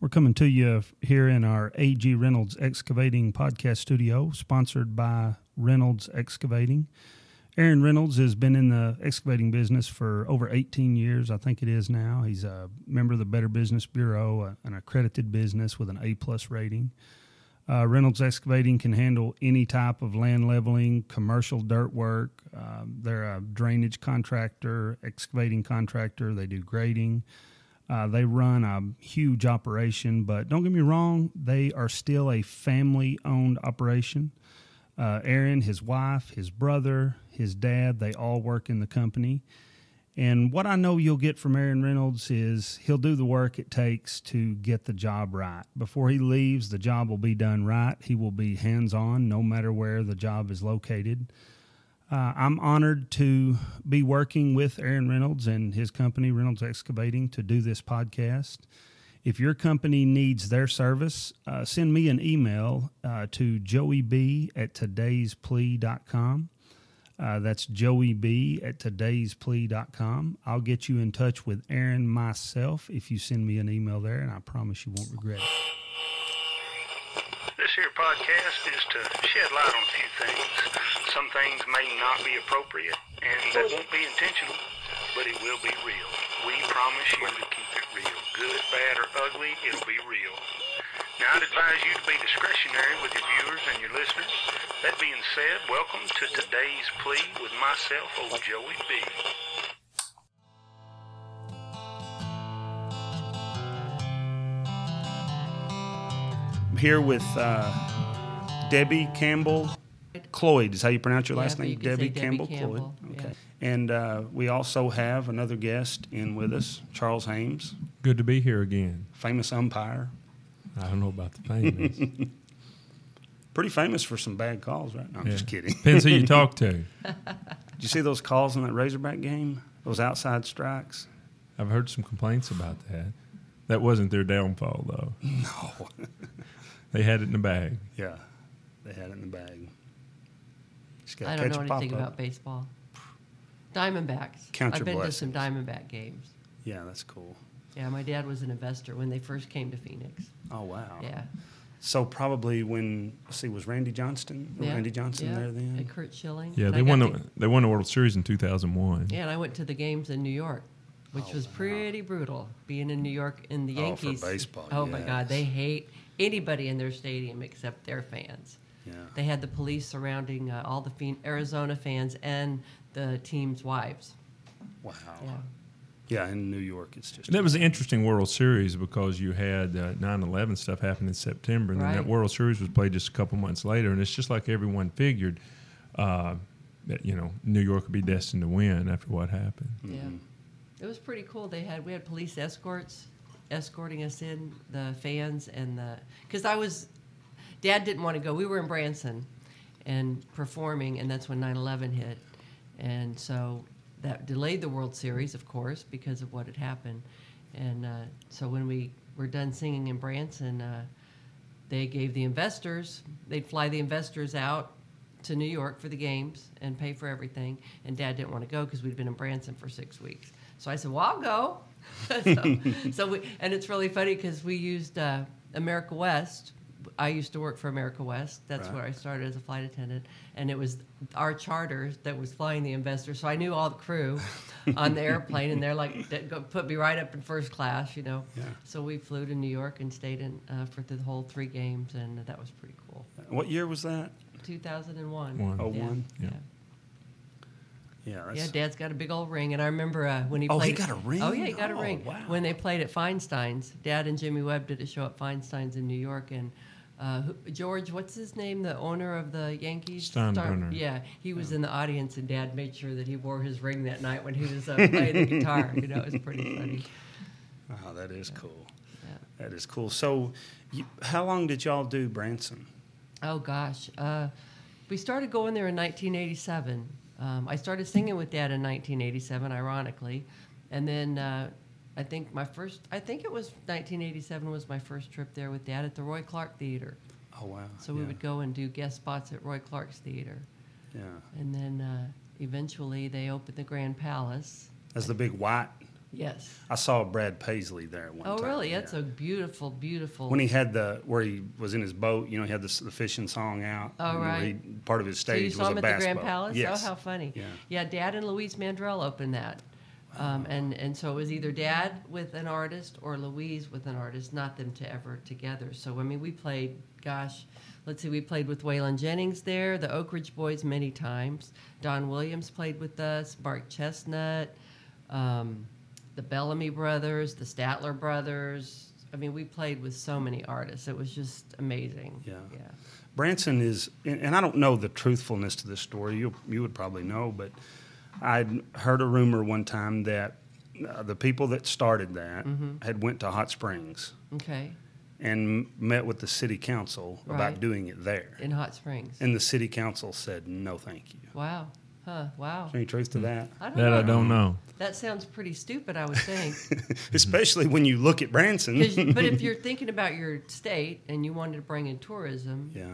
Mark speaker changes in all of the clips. Speaker 1: We're coming to you f- here in our AG Reynolds Excavating podcast studio, sponsored by Reynolds Excavating. Aaron Reynolds has been in the excavating business for over 18 years, I think it is now. He's a member of the Better Business Bureau, a- an accredited business with an A plus rating. Uh, Reynolds Excavating can handle any type of land leveling, commercial dirt work. Um, they're a drainage contractor, excavating contractor. They do grading. Uh, they run a huge operation, but don't get me wrong, they are still a family owned operation. Uh, Aaron, his wife, his brother, his dad, they all work in the company. And what I know you'll get from Aaron Reynolds is he'll do the work it takes to get the job right. Before he leaves, the job will be done right. He will be hands on no matter where the job is located. Uh, I'm honored to be working with Aaron Reynolds and his company, Reynolds Excavating, to do this podcast. If your company needs their service, uh, send me an email uh, to joeyb at today'splea.com. Uh, that's Joey B at today'splea.com. I'll get you in touch with Aaron myself if you send me an email there, and I promise you won't regret it.
Speaker 2: This here podcast is to shed light on a few things. Some things may not be appropriate, and that won't be intentional, but it will be real. We promise you to keep it real. Good, bad, or ugly, it'll be real. Now, I'd advise you to be discretionary with your viewers and your listeners. That being said, welcome to today's plea with myself, old Joey B.
Speaker 1: here with uh, Debbie Campbell Cloyd. Is how you pronounce your last
Speaker 3: Yeah, but
Speaker 1: name?
Speaker 3: you could say Debbie Campbell,
Speaker 1: Cloyd.
Speaker 3: yeah.
Speaker 1: Okay. And uh, we also have another guest in with us, Charles Hames,
Speaker 4: Good to be here again.
Speaker 1: famous umpire.
Speaker 4: I don't know about the famous.
Speaker 1: Pretty famous for some bad calls, right? No, I'm just
Speaker 4: Yeah.
Speaker 1: kidding. Did
Speaker 4: Depends who you talk to.
Speaker 1: you see those calls in that Razorback game? Those outside strikes?
Speaker 4: I've heard some complaints about that. That wasn't their downfall, though.
Speaker 1: No.
Speaker 4: They had it in the bag.
Speaker 1: yeah, they had it in the bag. Just gotta
Speaker 3: I don't
Speaker 1: catch
Speaker 3: know
Speaker 1: a
Speaker 3: anything
Speaker 1: pop-up.
Speaker 3: about baseball. Diamondbacks.
Speaker 1: Count
Speaker 3: I've
Speaker 1: your
Speaker 3: been to some Diamondback games.
Speaker 1: Yeah, that's cool.
Speaker 3: Yeah, my dad was an investor when they first came to Phoenix.
Speaker 1: Oh wow.
Speaker 3: Yeah.
Speaker 1: So probably when let's see was Randy Johnston?
Speaker 3: yeah.
Speaker 1: Randy Johnson
Speaker 3: yeah.
Speaker 1: there then?
Speaker 3: And Kurt Schilling.
Speaker 4: Yeah,
Speaker 3: And I
Speaker 4: they
Speaker 3: got
Speaker 4: won
Speaker 3: to-
Speaker 4: the they won the World Series in 2001.
Speaker 3: Yeah, and I went to the games in New York, which was pretty brutal. Being in New York in the
Speaker 1: Oh, for
Speaker 3: Yankees.
Speaker 1: baseball,
Speaker 3: Oh my God, they
Speaker 1: yes.
Speaker 3: hate anybody in their stadium except their fans.
Speaker 1: Yeah.
Speaker 3: They had the police surrounding uh, all the Phoen- Arizona fans and the team's wives.
Speaker 1: Wow.
Speaker 3: Yeah.
Speaker 1: Yeah, in New York, it's just
Speaker 4: And that was an interesting World Series because you had uh, 9/11 stuff happen in September, and then
Speaker 3: Right.
Speaker 4: that World Series was played just a couple months later. And it's just like everyone figured uh, that you know New York would be destined to win after what happened.
Speaker 3: Yeah, it was pretty cool. They had we had police escorts escorting us in the fans and the because I was Dad didn't want to go. We were in Branson and performing, and that's when 9/11 hit, and so that delayed the World Series, of course, because of what had happened. And uh, so when we were done singing in Branson, uh, they gave the investors they'd fly the investors out to New York for the games and pay for everything. And Dad didn't want to go because we'd been in Branson for six weeks. So I said, "Well, I'll go." so, so we, and it's really funny because we used uh, America West. I used to work for America West. That's
Speaker 1: Right.
Speaker 3: where I started as a flight attendant, and it was our charter that was flying the investors. So I knew all the crew on the airplane, and they're like, they go- "Put me right up in first class," you know.
Speaker 1: Yeah.
Speaker 3: So we flew to New York and stayed in uh, for the whole three games, and that was pretty cool.
Speaker 1: What year was that?
Speaker 3: 2001.
Speaker 4: One.
Speaker 1: Oh,
Speaker 3: yeah.
Speaker 1: one?
Speaker 4: Yeah.
Speaker 3: Yeah.
Speaker 1: Yeah,
Speaker 3: Yeah,
Speaker 1: that's,
Speaker 3: Dad's got a big old ring, and I remember uh, when he
Speaker 1: Oh,
Speaker 3: played.
Speaker 1: he got a ring?
Speaker 3: Oh yeah, he got
Speaker 1: Oh,
Speaker 3: a ring.
Speaker 1: wow.
Speaker 3: When they played at Feinstein's, Dad and Jimmy Webb did a show at Feinstein's in New York, and uh, who, George, what's his name, the owner of the Yankees? Star-
Speaker 4: Steinbrenner.
Speaker 3: yeah, he was in the audience, and Dad made sure that he wore his ring that night when he was uh, playing the guitar. You know, it was pretty funny.
Speaker 1: oh, that is cool.
Speaker 3: Yeah.
Speaker 1: That is cool. So, you, how long did y'all do Branson?
Speaker 3: Oh gosh, uh, we started going there in 1987. Um, I started singing with Dad in 1987, ironically, and then uh, I think my first, I think it was 1987 was my first trip there with Dad at the Roy Clark Theater.
Speaker 1: Oh wow.
Speaker 3: So we
Speaker 1: yeah,
Speaker 3: would go and do guest spots at Roy Clark's Theater,
Speaker 1: Yeah,
Speaker 3: and then uh, eventually they opened the Grand Palace.
Speaker 1: as the big white
Speaker 3: Yes.
Speaker 1: I saw Brad Paisley there at one
Speaker 3: Oh,
Speaker 1: time.
Speaker 3: really? That's
Speaker 1: yeah.
Speaker 3: a beautiful, beautiful.
Speaker 1: when he had the where he was in his boat. You know, he had the, s- the fishing song out.
Speaker 3: Oh,
Speaker 1: and
Speaker 3: right.
Speaker 1: he- part of his
Speaker 3: so you
Speaker 1: stage
Speaker 3: saw
Speaker 1: was
Speaker 3: him
Speaker 1: a
Speaker 3: at
Speaker 1: bass
Speaker 3: the Grand
Speaker 1: boat.
Speaker 3: Palace?
Speaker 1: Yes.
Speaker 3: Oh, how funny.
Speaker 1: Yeah.
Speaker 3: Dad and Louise Mandrell opened that. Um, and, and so it was either Dad with an artist or Louise with an artist, not them to ever together. So, I mean, we played, gosh, let's see, we played with Waylon Jennings there, the Oak Ridge Boys many times. Don Williams played with us, Mark Chestnut, um, the Bellamy brothers, the Statler brothers. I mean, we played with so many artists. It was just amazing.
Speaker 1: Yeah.
Speaker 3: Yeah.
Speaker 1: Branson is, and, and I don't know the truthfulness to this story. You you would probably know, but I heard a rumor one time that uh, the people that started that
Speaker 3: Mm-hmm.
Speaker 1: had went to Hot Springs
Speaker 3: Okay.
Speaker 1: and m- met with the city council
Speaker 3: Right.
Speaker 1: about doing it there,
Speaker 3: In Hot Springs.
Speaker 1: and the city council said no, thank you.
Speaker 3: Wow. Huh. Wow.
Speaker 1: Any truth to that?
Speaker 3: Mm-hmm. I don't
Speaker 4: That
Speaker 3: know.
Speaker 4: I don't know.
Speaker 3: That sounds pretty stupid, I would think.
Speaker 1: Especially when you look at Branson.
Speaker 3: 'Cause- but if you're thinking about your state and you wanted to bring in tourism,
Speaker 1: yeah.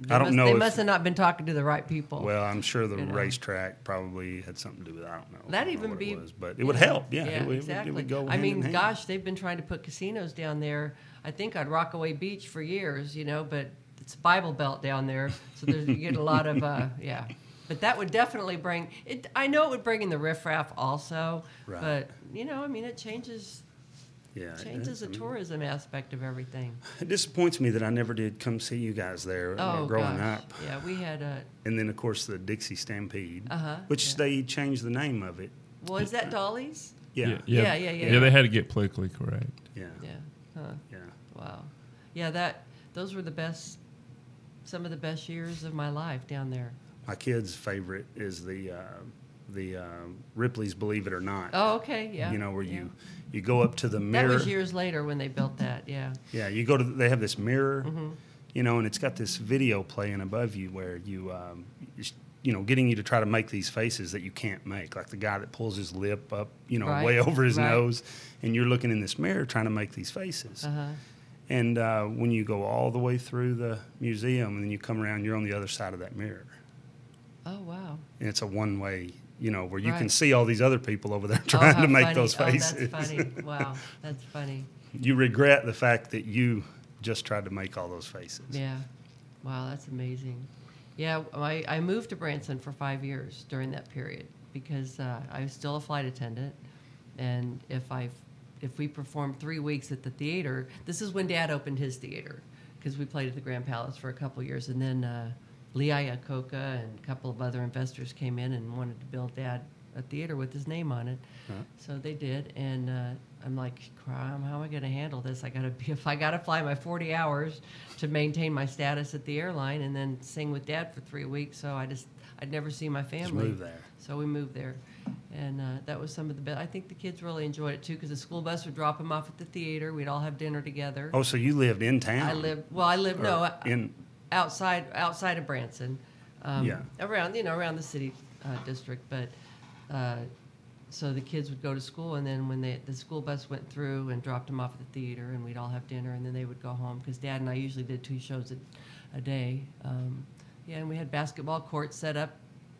Speaker 3: they
Speaker 1: I don't
Speaker 3: must,
Speaker 1: know
Speaker 3: They
Speaker 1: if-
Speaker 3: must have not been talking to the right people.
Speaker 1: Well, I'm sure the
Speaker 3: You know.
Speaker 1: racetrack probably had something to do with. it. I don't know. I don't
Speaker 3: That'd
Speaker 1: know
Speaker 3: even
Speaker 1: what
Speaker 3: be,
Speaker 1: it was, but it
Speaker 3: you
Speaker 1: would
Speaker 3: know,
Speaker 1: help. Yeah, it, would,
Speaker 3: exactly.
Speaker 1: it would go.
Speaker 3: I
Speaker 1: hand in
Speaker 3: mean,
Speaker 1: hand.
Speaker 3: gosh, they've been trying to put casinos down there. I think on Rockaway Beach for years, you know, but it's Bible Belt down there, so there's, you get a lot of uh, yeah. But that would definitely bring it. I know it would bring in the riffraff also,
Speaker 1: Right.
Speaker 3: but you know, I mean, it changes
Speaker 1: yeah, it-
Speaker 3: changes the
Speaker 1: I mean,
Speaker 3: tourism aspect of everything.
Speaker 1: It disappoints me that I never did come see you guys there uh,
Speaker 3: Oh,
Speaker 1: growing
Speaker 3: gosh.
Speaker 1: up,
Speaker 3: Yeah, we had a.
Speaker 1: and then of course the Dixie Stampede,
Speaker 3: Uh-huh,
Speaker 1: which
Speaker 3: yeah.
Speaker 1: they changed the name of it.
Speaker 3: Was that Dolly's?
Speaker 1: Yeah, yeah, yeah.
Speaker 3: Yeah, yeah, yeah.
Speaker 4: Yeah, they had to get politically correct.
Speaker 1: yeah.
Speaker 3: Yeah. Huh. Wow. Yeah, that those were the best, some of the best years of my life down there.
Speaker 1: My kid's favorite is the uh, the uh, Ripley's Believe It or Not.
Speaker 3: Oh, okay. Yeah.
Speaker 1: you know where
Speaker 3: yeah.
Speaker 1: you you go up to the
Speaker 3: That
Speaker 1: mirror.
Speaker 3: was years later when they built that. Yeah.
Speaker 1: Yeah, you go to. They have this mirror,
Speaker 3: Mm-hmm.
Speaker 1: you know, and it's got this video playing above you where you, um, it's, you know, getting you to try to make these faces that you can't make, like the guy that pulls his lip up, you know,
Speaker 3: Right,
Speaker 1: way over his
Speaker 3: right.
Speaker 1: nose, and you're looking in this mirror trying to make these faces.
Speaker 3: Uh huh.
Speaker 1: And uh, when you go all the way through the museum and then you come around, you're on the other side of that mirror,
Speaker 3: Oh wow.
Speaker 1: and it's a one way. You know, where you can
Speaker 3: Right.
Speaker 1: see all these other people over there
Speaker 3: Oh,
Speaker 1: trying
Speaker 3: how
Speaker 1: to make
Speaker 3: funny.
Speaker 1: those faces.
Speaker 3: Oh, that's funny. Wow, that's funny.
Speaker 1: you regret the fact that you just tried to make all those faces.
Speaker 3: Yeah. Wow, that's amazing. Yeah, I, I moved to Branson for five years during that period because uh, I was still a flight attendant, and if I if we performed three weeks at the theater, this is when Dad opened his theater because we played at the Grand Palace for a couple years, and then uh, Lee Iacocca and a couple of other investors came in and wanted to build Dad a theater with his name on it. So they did, and uh, I'm like, "Crime, how am I going to handle this? I got to be if I got to fly my 40 hours to maintain my status at the airline, and then sing with Dad for three weeks. So I just I'd never see my family.
Speaker 1: Just move there.
Speaker 3: So we moved there, and uh, that was some of the best. I think the kids really enjoyed it too because the school bus would drop them off at the theater. We'd all have dinner together.
Speaker 1: Oh, so you lived in town?
Speaker 3: I lived well. I lived
Speaker 1: or
Speaker 3: no I-
Speaker 1: in
Speaker 3: outside outside of Branson, um,
Speaker 1: Yeah.
Speaker 3: around you know around the city uh, district. But uh, so the kids would go to school, and then when they the school bus went through and dropped them off at the theater, and we'd all have dinner, and then they would go home because Dad and I usually did two shows a, a day. Um, yeah, and we had basketball courts set up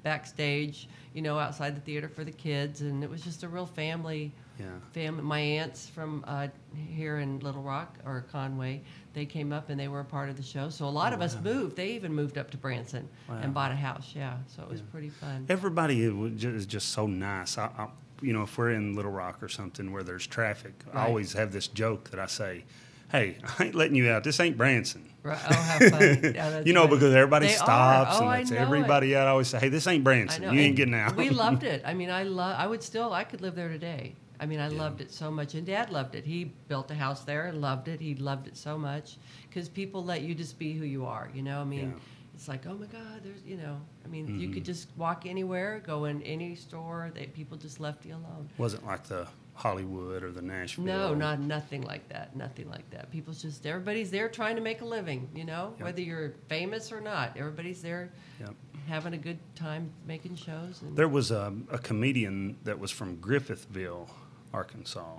Speaker 3: backstage, you know, outside the theater for the kids, and it was just a real family
Speaker 1: yeah.
Speaker 3: family, my aunts from uh, here in Little Rock or Conway, they came up and they were a part of the show. So a lot
Speaker 1: Oh,
Speaker 3: of us moved. They even moved up to Branson and bought a house. Yeah, so it was pretty fun.
Speaker 1: Everybody i- would ju- is just so nice. I, I, you know, if we're in Little Rock or something where there's traffic, I
Speaker 3: Right.
Speaker 1: always have this joke that I say, "Hey, I ain't letting you out. This ain't Branson."
Speaker 3: Right. Oh, how funny! Yeah, that's
Speaker 1: you know,
Speaker 3: funny.
Speaker 1: because everybody
Speaker 3: They are.
Speaker 1: stops
Speaker 3: Oh,
Speaker 1: and
Speaker 3: I
Speaker 1: lets
Speaker 3: know it.
Speaker 1: everybody out. I always say, "Hey, this ain't
Speaker 3: I
Speaker 1: Branson.
Speaker 3: know.
Speaker 1: You ain't
Speaker 3: And
Speaker 1: getting out."
Speaker 3: we loved it. I mean, I love. I would still. I could live there today. I mean, I loved it so much, and Dad loved it. He built a house there and loved it. He loved it so much because people let you just be who you are. You know, I mean,
Speaker 1: Yeah.
Speaker 3: it's like, oh my God, there's, you know, I mean, you could just walk anywhere, go in any store. That people just left you alone.
Speaker 1: Wasn't like the Hollywood or the Nashville.
Speaker 3: No, not nothing like that. Nothing like that. People's just everybody's there trying to make a living. You know,
Speaker 1: Yeah.
Speaker 3: whether you're famous or not, everybody's there
Speaker 1: Yep.
Speaker 3: having a good time making shows. And,
Speaker 1: There was a, a comedian that was from Griffithville, Arkansas.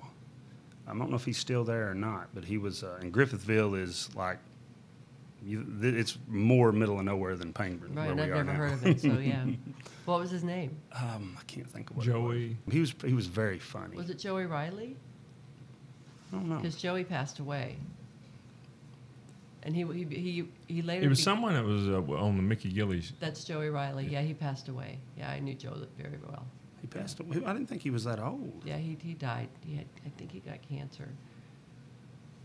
Speaker 1: I don't know if he's still there or not, but he was uh, in Griffithville is like You, th- it's more middle of nowhere than Pangburn.
Speaker 3: Right,
Speaker 1: where
Speaker 3: and
Speaker 1: we
Speaker 3: I've
Speaker 1: are
Speaker 3: never
Speaker 1: now.
Speaker 3: heard of it, so yeah. what was his name?
Speaker 1: Um, I can't think of what it
Speaker 4: Joey.
Speaker 1: was. He was he was very funny.
Speaker 3: Was it Joey Riley?
Speaker 1: I don't know.
Speaker 3: Because Joey passed away. And he he he, he later.
Speaker 4: It was
Speaker 3: be-
Speaker 4: someone that was uh, on the Mickey Gillies.
Speaker 3: That's Joey Riley. Yeah, he passed away. Yeah, I knew Joe very well.
Speaker 1: He passed away. I didn't think he was that old.
Speaker 3: Yeah, he, he died. He had, I think he got cancer.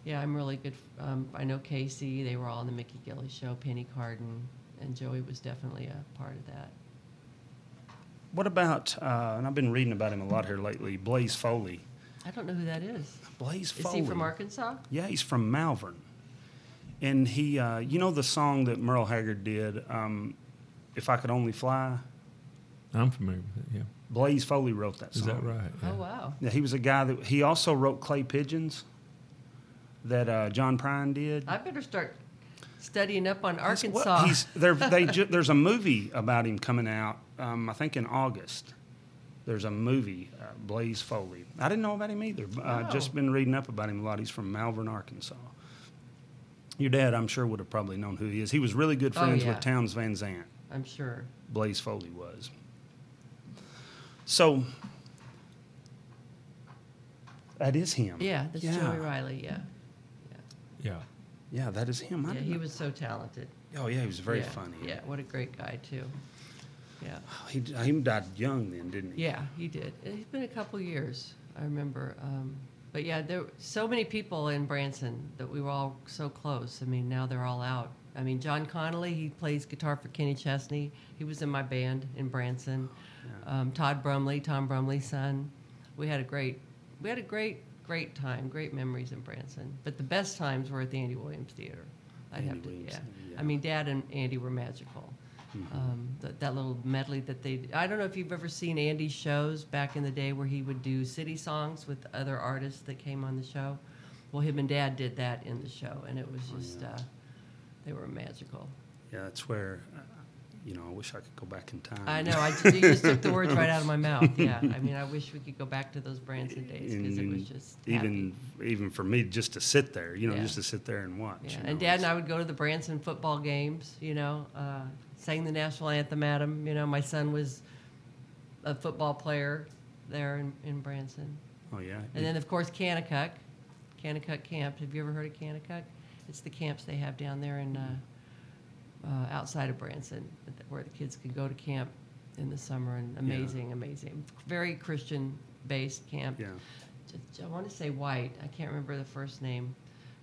Speaker 3: Yeah, I'm really good. f- Um, I know Casey. They were all on the Mickey Gilly show. Penny Carden and Joey was definitely a part of that.
Speaker 1: What about? Uh, and I've been reading about him a lot here lately. Blaze Foley.
Speaker 3: I don't know who that is.
Speaker 1: Blaze
Speaker 3: Is
Speaker 1: Foley.
Speaker 3: he from Arkansas?
Speaker 1: Yeah, he's from Malvern. And he, uh, you know, the song that Merle Haggard did, um, "If I Could Only Fly."
Speaker 4: I'm familiar with it. Yeah,
Speaker 1: Blaze Foley wrote that
Speaker 4: is
Speaker 1: song.
Speaker 4: that right? Yeah.
Speaker 3: Oh wow.
Speaker 1: Yeah, he was a guy that he also wrote "Clay Pigeons," that uh, John Prine did.
Speaker 3: I better start studying up on
Speaker 1: He's- well,
Speaker 3: Arkansas.
Speaker 1: he's- they're- they ju- there's a movie about him coming out. Um, I think in August. There's a movie, uh, Blaze Foley. I didn't know about him either. but I've just
Speaker 3: Wow.
Speaker 1: been reading up about him a lot. He's from Malvern, Arkansas. Your dad, I'm sure, would have probably known who he is. He was really good
Speaker 3: Oh,
Speaker 1: friends
Speaker 3: yeah.
Speaker 1: with Towns Van Zandt.
Speaker 3: I'm sure.
Speaker 1: Blaze Foley was. So that is him.
Speaker 3: Yeah, that's
Speaker 1: yeah.
Speaker 3: Joey Riley. Yeah.
Speaker 4: Yeah.
Speaker 1: Yeah, that is him. I
Speaker 3: Yeah,
Speaker 1: didn't
Speaker 3: he
Speaker 1: know-
Speaker 3: was so talented.
Speaker 1: Oh yeah, he was very
Speaker 3: Yeah,
Speaker 1: funny.
Speaker 3: Yeah, what a great guy too. Yeah.
Speaker 1: He, he died young then, didn't he?
Speaker 3: Yeah, he did. It's been a couple years, I remember. Um, but yeah, there were so many people in Branson that we were all so close. I mean, now they're all out. I mean, John Connolly, he plays guitar for Kenny Chesney. He was in my band in Branson. Um, Todd Brumley, Tom Brumley's son. We had a great, we had a great, great time, great memories in Branson. But the best times were at the Andy Williams Theater. I'd
Speaker 1: Andy
Speaker 3: have to,
Speaker 1: Williams
Speaker 3: yeah.
Speaker 1: Theater, yeah. Mm-hmm.
Speaker 3: I mean, Dad and Andy were magical. Um, that, that little medley that they I don't know if you've ever seen Andy's shows back in the day where he would do city songs with other artists that came on the show. Well, him and Dad did that in the show, and it was
Speaker 1: Oh,
Speaker 3: just uh, they were magical.
Speaker 1: Yeah, that's where, uh, you know, I wish I could go back in time.
Speaker 3: I know. I just, you just took the words right out of my mouth. Yeah. I mean, I wish we could go back to those Branson days because it was
Speaker 1: And
Speaker 3: just happy.
Speaker 1: even even for me just to sit there, you know,
Speaker 3: Yeah.
Speaker 1: just to sit there and watch.
Speaker 3: Yeah.
Speaker 1: you
Speaker 3: And
Speaker 1: know,
Speaker 3: Dad and
Speaker 1: it's-
Speaker 3: I would go to the Branson football games, you know, uh, sang the national anthem at 'em. You know, my son was a football player there in, in Branson.
Speaker 1: Oh yeah.
Speaker 3: And then, of course, Kanakuk, Kanakuk Camp. Have you ever heard of Kanakuk? It's the camps they have down there in uh, uh, outside of Branson, that- where the kids can go to camp in the summer. And amazing, amazing, very Christian-based camp.
Speaker 1: yeah.
Speaker 3: Just- I want to say White. I can't remember the first name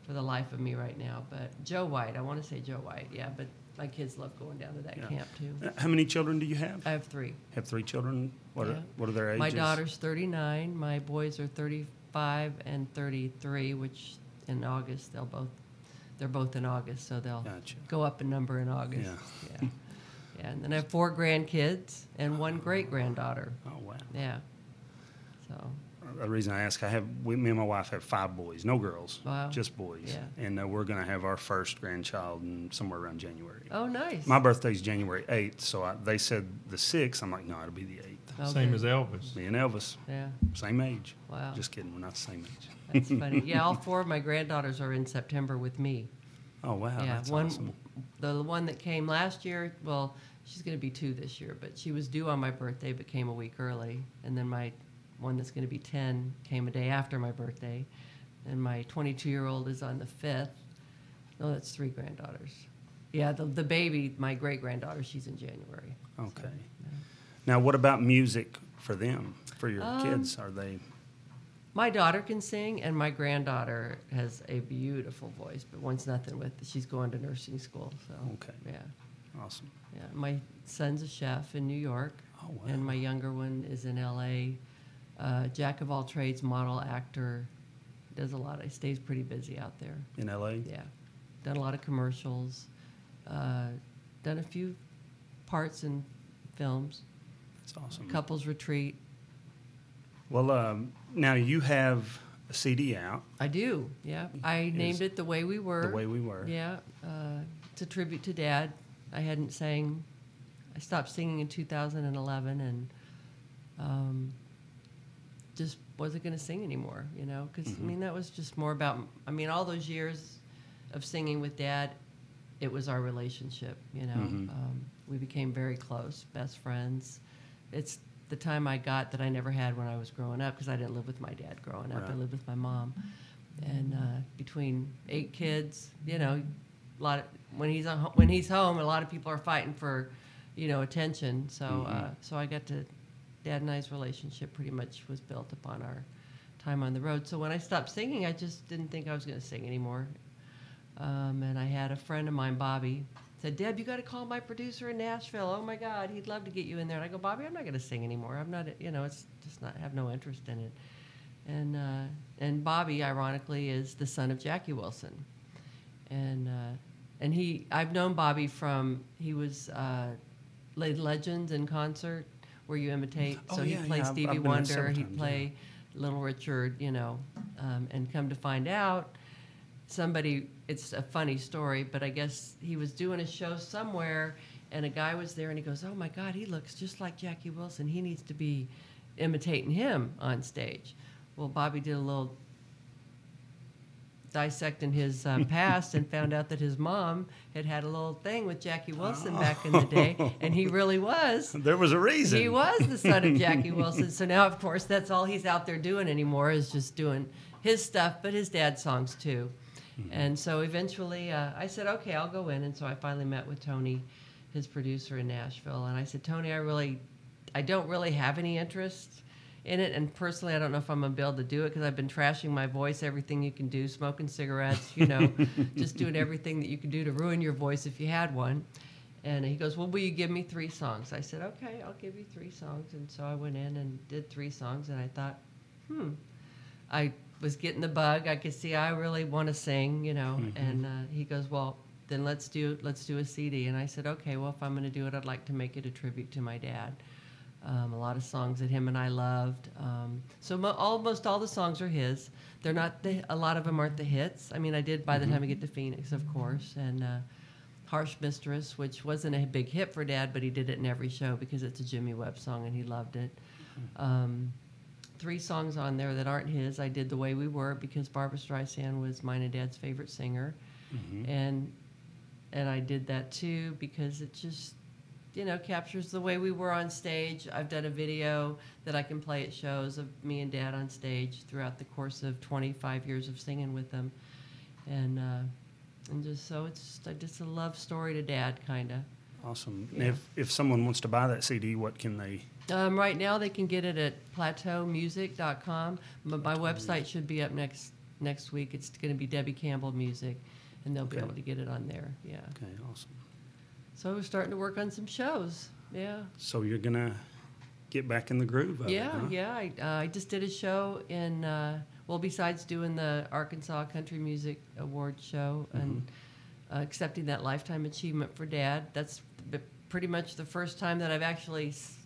Speaker 3: for the life of me right now, but Joe White. I want to say Joe White. Yeah, but my kids love going down to that
Speaker 1: Yeah.
Speaker 3: camp too.
Speaker 1: Uh, How many children do you have?
Speaker 3: I have three.
Speaker 1: have three children. What
Speaker 3: Yeah.
Speaker 1: are what are their ages?
Speaker 3: My daughter's 39. My boys are 35 and 33, which in August they'll both they're both in August, so they'll
Speaker 1: Gotcha.
Speaker 3: go up in number in August. Yeah. yeah. And then I have four grandkids and one great granddaughter.
Speaker 1: Oh wow.
Speaker 3: Yeah. So
Speaker 1: the reason I ask, I have we, me and my wife have five boys, no girls,
Speaker 3: Wow.
Speaker 1: just boys,
Speaker 3: Yeah.
Speaker 1: and uh, we're gonna have our first grandchild in somewhere around January.
Speaker 3: oh nice.
Speaker 1: My birthday's January eighth, so I, they said the sixth. I'm like, no, it'll be the eighth.
Speaker 3: Oh,
Speaker 4: Same
Speaker 3: good.
Speaker 4: as Elvis.
Speaker 1: Me and Elvis,
Speaker 3: Yeah.
Speaker 1: same age.
Speaker 3: Wow.
Speaker 1: Just kidding, we're not the same age.
Speaker 3: That's funny. Yeah, all four of my granddaughters are in September with me.
Speaker 1: Oh wow,
Speaker 3: yeah,
Speaker 1: that's
Speaker 3: one,
Speaker 1: awesome.
Speaker 3: the one that came last year. Well, she's going to be two this year, but she was due on my birthday, but came a week early. And then my one that's going to be ten came a day after my birthday, and my 22-year-old is on the fifth. No, that's three granddaughters. Yeah, the the baby, my great granddaughter, she's in January.
Speaker 1: Okay. Now, what about music for them, for your
Speaker 3: Um,
Speaker 1: kids? Are they?
Speaker 3: My daughter can sing, and my granddaughter has a beautiful voice, but wants nothing with. She's going to nursing school, so
Speaker 1: Okay.
Speaker 3: yeah.
Speaker 1: Awesome.
Speaker 3: Yeah, my son's a chef in New York,
Speaker 1: Oh, wow.
Speaker 3: and my younger one is in L.A. Uh, jack of all trades, model, actor, does a lot. He stays pretty busy out there.
Speaker 1: In LA?
Speaker 3: Yeah, done a lot of commercials, uh, done a few parts in films,
Speaker 1: That's awesome.
Speaker 3: couples retreat.
Speaker 1: Well, um, now you have a CD out,
Speaker 3: I do. Yeah, I named it the way we were.
Speaker 1: The Way We Were.
Speaker 3: Yeah, uh, it's a tribute to Dad. I hadn't sang. I stopped singing in 2011, and um, just wasn't going to sing anymore. You know, because I mean that was just more about. I mean, all those years of singing with Dad, it was our relationship. You know, um, we became very close, best friends. It's the time I got that I never had when I was growing up because I didn't live with my dad growing up. I
Speaker 1: Right.
Speaker 3: lived with my mom, and uh, between eight kids, you know, a lot of, when he's on, when he's home, a lot of people are fighting for, you know, attention. So uh, so I got to dad and I's relationship pretty much was built upon our time on the road. So when I stopped singing, I just didn't think I was going to sing anymore. Um, and I had a friend of mine, Bobby, said, Deb, you got to call my producer in Nashville. Oh my God, he'd love to get you in there. And I go, Bobby, I'm not going to sing anymore. I'm not, you know, it's just not, I have no interest in it. And, uh, and Bobby, ironically, is the son of Jackie Wilson. And, uh, and he, I've known Bobby from, he was uh, Lady Legends in concert where you imitate.
Speaker 1: Oh,
Speaker 3: so
Speaker 1: yeah,
Speaker 3: he
Speaker 1: yeah,
Speaker 3: played
Speaker 1: I've-
Speaker 3: Stevie
Speaker 1: I've been there
Speaker 3: Wonder,
Speaker 1: several
Speaker 3: he'd
Speaker 1: times, yeah.
Speaker 3: play Little Richard, you know, um, and come to find out, somebody, it's a funny story, but I guess he was doing a show somewhere and a guy was there and he goes, Oh my God, he looks just like Jackie Wilson. He needs to be imitating him on stage. Well, Bobby did a little dissecting his um, past and found out that his mom had had a little thing with Jackie Wilson back in the day, and he really was.
Speaker 1: There was a reason.
Speaker 3: He was the son of Jackie Wilson. So now, of course, that's all he's out there doing anymore is just doing his stuff, but his dad's songs too. And so eventually uh, I said, okay, I'll go in. And so I finally met with Tony, his producer in Nashville. And I said, Tony, I really, I don't really have any interest in it. And personally, I don't know if I'm going to be able to do it because I've been trashing my voice, everything you can do, smoking cigarettes, you know, just doing everything that you can do to ruin your voice if you had one. And he goes, Well, will you give me three songs? I said, Okay, I'll give you three songs. And so I went in and did three songs, and I thought, Hmm, I was getting the bug. I could see I really want to sing, you know. And uh, he goes, Well, then let's do let's do a CD. And I said, Okay, well, if I'm going to do it, I'd like to make it a tribute to my dad. Um, a lot of songs that him and I loved. Um, so mo- almost all the songs are his. They're not the, a lot of them aren't the hits. I mean, I did by the time I get to Phoenix, of course, and. Uh, Harsh Mistress, which wasn't a big hit for Dad, but he did it in every show because it's a Jimmy Webb song and he loved it. Um, three songs on there that aren't his. I did The Way We Were because Barbara Streisand was mine and Dad's favorite singer. And and I did that too because it just you know captures the way we were on stage. I've done a video that I can play at shows of me and Dad on stage throughout the course of 25 years of singing with them, and uh, and just so it's just, I just a love story to Dad kind of.
Speaker 1: Awesome. If if someone wants to buy that CD, what can they?
Speaker 3: Um, right now, they can get it at plateaumusic.com. My, my website should be up next next week. It's going to be Debbie Campbell Music, and they'll be
Speaker 1: Okay.
Speaker 3: able to get it on there. Yeah.
Speaker 1: Okay, awesome.
Speaker 3: So we're starting to work on some shows. Yeah.
Speaker 1: So you're gonna get back in the groove. Of
Speaker 3: Yeah,
Speaker 1: it, huh?
Speaker 3: yeah. I, uh, I just did a show in, uh, well, besides doing the Arkansas Country Music Award show
Speaker 1: Mm-hmm.
Speaker 3: and uh, accepting that Lifetime Achievement for Dad, that's b- pretty much the first time that I've actually s-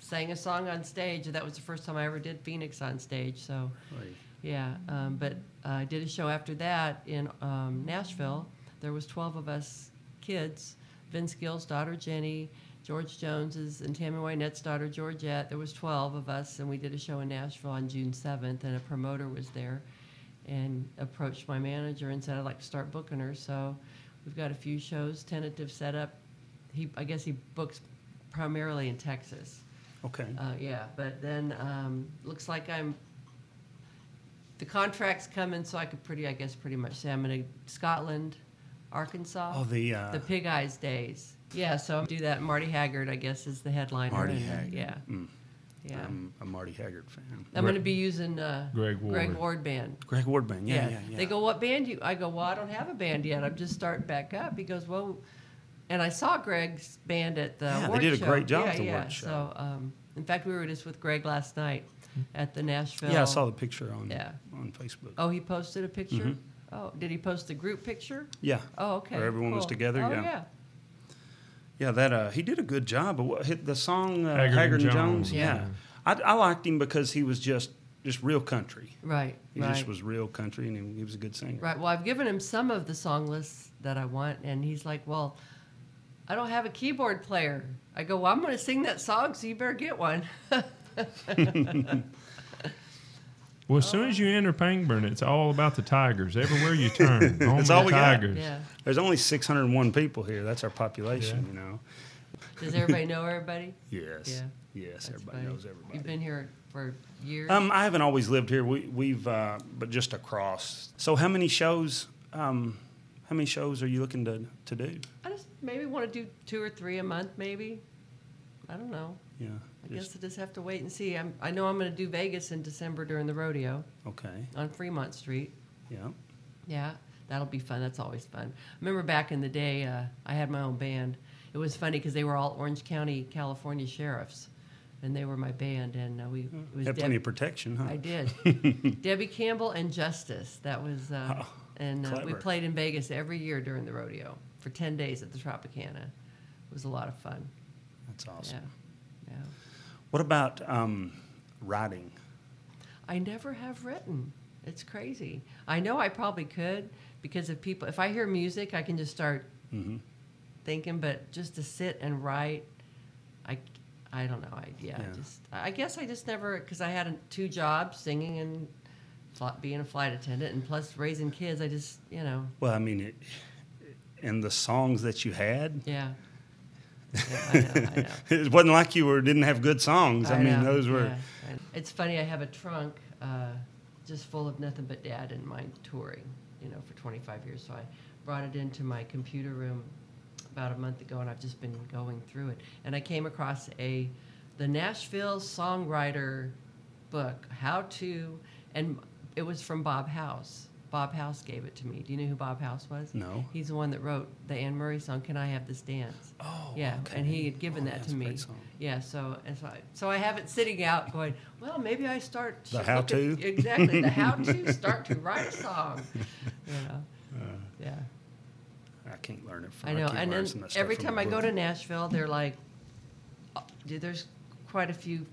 Speaker 3: sang a song on stage. That was the first time I ever did Phoenix on stage. So,
Speaker 1: Right.
Speaker 3: yeah, um, but uh, I did a show after that in um, Nashville. There was 12 of us kids, Vince Gill's daughter Jenny, George Jones's and Tammy Wynette's daughter Georgette. There was 12 of us, and we did a show in Nashville on June 7th, and a promoter was there and approached my manager and said, I'd like to start booking her. So we've got a few shows, tentative setup. He, I guess he books primarily in Texas.
Speaker 1: Okay.
Speaker 3: Uh, yeah, but then um, looks like I'm. The contract's coming, so I could pretty, I guess, pretty much say I'm going to Scotland, Arkansas.
Speaker 1: oh, the, uh,
Speaker 3: the Pig Eyes days. Yeah, so I'm do that. Marty Haggard, I guess, is the headliner.
Speaker 1: Marty
Speaker 3: and, uh,
Speaker 1: Haggard. Mm. Um,
Speaker 3: Yeah. Yeah.
Speaker 1: I'm a Marty Haggard fan.
Speaker 3: I'm going to be using uh,
Speaker 4: Greg Ward.
Speaker 3: Band.
Speaker 1: Greg Wardman. Yeah, yeah, yeah.
Speaker 3: They go, "What band you?" I go, "Well, I don't have a band yet. I'm just starting back up." He goes, "Well," and I saw Greg's band at the
Speaker 1: Yeah, they
Speaker 3: award
Speaker 1: did a
Speaker 3: show.
Speaker 1: great job
Speaker 3: Yeah,
Speaker 1: at the
Speaker 3: yeah.
Speaker 1: award show. Hmm.
Speaker 3: So, um, in fact, we were just with Greg last night at the Nashville.
Speaker 1: Yeah, I saw the picture on
Speaker 3: Yeah.
Speaker 1: on Facebook.
Speaker 3: Oh, he posted a picture. Oh, did he post the group picture?
Speaker 1: Yeah.
Speaker 3: Oh, okay.
Speaker 1: Mm-hmm. Where everyone was
Speaker 3: cool.
Speaker 1: together.
Speaker 3: Oh,
Speaker 1: yeah.
Speaker 3: yeah.
Speaker 1: Yeah, that uh, he did a good job. But what, hit the song uh,
Speaker 4: Haggard and
Speaker 1: Haggard, and Jones.
Speaker 4: Jones,
Speaker 1: Yeah,
Speaker 4: yeah.
Speaker 1: I, I liked him because he was just just real country.
Speaker 3: Right.
Speaker 1: He
Speaker 3: right.
Speaker 1: just was real country, and he, he was a good singer.
Speaker 3: Right. Well, I've given him some of the song lists that I want, and he's like, "Well, I don't have a keyboard player." I go, "Well, I'm going to sing that song, so you better get one."
Speaker 4: Well, as soon as you enter Pangburn, it's all about the Tigers. Everywhere you turn, home
Speaker 1: That's
Speaker 4: of
Speaker 1: all
Speaker 4: the
Speaker 1: we got.
Speaker 4: Tigers.
Speaker 3: Yeah.
Speaker 1: There's only 601 people here. That's our population, you know.
Speaker 3: Does everybody know everybody?
Speaker 1: Yes.
Speaker 3: Yeah.
Speaker 1: Yes,
Speaker 3: That's
Speaker 1: everybody
Speaker 3: funny.
Speaker 1: knows everybody.
Speaker 3: You've been here for years.
Speaker 1: Um, I haven't always lived here. We, we've, uh, but just across. So, how many shows? Um, how many shows are you looking to, to do?
Speaker 3: I just maybe want to do two or three a month, maybe. I don't know.
Speaker 1: Yeah.
Speaker 3: I
Speaker 1: just-
Speaker 3: guess I just have to wait and see. I'm, I know I'm going to do Vegas in December during the rodeo
Speaker 1: okay.
Speaker 3: on Fremont Street.
Speaker 1: Yeah.
Speaker 3: Yeah, that'll be fun. That's always fun. Remember back in the day, uh, I had my own band. It was funny because they were all Orange County, California sheriffs, and they were my band. And uh, we it was
Speaker 1: Had
Speaker 3: Deb-
Speaker 1: plenty of protection, huh?
Speaker 3: I did. Debbie Campbell and Justice. That was, uh,
Speaker 1: Oh,
Speaker 3: and uh, we
Speaker 1: clever.
Speaker 3: played in Vegas every year during the rodeo for ten days at the Tropicana. It was a lot of fun.
Speaker 1: That's awesome.
Speaker 3: Yeah, yeah.
Speaker 1: What about um, riding?
Speaker 3: I never have written. It's crazy. I know I probably could because if people, if I hear music, I can just start thinking. But just to sit and write, I, I don't know. I yeah,
Speaker 1: Yeah.
Speaker 3: I just I guess I just never because I had two jobs, singing and fl- being a flight attendant, and plus raising kids. I just you know
Speaker 1: Well, I mean, it, and the songs that you had,
Speaker 3: yeah. yeah I know. I know.
Speaker 1: it wasn't like you were didn't have good songs. I, mean,
Speaker 3: know,
Speaker 1: those were.
Speaker 3: yeah, I know. It's funny. I have a trunk uh, just full of nothing but dad and my touring. You know, for 25 years. So I brought it into my computer room about a month ago, and I've just been going through it. And I came across a the Nashville songwriter book, how to, and it was from Bob House. Bob House gave it to me. Do you know who Bob House was?
Speaker 1: No.
Speaker 3: He's the one that wrote the Anne Murray song, "Can I Have This Dance?"
Speaker 1: Oh,
Speaker 3: yeah,
Speaker 1: okay.
Speaker 3: and he had given
Speaker 1: Oh,
Speaker 3: that
Speaker 1: that's
Speaker 3: to
Speaker 1: a great
Speaker 3: me.
Speaker 1: song.
Speaker 3: Yeah, so and so I, so I have it sitting out going, well, maybe I start
Speaker 1: The
Speaker 3: should
Speaker 1: how
Speaker 3: look at-
Speaker 1: to?
Speaker 3: Exactly, the how to start to write a song. You know.
Speaker 1: Uh.
Speaker 3: yeah.
Speaker 1: I can't learn it from.
Speaker 3: I know.
Speaker 1: keep
Speaker 3: And
Speaker 1: learning some
Speaker 3: then
Speaker 1: of that stuff
Speaker 3: every
Speaker 1: from
Speaker 3: time
Speaker 1: the
Speaker 3: I go
Speaker 1: book.
Speaker 3: to Nashville, they're like uh, dude, there's quite a few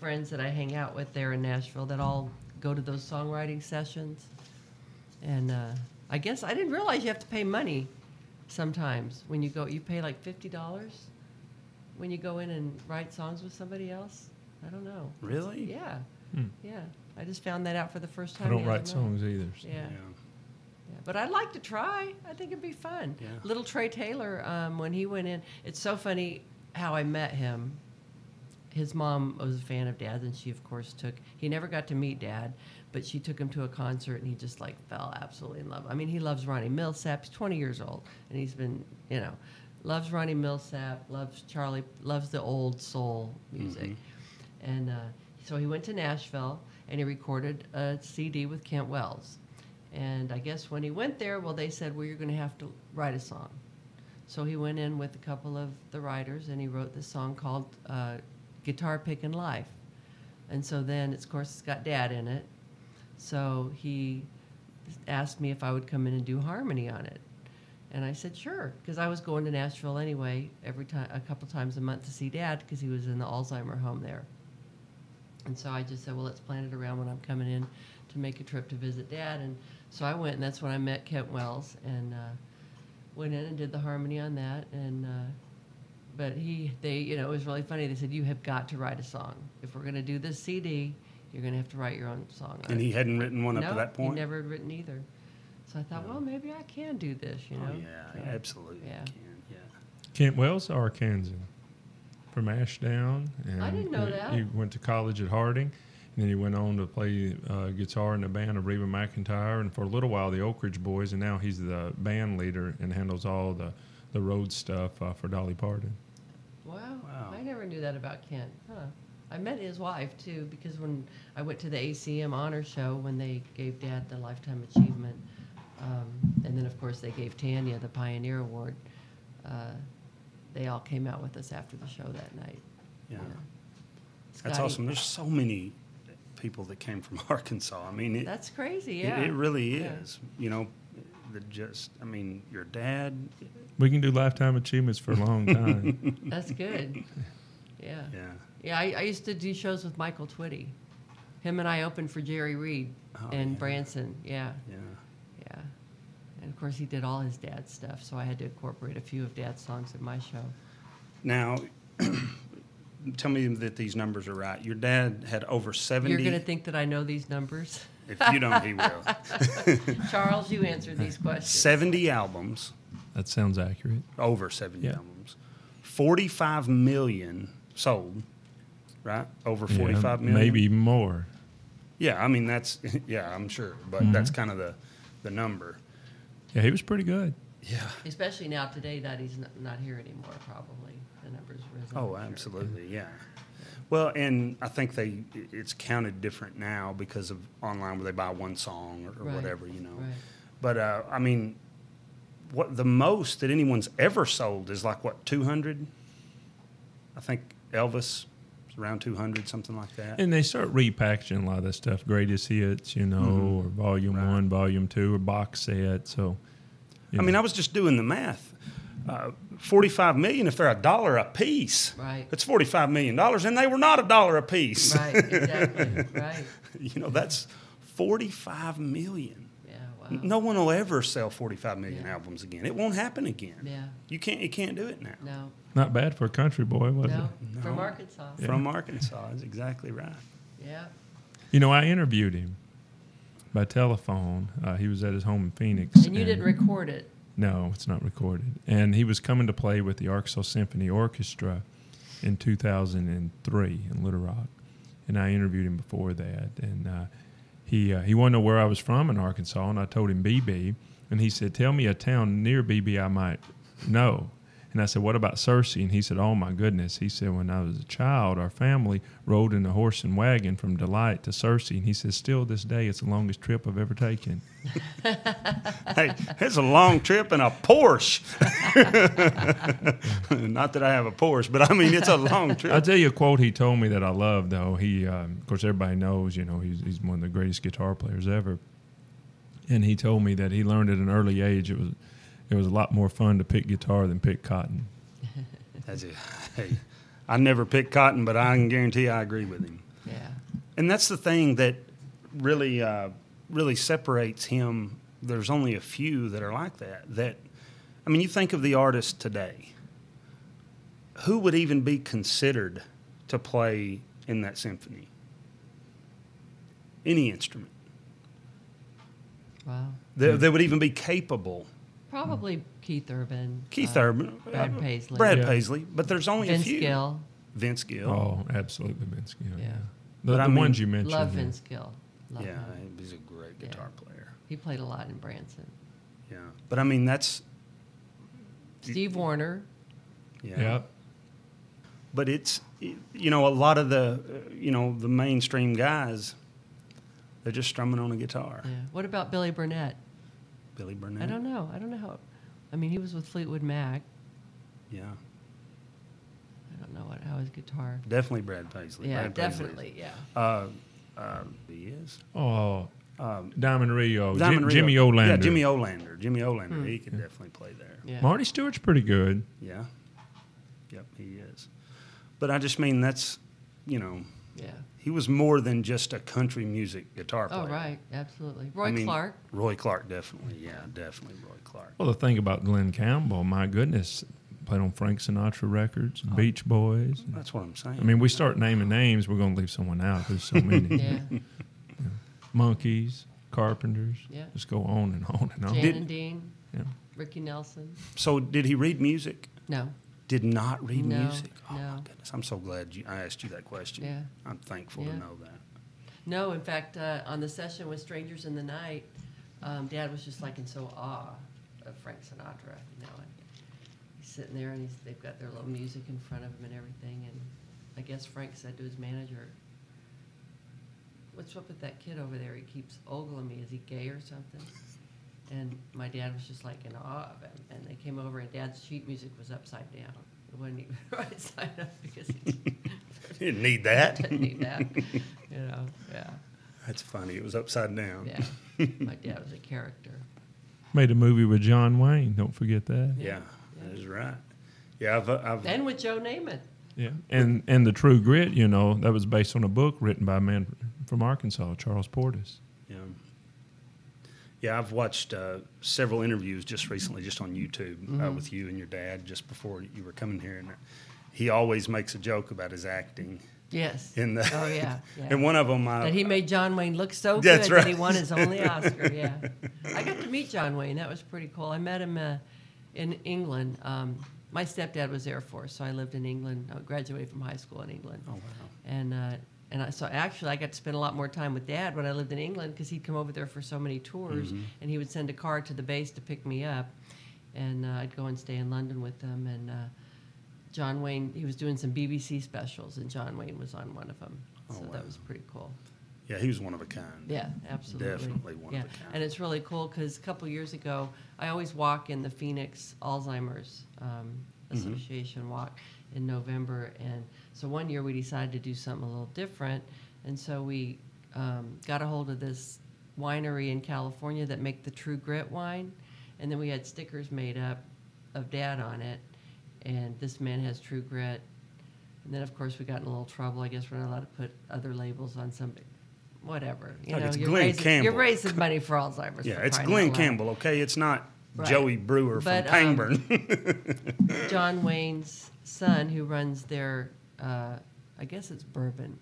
Speaker 3: friends that I hang out with there in Nashville that all go to those songwriting sessions. And uh, I guess I didn't realize you have to pay money sometimes when you go you pay like fifty dollars when you go in and write songs with somebody else. I don't know.
Speaker 1: Really?
Speaker 3: Yeah.
Speaker 4: Hmm.
Speaker 3: Yeah. I just found that out for the first time.
Speaker 4: I don't
Speaker 3: the other
Speaker 4: write
Speaker 3: night.
Speaker 4: songs either. so-
Speaker 3: Yeah. Yeah, but I'd like to try. I think it'd be fun.
Speaker 1: Yeah.
Speaker 3: Little Trey Taylor, um, when he went in, it's so funny how I met him. His mom was a fan of Dad's, and she, of course, took. He never got to meet Dad, but she took him to a concert, and he just like fell absolutely in love. I mean, he loves Ronnie Millsap. He's 20 years old, and he's been, you know, loves Ronnie Millsap, loves Charlie, loves the old soul music, and uh, so he went to Nashville and he recorded a CD with Kent Wells. And I guess when he went there, well, they said, well, you're going to have to write a song. So he went in with a couple of the writers and he wrote this song called uh, Guitar Pickin' Life. And so then, it's, of course, it's got dad in it. So he asked me if I would come in and do harmony on it. And I said, sure, because I was going to Nashville anyway, every time, a couple times a month to see dad because he was in the Alzheimer home there. And so I just said, well, let's plan it around when I'm coming in to make a trip to visit dad. And so I went, and that's when I met Kent Wells and uh, went in and did the harmony on that. And uh, but he, they, you know, it was really funny. They said, you have got to write a song if we're going to do this CD. You're going to have to write your own song. on
Speaker 1: And
Speaker 3: it."
Speaker 1: he hadn't written one up
Speaker 3: no,
Speaker 1: to that point.
Speaker 3: he never had written either. So I thought, well, maybe I can do this, you
Speaker 1: Oh,
Speaker 3: know.
Speaker 1: yeah,
Speaker 3: So-
Speaker 1: absolutely.
Speaker 3: Yeah.
Speaker 1: Can. Yeah.
Speaker 4: Kent Wells, Arkansas, from Ashdown. And
Speaker 3: I didn't know
Speaker 4: he-
Speaker 3: that.
Speaker 4: He went to college at Harding, and then he went on to play uh, guitar in the band of Reba McIntyre, and for a little while the Oak Ridge Boys, and now he's the band leader and handles all the the road stuff uh, for Dolly Parton.
Speaker 3: Wow.
Speaker 1: Wow.
Speaker 3: I never knew that about Kent. Huh. I met his wife too because when I went to the ACM honor show when they gave Dad the Lifetime Achievement, um, and then of course they gave Tanya the Pioneer Award. Uh, they all came out with us after the show that night.
Speaker 1: Yeah. That's
Speaker 3: Scotty-
Speaker 1: awesome. There's so many people that came from Arkansas. I mean, it,
Speaker 3: That's crazy.
Speaker 1: it-
Speaker 3: Yeah.
Speaker 1: it, really
Speaker 3: Yeah.
Speaker 1: is. You know, the just. I mean, your dad.
Speaker 4: We can do lifetime achievements for a long time.
Speaker 3: That's good. Yeah.
Speaker 1: Yeah.
Speaker 3: Yeah, I, I used to do shows with Michael Twitty. Him and I opened for Jerry Reed
Speaker 1: Oh,
Speaker 3: in
Speaker 1: yeah.
Speaker 3: Branson. Yeah,
Speaker 1: Yeah.
Speaker 3: yeah. And of course, he did all his dad's stuff, so I had to incorporate a few of dad's songs in my show.
Speaker 1: Now, tell me that these numbers are right. Your dad had over 70.
Speaker 3: You're going to think that I know these numbers.
Speaker 1: if you don't, he will.
Speaker 3: Charles, you answer these questions.
Speaker 1: 70 albums,
Speaker 4: That sounds accurate.
Speaker 1: over 70
Speaker 4: Yeah.
Speaker 1: albums, 45 million sold, right? Over
Speaker 4: Yeah,
Speaker 1: forty-five million.
Speaker 4: Maybe more.
Speaker 1: Yeah, I mean, that's, yeah, I'm sure, but
Speaker 4: Mm-hmm.
Speaker 1: that's kind of the, the number.
Speaker 4: Yeah, he was pretty good.
Speaker 1: Yeah.
Speaker 3: Especially now today that he's not, not here anymore, probably. The numbers risen. I'm
Speaker 1: Oh,
Speaker 3: Mm-hmm. sure.
Speaker 1: absolutely, yeah. Well, and I think they it's counted different now because of online where they buy one song or, or
Speaker 3: Right,
Speaker 1: whatever, you know.
Speaker 3: right.
Speaker 1: But uh, I mean, what the most that anyone's ever sold is like what two hundred. I think Elvis was around two hundred, something like that.
Speaker 4: And they start repackaging a lot of that stuff, greatest hits, you know,
Speaker 1: Mm-hmm.
Speaker 4: or volume one, volume two, or box set. So, you
Speaker 1: I mean,
Speaker 4: know.
Speaker 1: I was just doing the math. Uh, forty-five million if they're a dollar a piece.
Speaker 3: Right.
Speaker 1: That's forty-five million dollars, and they were not a dollar a piece.
Speaker 3: Right, exactly. right.
Speaker 1: You know, that's forty-five million.
Speaker 3: Yeah, wow.
Speaker 1: No one will ever sell 45 million
Speaker 3: Uh-uh. Yeah.
Speaker 1: albums again. It won't happen again.
Speaker 3: Yeah.
Speaker 1: You can't you can't do it now.
Speaker 3: No,
Speaker 4: not bad for a country boy, was
Speaker 3: no.
Speaker 4: it?
Speaker 3: From
Speaker 1: No.
Speaker 3: Arkansas. Yeah.
Speaker 1: From Arkansas, is exactly right.
Speaker 4: You know, I interviewed him by telephone. Uh, he was at his home in Phoenix.
Speaker 3: And you didn't record it.
Speaker 4: No, it's not recorded. And he was coming to play with the Arkansas Symphony Orchestra in 2003 in Little Rock. And I interviewed him before that. And uh, he, uh, he wanted to know where I was from in Arkansas. And I told him BB. And he said, Tell me a town near BB I might know. And I said, What about Searcy? And he said, Oh my goodness. He said, When I was a child, our family rode in a horse and wagon from Delight to Searcy. And he says, Still this day, it's the longest trip I've ever taken.
Speaker 1: hey, it's a long trip in a Porsche. Not that I have a Porsche, but I mean it's a long
Speaker 4: I'll
Speaker 1: trip.
Speaker 4: tell you a quote he told me that I love, though. He, um, of course, everybody knows, you know, he's, he's one of the greatest guitar players ever. And he told me that he learned at an early age it was it was a lot more fun to pick guitar than pick cotton.
Speaker 1: That's it. Hey, I never picked cotton, but I can guarantee I agree with him.
Speaker 3: Yeah.
Speaker 1: And that's the thing that really, uh, really separates him. There's only a few that are like that. That, I mean, you think of the artist today. Who would even be considered to play in that symphony? Any instrument
Speaker 3: Wow.
Speaker 4: Hmm.
Speaker 1: that, that would even be capable.
Speaker 3: Probably Keith Urban.
Speaker 1: Keith
Speaker 3: uh,
Speaker 1: Urban,
Speaker 3: Brad
Speaker 1: uh,
Speaker 3: Paisley.
Speaker 1: Brad
Speaker 4: Yeah.
Speaker 1: Paisley, but there's only
Speaker 3: Vince
Speaker 1: a few.
Speaker 3: Gill.
Speaker 1: Vince Gill.
Speaker 4: Oh, absolutely, Vince Gill. Yeah.
Speaker 3: Yeah.
Speaker 4: The,
Speaker 1: But
Speaker 4: the
Speaker 1: I mean-
Speaker 4: ones you mentioned.
Speaker 3: Love
Speaker 4: yeah.
Speaker 3: Vince Gill.
Speaker 4: Oh.
Speaker 3: Love
Speaker 1: yeah,
Speaker 3: him.
Speaker 1: he's a great
Speaker 3: Yeah.
Speaker 1: guitar player.
Speaker 3: He played a lot in Branson.
Speaker 1: Yeah, but I mean that's
Speaker 3: Steve Warner.
Speaker 4: Yeah.
Speaker 1: but it's you know a lot of the uh, you know the mainstream guys they're just strumming on a guitar
Speaker 3: Yeah. What about Billy Burnett?
Speaker 1: billy burnett
Speaker 3: I don't know. I don't know how. I mean, he was with Fleetwood Mac.
Speaker 1: yeah
Speaker 3: I don't know what how his guitar.
Speaker 1: definitely brad paisley
Speaker 3: Yeah,
Speaker 1: Brad Paisley is-
Speaker 3: definitely. Yeah.
Speaker 1: uh, uh, he is
Speaker 4: Oh, Diamond Rio. Oh, Jim-
Speaker 1: Um, Diamond Rio.
Speaker 4: Jimmy Olander.
Speaker 1: yeah jimmy olander jimmy olander he could definitely play there
Speaker 3: Hmm. Yeah.
Speaker 4: Marty Stewart's pretty good.
Speaker 1: yeah yep he is but i just mean that's you know
Speaker 3: Yeah.
Speaker 1: he was more than just a country music guitar player
Speaker 3: Oh, right. Absolutely. Roy
Speaker 1: I mean,
Speaker 3: Clark.
Speaker 1: roy clark definitely yeah definitely roy clark
Speaker 4: Well, the thing about Glenn Campbell, my goodness, played on Frank Sinatra records,
Speaker 3: Oh.
Speaker 4: Beach Boys.
Speaker 1: that's what i'm saying
Speaker 4: I mean, we start naming names, we're going to leave someone out. There's so many.
Speaker 3: Yeah.
Speaker 4: Monkeys, Carpenters.
Speaker 3: Yeah.
Speaker 4: Just go on and on and on.
Speaker 3: Jan
Speaker 1: Did-
Speaker 3: and Dean.
Speaker 4: Yeah.
Speaker 3: Ricky Nelson.
Speaker 1: so did he read music
Speaker 3: No.
Speaker 1: did not read
Speaker 3: No,
Speaker 1: music. Oh my
Speaker 3: no.
Speaker 1: goodness! I'm so glad you, I asked you that question.
Speaker 3: Yeah.
Speaker 1: I'm thankful
Speaker 3: Yeah.
Speaker 1: to know that.
Speaker 3: No, in fact, uh, on the session with Strangers in the Night, um, Dad was just like in so awe of Frank Sinatra, you know. And he's sitting there, and he's, they've got their little music in front of him and everything. And I guess Frank said to his manager, "What's up with that kid over there? He keeps ogling me. Is he gay or something?" And my dad was just like in awe of him. And they came over, and Dad's sheet music was upside down. It wasn't even right side up because he
Speaker 1: Didn't need that.
Speaker 3: didn't need that, you know. Yeah.
Speaker 1: That's funny. It was upside down.
Speaker 3: Yeah, my dad was a character.
Speaker 4: Made a movie with John Wayne. Don't forget that.
Speaker 1: Yeah,
Speaker 3: Yeah.
Speaker 1: that is right. Yeah, I've, uh, I've
Speaker 3: And with Joe Namath.
Speaker 4: Yeah. And and the True Grit, you know, that was based on a book written by a man from Arkansas, Charles Portis.
Speaker 1: yeah, yeah, I've watched uh, several
Speaker 3: Mm-hmm.
Speaker 1: interviews just recently, just on YouTube uh, with you and your dad, just before you were coming here, and he always makes a joke about his acting
Speaker 3: Yes.
Speaker 1: in the.
Speaker 3: oh yeah. yeah.
Speaker 1: and one of them, I,
Speaker 3: that he made John Wayne look so good
Speaker 1: Uh, That's
Speaker 3: that he
Speaker 1: right.
Speaker 3: won his only Oscar. Yeah, I got to meet John Wayne. That was pretty cool. I met him uh, in England. Um, my stepdad was Air Force, so I lived in England. I graduated from high school in England. Oh wow! And uh, and I, so actually, I got to spend a lot more time with Dad when I lived in England because he'd come over there for so many tours, and he would send a car to the base to pick me up, and uh, I'd go and stay in London with them and. Uh, John Wayne, he was doing some BBC specials, and John Wayne was on one of them. So that was pretty cool.
Speaker 1: yeah, he was one of a kind.
Speaker 3: Yeah, absolutely.
Speaker 1: Definitely one of
Speaker 3: yeah.
Speaker 1: a kind.
Speaker 3: And it's really cool because a couple years ago, I always walk in the Phoenix Alzheimer's um,
Speaker 1: Mm-hmm.
Speaker 3: Association walk in November. And so one year we decided to do something a little different. And so we um, got a hold of this winery in California that make the True Grit wine. And then we had stickers made up of dad on it. And this man has True Grit. And then, of course, we got in a little trouble. I guess we're not allowed to put other labels on somebody. Whatever. You
Speaker 1: Look,
Speaker 3: know,
Speaker 1: it's
Speaker 3: you're
Speaker 1: Glenn
Speaker 3: raising, You're
Speaker 1: Campbell.
Speaker 3: raising money for Alzheimer's.
Speaker 1: Yeah,
Speaker 3: for
Speaker 1: it's
Speaker 3: crying
Speaker 1: Glenn
Speaker 3: out loud.
Speaker 1: Campbell, okay? It's not
Speaker 3: Right.
Speaker 1: Joey Brewer from
Speaker 3: But, um,
Speaker 1: Pangburn.
Speaker 3: John Wayne's son, who runs their, uh, I guess it's bourbon,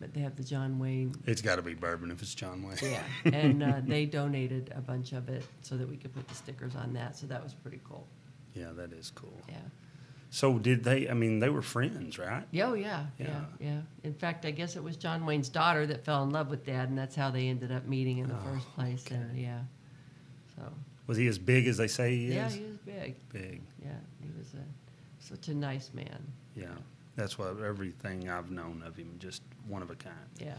Speaker 3: but they have the John Wayne.
Speaker 1: it's got to be bourbon if it's John Wayne.
Speaker 3: Yeah, and uh, they donated a bunch of it so that we could put the stickers on that. So that was pretty cool.
Speaker 1: Yeah, that is cool.
Speaker 3: Yeah.
Speaker 1: So did they? I mean, they were friends, right?
Speaker 3: Yeah, Oh, yeah, yeah, yeah,
Speaker 1: Yeah.
Speaker 3: In fact, I guess it was John Wayne's daughter that fell in love with Dad, and that's how they ended up meeting in the
Speaker 1: Oh,
Speaker 3: first place. And yeah, so
Speaker 1: Was he as big as they say he
Speaker 3: yeah,
Speaker 1: is?
Speaker 3: he was big.
Speaker 1: Big.
Speaker 3: Yeah, he was a such a nice man.
Speaker 1: Yeah, that's what everything I've known of him. Just one of a kind.
Speaker 3: Yeah,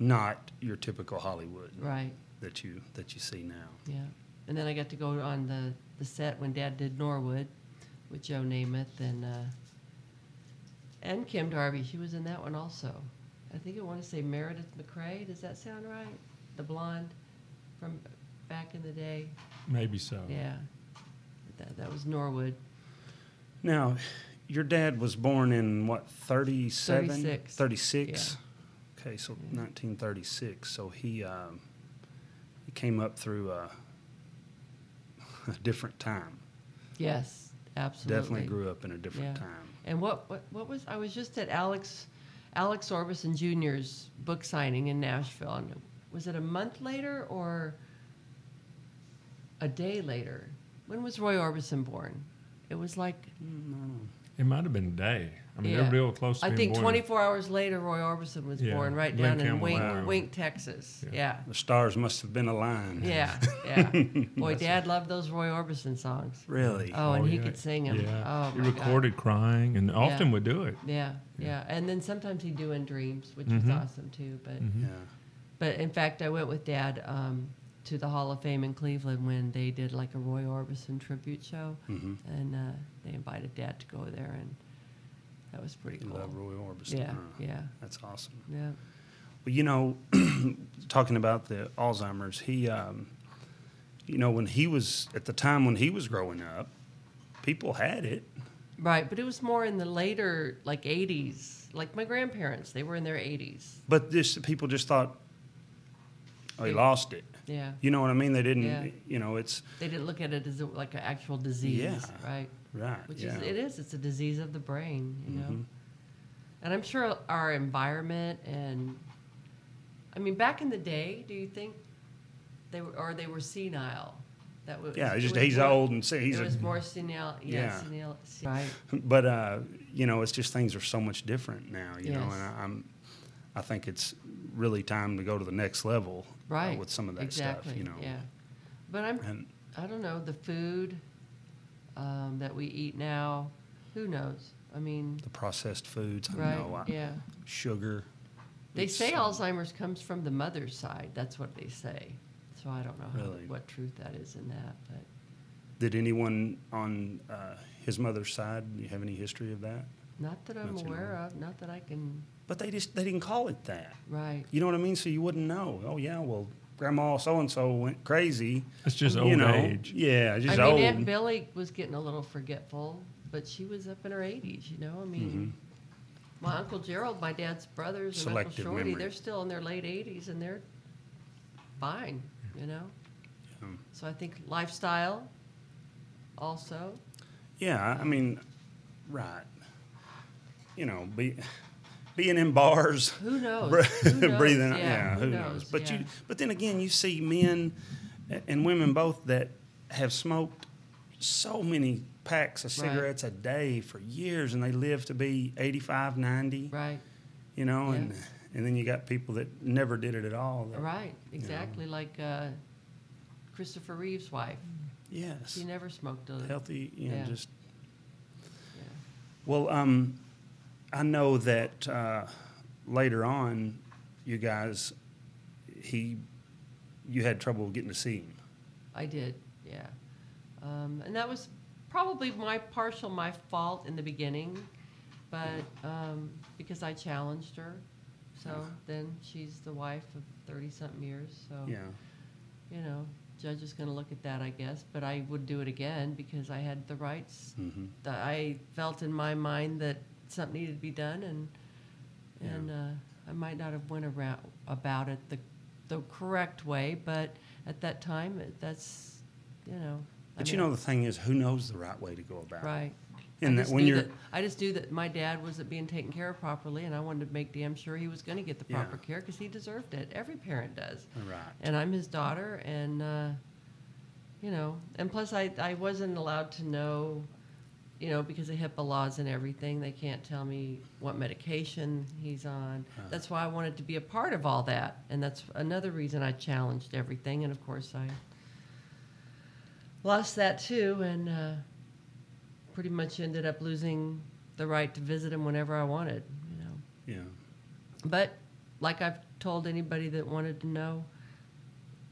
Speaker 1: Not your typical Hollywood
Speaker 3: right.
Speaker 1: that you that you see now.
Speaker 3: Yeah, and then I got to go on the, the set when Dad did Norwood with Joe Namath and uh, and Kim Darby. She was in that one also. I think I want to say Meredith McRae. Does that sound right? The blonde from back in the day.
Speaker 4: Maybe so.
Speaker 3: Yeah, that, that was Norwood.
Speaker 1: Now, your dad was born in what? Thirty-seven.
Speaker 3: 36.
Speaker 1: Thirty-six. Okay, so nineteen thirty-six. So he um, he came up through a, a different time.
Speaker 3: Yes, absolutely.
Speaker 1: Definitely grew up in a different
Speaker 3: Yeah.
Speaker 1: time.
Speaker 3: And what, what what was I was just at Alex Alex Orbison Jr.'s book signing in Nashville, and was it a month later or a day later? When was Roy Orbison born? It was like
Speaker 4: It might have been a day. I mean,
Speaker 3: Yeah.
Speaker 4: they're real close to
Speaker 3: I
Speaker 4: being
Speaker 3: think
Speaker 4: born.
Speaker 3: 24 hours later, Roy Orbison was
Speaker 4: Yeah,
Speaker 3: born right
Speaker 4: Glen
Speaker 3: down in
Speaker 4: Campbell,
Speaker 3: Wink,
Speaker 4: Iowa.
Speaker 3: Wink, Texas. Yeah,
Speaker 1: The stars must have been aligned.
Speaker 3: yeah, yeah. Boy, Dad loved those Roy Orbison songs.
Speaker 1: Really?
Speaker 3: Oh, and he
Speaker 4: yeah.
Speaker 3: could sing them.
Speaker 4: Yeah.
Speaker 3: Oh,
Speaker 4: he
Speaker 3: my God.
Speaker 4: recorded crying and often would do it.
Speaker 3: Yeah, yeah, and then sometimes he'd do in dreams, which
Speaker 1: Mm-hmm.
Speaker 3: was awesome too. But
Speaker 1: Yeah.
Speaker 3: but in fact, I went with Dad um, to the Hall of Fame in Cleveland when they did like a Roy Orbison tribute show,
Speaker 1: Mm-hmm.
Speaker 3: and uh, they invited Dad to go there, and that was pretty
Speaker 1: You
Speaker 3: cool.
Speaker 1: Love Roy Orbison. Mm-hmm.
Speaker 3: yeah,
Speaker 1: huh?
Speaker 3: yeah,
Speaker 1: That's awesome.
Speaker 3: yeah,
Speaker 1: Well, you know, talking about the Alzheimer's, he, um, you know, when he was at the time when he was growing up, people had it.
Speaker 3: right. But it was more in the later like '80s. Like my grandparents, they were in their 80s.
Speaker 1: But just people just thought, oh, he
Speaker 3: They-
Speaker 1: lost it.
Speaker 3: Yeah,
Speaker 1: You know what I mean? They didn't.
Speaker 3: Yeah.
Speaker 1: You know, it's
Speaker 3: they didn't look at it as a, like an actual disease,
Speaker 1: Yeah.
Speaker 3: right?
Speaker 1: right.
Speaker 3: which
Speaker 1: yeah. Mm-hmm.
Speaker 3: is it is it's a disease of the brain you know and i'm sure our environment and i mean back in the day do you think they were or they were senile that was
Speaker 1: Yeah,
Speaker 3: it
Speaker 1: it's just
Speaker 3: was
Speaker 1: he's
Speaker 3: more-
Speaker 1: old and sick. He's
Speaker 3: it
Speaker 1: a,
Speaker 3: was more senile yeah,
Speaker 1: Yeah.
Speaker 3: senile se- right
Speaker 1: but uh, you know, it's just things are so much different now. You know,
Speaker 3: Yes.
Speaker 1: and I, I'm, I think it's really time to go to the next level. uh,
Speaker 3: right
Speaker 1: with some of that
Speaker 3: exactly
Speaker 1: stuff, you know.
Speaker 3: yeah but i'm
Speaker 1: And
Speaker 3: i don't know the food um, that we eat now who knows i mean
Speaker 1: the processed foods, I
Speaker 3: right
Speaker 1: know, I,
Speaker 3: yeah
Speaker 1: sugar.
Speaker 3: They
Speaker 1: It's,
Speaker 3: say
Speaker 1: uh,
Speaker 3: Alzheimer's comes from the mother's side. That's what they say. So I don't know how,
Speaker 1: Really?
Speaker 3: what truth that is in that, but
Speaker 1: Did anyone on uh, his mother's side you have any history of that?
Speaker 3: not that I'm
Speaker 1: That's
Speaker 3: aware of. Not that I can.
Speaker 1: But they just they didn't call it that.
Speaker 3: Right.
Speaker 1: You know what I mean? So you wouldn't know. Oh yeah, well, grandma so and so went crazy.
Speaker 4: It's just
Speaker 1: you
Speaker 4: old
Speaker 1: know.
Speaker 4: age.
Speaker 1: Yeah,
Speaker 3: I
Speaker 1: just
Speaker 3: mean,
Speaker 1: old.
Speaker 3: Aunt Billy was getting a little forgetful, but she was up in her 80s. You know, I mean, my uncle Gerald, my dad's brothers, and
Speaker 1: Mm-hmm. Selective
Speaker 3: Uncle Shorty,
Speaker 1: memory.
Speaker 3: they're still in their late 80s and they're fine. You know. So I think lifestyle, also.
Speaker 1: yeah, I mean, right. you know, be, being in bars.
Speaker 3: Who knows?
Speaker 1: bre-
Speaker 3: Who knows?
Speaker 1: breathing.
Speaker 3: Yeah,
Speaker 1: Yeah,
Speaker 3: who
Speaker 1: who,
Speaker 3: knows?
Speaker 1: knows? But
Speaker 3: Yeah.
Speaker 1: you, but then again, you see men a- and women both that have smoked so many packs of
Speaker 3: Right.
Speaker 1: cigarettes a day for years, and they live to be 85, 90,
Speaker 3: Right.
Speaker 1: you know, and
Speaker 3: Yes.
Speaker 1: and then you got people that never did it at all. that-
Speaker 3: Right. Exactly. Like uh, Christopher Reeve's wife.
Speaker 1: Yes.
Speaker 3: She never smoked a.
Speaker 1: Healthy, you know,
Speaker 3: Yeah.
Speaker 1: just
Speaker 3: Yeah.
Speaker 1: Well, um, I know that uh, later on, you guys, he, you had trouble getting to see him.
Speaker 3: I did, yeah. Um, and that was probably my partial my fault in the beginning, but um, because I challenged her, so then she's the wife of thirty something years. So
Speaker 1: Yeah,
Speaker 3: you know, judge is going to look at that, I guess. But I would do it again because I had the rights.
Speaker 1: Mm-hmm.
Speaker 3: That I felt in my mind that something needed to be done, and and uh, I might not have went around about it the the correct way, but at that time, it, that's you know. I
Speaker 1: but you
Speaker 3: mean,
Speaker 1: know the thing is, who knows the right way to go about it?
Speaker 3: Right.
Speaker 1: And
Speaker 3: I
Speaker 1: that
Speaker 3: just
Speaker 1: when
Speaker 3: knew
Speaker 1: you're-
Speaker 3: that- I just knew that my dad wasn't being taken care of properly, and I wanted to make damn sure he was going to get the
Speaker 1: Yeah.
Speaker 3: proper care because he deserved it. Every parent does.
Speaker 1: Right.
Speaker 3: And I'm his daughter, and uh, you know, and plus I I wasn't allowed to know, you know, because of HIPAA laws and everything, they can't tell me what medication he's on. That's why I wanted to be a part of all that, and that's another reason I challenged everything. And of course, I lost that too, and. Uh, pretty much ended up losing the right to visit him whenever I wanted, you know.
Speaker 1: Yeah,
Speaker 3: But like I've told anybody that wanted to know,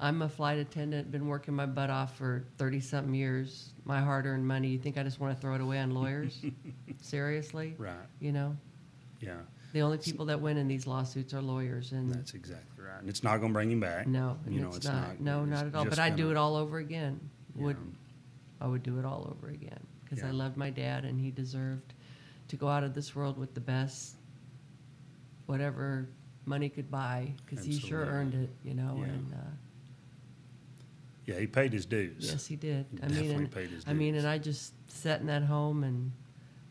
Speaker 3: I'm a flight attendant, been working my butt off for 30 something years, my hard earned money. You think I just want to throw it away on lawyers? Seriously?
Speaker 1: Right.
Speaker 3: You know,
Speaker 1: yeah,
Speaker 3: the only people that win in these lawsuits are lawyers and
Speaker 1: that's exactly right. And it's not going to bring him back.
Speaker 3: no, and
Speaker 1: you know,
Speaker 3: it's, not, No,
Speaker 1: it's
Speaker 3: not at all. But
Speaker 1: just
Speaker 3: I'd do
Speaker 1: gonna-
Speaker 3: it all over again. Would
Speaker 1: Yeah.
Speaker 3: I would do it all over again because I
Speaker 1: Yeah.
Speaker 3: loved my dad and he deserved to go out of this world with the best, whatever money could buy because he sure
Speaker 1: Absolutely.
Speaker 3: earned it, you know.
Speaker 1: Yeah.
Speaker 3: And uh,
Speaker 1: Yeah, he paid his dues.
Speaker 3: yes, he did.
Speaker 1: He
Speaker 3: I mean,
Speaker 1: definitely
Speaker 3: and,
Speaker 1: paid his
Speaker 3: I mean,
Speaker 1: dues.
Speaker 3: and I just sat in that home and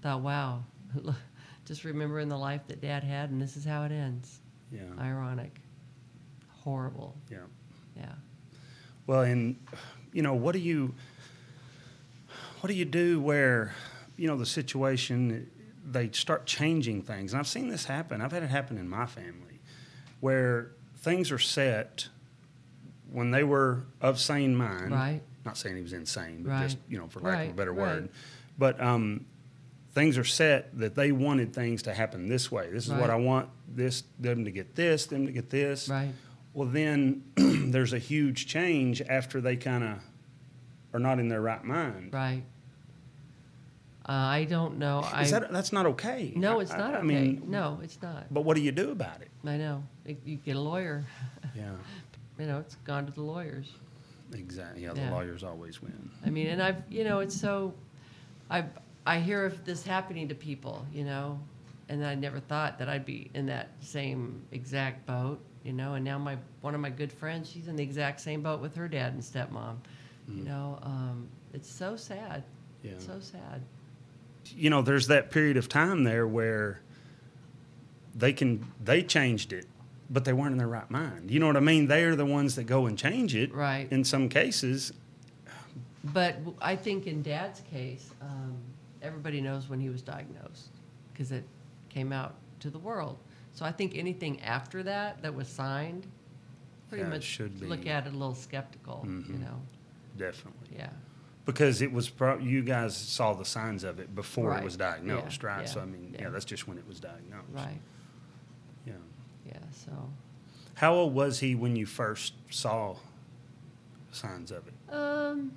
Speaker 3: thought, wow, just remembering the life that Dad had, and this is how it ends.
Speaker 1: Yeah,
Speaker 3: Ironic, horrible.
Speaker 1: yeah.
Speaker 3: Yeah.
Speaker 1: Well, and you know, what do you what do you do where you know the situation they start changing things? And I've seen this happen. I've had it happen in my family where things are set when they were of sane mind.
Speaker 3: Right.
Speaker 1: Not saying he was insane, but
Speaker 3: Right.
Speaker 1: just you know, for lack of a
Speaker 3: Right,
Speaker 1: better
Speaker 3: right.
Speaker 1: word. But um, things are set that they wanted things to happen this way. This is
Speaker 3: Right.
Speaker 1: what I want. This them to get this, them to get this.
Speaker 3: Right.
Speaker 1: Well, then there's a huge change after they kind of are not in their right mind.
Speaker 3: Right. Uh, I don't know.
Speaker 1: Is
Speaker 3: I
Speaker 1: that that's not okay?
Speaker 3: no,
Speaker 1: I-
Speaker 3: it's
Speaker 1: I-
Speaker 3: not
Speaker 1: I,
Speaker 3: okay.
Speaker 1: mean,
Speaker 3: no, it's not.
Speaker 1: but what do you do about it?
Speaker 3: I know. It, you get a lawyer.
Speaker 1: Yeah,
Speaker 3: You know, it's gone to the lawyers.
Speaker 1: exactly. Yeah, the
Speaker 3: Yeah.
Speaker 1: lawyers always win.
Speaker 3: I mean, and I've you know, it's so. I I hear of this happening to people, you know, and I never thought that I'd be in that same exact boat, you know. And now my one of my good friends, she's in the exact same boat with her dad and stepmom. You know, um, it's so sad.
Speaker 1: Mm. Yeah.
Speaker 3: So sad.
Speaker 1: You know, there's that period of time there where they can they changed it, but they weren't in their right mind. You know what I mean? They are the ones that go and change it.
Speaker 3: Right.
Speaker 1: In some cases,
Speaker 3: But w- I think in Dad's case, um, everybody knows when he was diagnosed because it came out to the world. So I think anything after that that was signed, pretty
Speaker 1: Yeah, it
Speaker 3: much
Speaker 1: should be. Mm-hmm.
Speaker 3: look at it a little skeptical. You know,
Speaker 1: definitely.
Speaker 3: yeah,
Speaker 1: Because it was, pro- you guys saw the signs of it before
Speaker 3: Right.
Speaker 1: it was diagnosed,
Speaker 3: Yeah,
Speaker 1: right?
Speaker 3: yeah,
Speaker 1: So, I mean, yeah.
Speaker 3: yeah.
Speaker 1: that's just when it was diagnosed.
Speaker 3: right,
Speaker 1: Yeah.
Speaker 3: yeah. So
Speaker 1: How old was he when you first saw signs of it?
Speaker 3: um,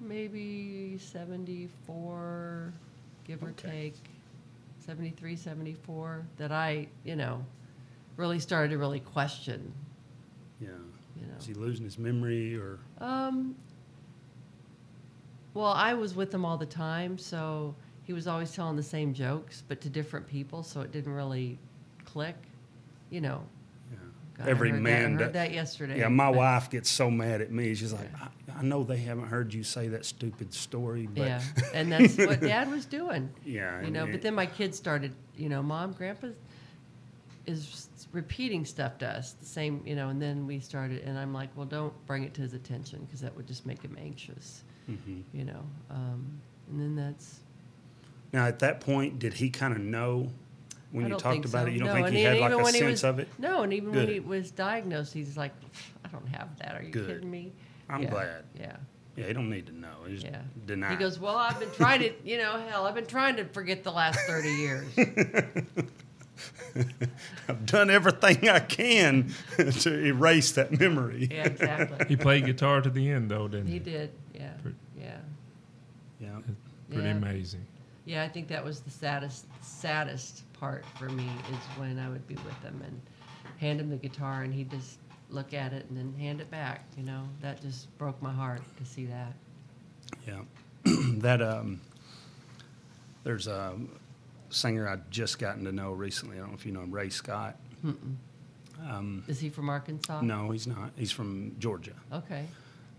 Speaker 3: maybe seventy-four, give or
Speaker 1: Okay.
Speaker 3: take, 73, 74, That I, you know, really started to really question
Speaker 1: Yeah.
Speaker 3: you know.
Speaker 1: Is he losing his memory or?
Speaker 3: Um, well, I was with him all the time, so he was always telling the same jokes, but to different people, so it didn't really click. You know,
Speaker 1: Yeah.
Speaker 3: God, I
Speaker 1: Every
Speaker 3: heard that- I
Speaker 1: man.
Speaker 3: heard
Speaker 1: does-
Speaker 3: that yesterday.
Speaker 1: Yeah, my
Speaker 3: but-
Speaker 1: wife gets so mad at me. She's like, I, I know they haven't heard you say that stupid story, but
Speaker 3: yeah, and that's what Dad was doing.
Speaker 1: Yeah,
Speaker 3: you
Speaker 1: and
Speaker 3: know.
Speaker 1: it-
Speaker 3: but then my kids started, you know, Mom, Grandpa is repeating stuff to us, the same, you know. And then we started, and I'm like, well, don't bring it to his attention because that would just make him anxious,
Speaker 1: Mm-hmm.
Speaker 3: you know. Um, and then that's
Speaker 1: Now, at that point, did he kind of know when
Speaker 3: I
Speaker 1: you
Speaker 3: don't
Speaker 1: talked
Speaker 3: think
Speaker 1: about
Speaker 3: so.
Speaker 1: it? You don't
Speaker 3: No,
Speaker 1: think
Speaker 3: and
Speaker 1: he
Speaker 3: e-
Speaker 1: had
Speaker 3: even
Speaker 1: like a
Speaker 3: when he
Speaker 1: sense
Speaker 3: was-
Speaker 1: of it?
Speaker 3: No, and even when
Speaker 1: Good.
Speaker 3: he was diagnosed, he's like, I don't have that. Are you
Speaker 1: Good.
Speaker 3: kidding me?
Speaker 1: I'm
Speaker 3: Yeah,
Speaker 1: glad.
Speaker 3: Yeah.
Speaker 1: Yeah, he don't need to know. He's
Speaker 3: Yeah.
Speaker 1: deny.
Speaker 3: He goes, Well, I've been trying to, you know, hell, I've been trying to forget the last 30 years.
Speaker 1: I've done everything I can to erase that memory.
Speaker 3: Yeah, exactly.
Speaker 4: He played guitar to the end, though, didn't he?
Speaker 3: He did. Yeah.
Speaker 4: Pretty-
Speaker 3: Yeah.
Speaker 1: Yeah.
Speaker 4: Pretty
Speaker 3: Yeah.
Speaker 4: amazing.
Speaker 3: Yeah, I think that was the saddest, saddest part for me is when I would be with him and hand him the guitar and he'd just look at it and then hand it back. You know, that just broke my heart to see that.
Speaker 1: Yeah. that um there's a singer I just gotten to know recently. I don't know if you know him, Ray Scott.
Speaker 4: Mm-hmm.
Speaker 3: Is he from Arkansas?
Speaker 1: No, he's not. He's from Georgia.
Speaker 3: Okay.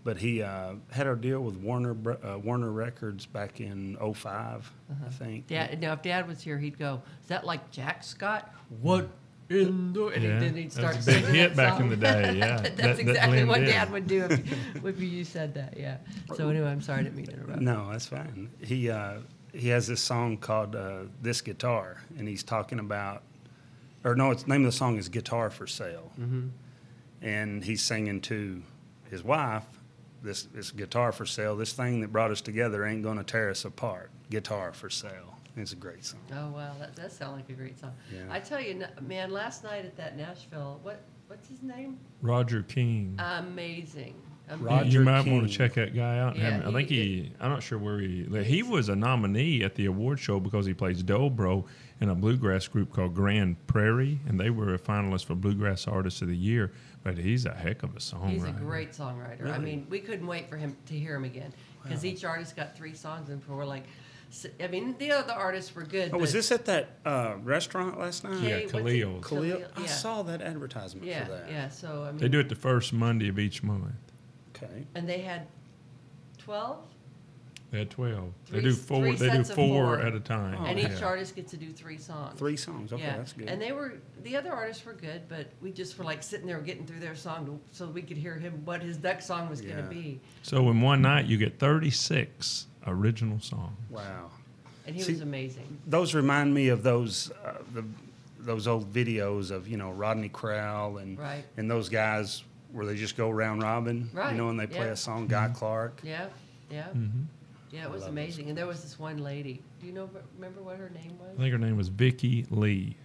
Speaker 1: But he uh, had our deal with Warner Br- uh, Warner Records back in 5 I think.
Speaker 3: Dad, now if Dad was here, he'd go, "Is that like Jack Scott? What in the?" And
Speaker 4: Yeah,
Speaker 3: then he'd
Speaker 4: that
Speaker 3: start
Speaker 4: was a big
Speaker 3: singing that
Speaker 4: hit back
Speaker 3: song.
Speaker 4: in the day, yeah.
Speaker 3: That's
Speaker 4: That- that
Speaker 3: exactly
Speaker 4: blend
Speaker 3: what
Speaker 4: in.
Speaker 3: Dad would do if, if you said that. Yeah. So anyway, I'm sorry I didn't mean to interrupt.
Speaker 1: No, that's fine. He uh, he has this song called uh, "This Guitar," and he's talking about, or no, it's name of the song is "Guitar for Sale,"
Speaker 3: Mm-hmm.
Speaker 1: and he's singing to his wife, "This this guitar for sale. This thing that brought us together ain't gonna tear us apart. Guitar for sale." And it's a great song.
Speaker 3: Oh wow, that does sound like a great song.
Speaker 1: Yeah.
Speaker 3: I tell you, n- man, last night at that Nashville, what what's his name?
Speaker 4: Roger
Speaker 3: Uh,
Speaker 4: King.
Speaker 3: Amazing. Amazing.
Speaker 4: You-
Speaker 1: Roger
Speaker 4: you might want
Speaker 1: King.
Speaker 4: to check that guy out. and have
Speaker 3: Yeah,
Speaker 4: him- I
Speaker 3: he-
Speaker 4: think he, I'm not sure where he, like, he was a nominee at the award show because he plays dobro in a bluegrass group called Grand Prairie, and they were a finalist for Bluegrass Artist of the Year. But he's a heck of a songwriter.
Speaker 3: He's a great songwriter. I
Speaker 1: Really?
Speaker 3: mean, we couldn't wait for him to hear him again because each artist got three songs, and we're like, s- I mean, the other artists were good.
Speaker 1: Oh, was
Speaker 3: but
Speaker 1: this at that uh, restaurant last night?
Speaker 3: Kay-
Speaker 4: Yeah,
Speaker 3: what's it-
Speaker 4: Khalil's.
Speaker 1: Khalil. I
Speaker 3: yeah.
Speaker 1: saw that advertisement
Speaker 3: Yeah,
Speaker 1: for that.
Speaker 3: yeah. So I mean,
Speaker 4: They do it the first Monday of each month.
Speaker 1: Okay.
Speaker 3: and they had twelve,
Speaker 4: They had twelve.
Speaker 3: Three-
Speaker 4: they do four.
Speaker 3: three
Speaker 4: They do
Speaker 3: sets of
Speaker 4: four,
Speaker 3: four.
Speaker 4: at a
Speaker 1: Oh,
Speaker 4: time.
Speaker 3: and each
Speaker 4: yeah.
Speaker 3: artist gets to do three songs.
Speaker 1: Three songs. Okay, that's good.
Speaker 3: And they were the other artists were good, but we just were like sitting there getting through their song to- so we could hear him what his next song was going
Speaker 1: Yeah.
Speaker 3: to be,
Speaker 4: So in one night, you get thirty-six original songs.
Speaker 1: wow.
Speaker 3: and he
Speaker 1: See-
Speaker 3: was amazing.
Speaker 1: those remind me of those uh, the, those old videos of you know Rodney Crowell and
Speaker 3: Right.
Speaker 1: and those guys where they just go round robin,
Speaker 3: Right,
Speaker 1: you know, and they play
Speaker 3: yeah.
Speaker 1: a song. Guy Clark.
Speaker 3: Yeah, yeah,
Speaker 4: Mm-hmm.
Speaker 3: yeah. It
Speaker 1: love
Speaker 3: was
Speaker 1: those
Speaker 3: amazing, and there was this one lady. Do you know remember what her name was?
Speaker 4: I think her name was Vicky Lee.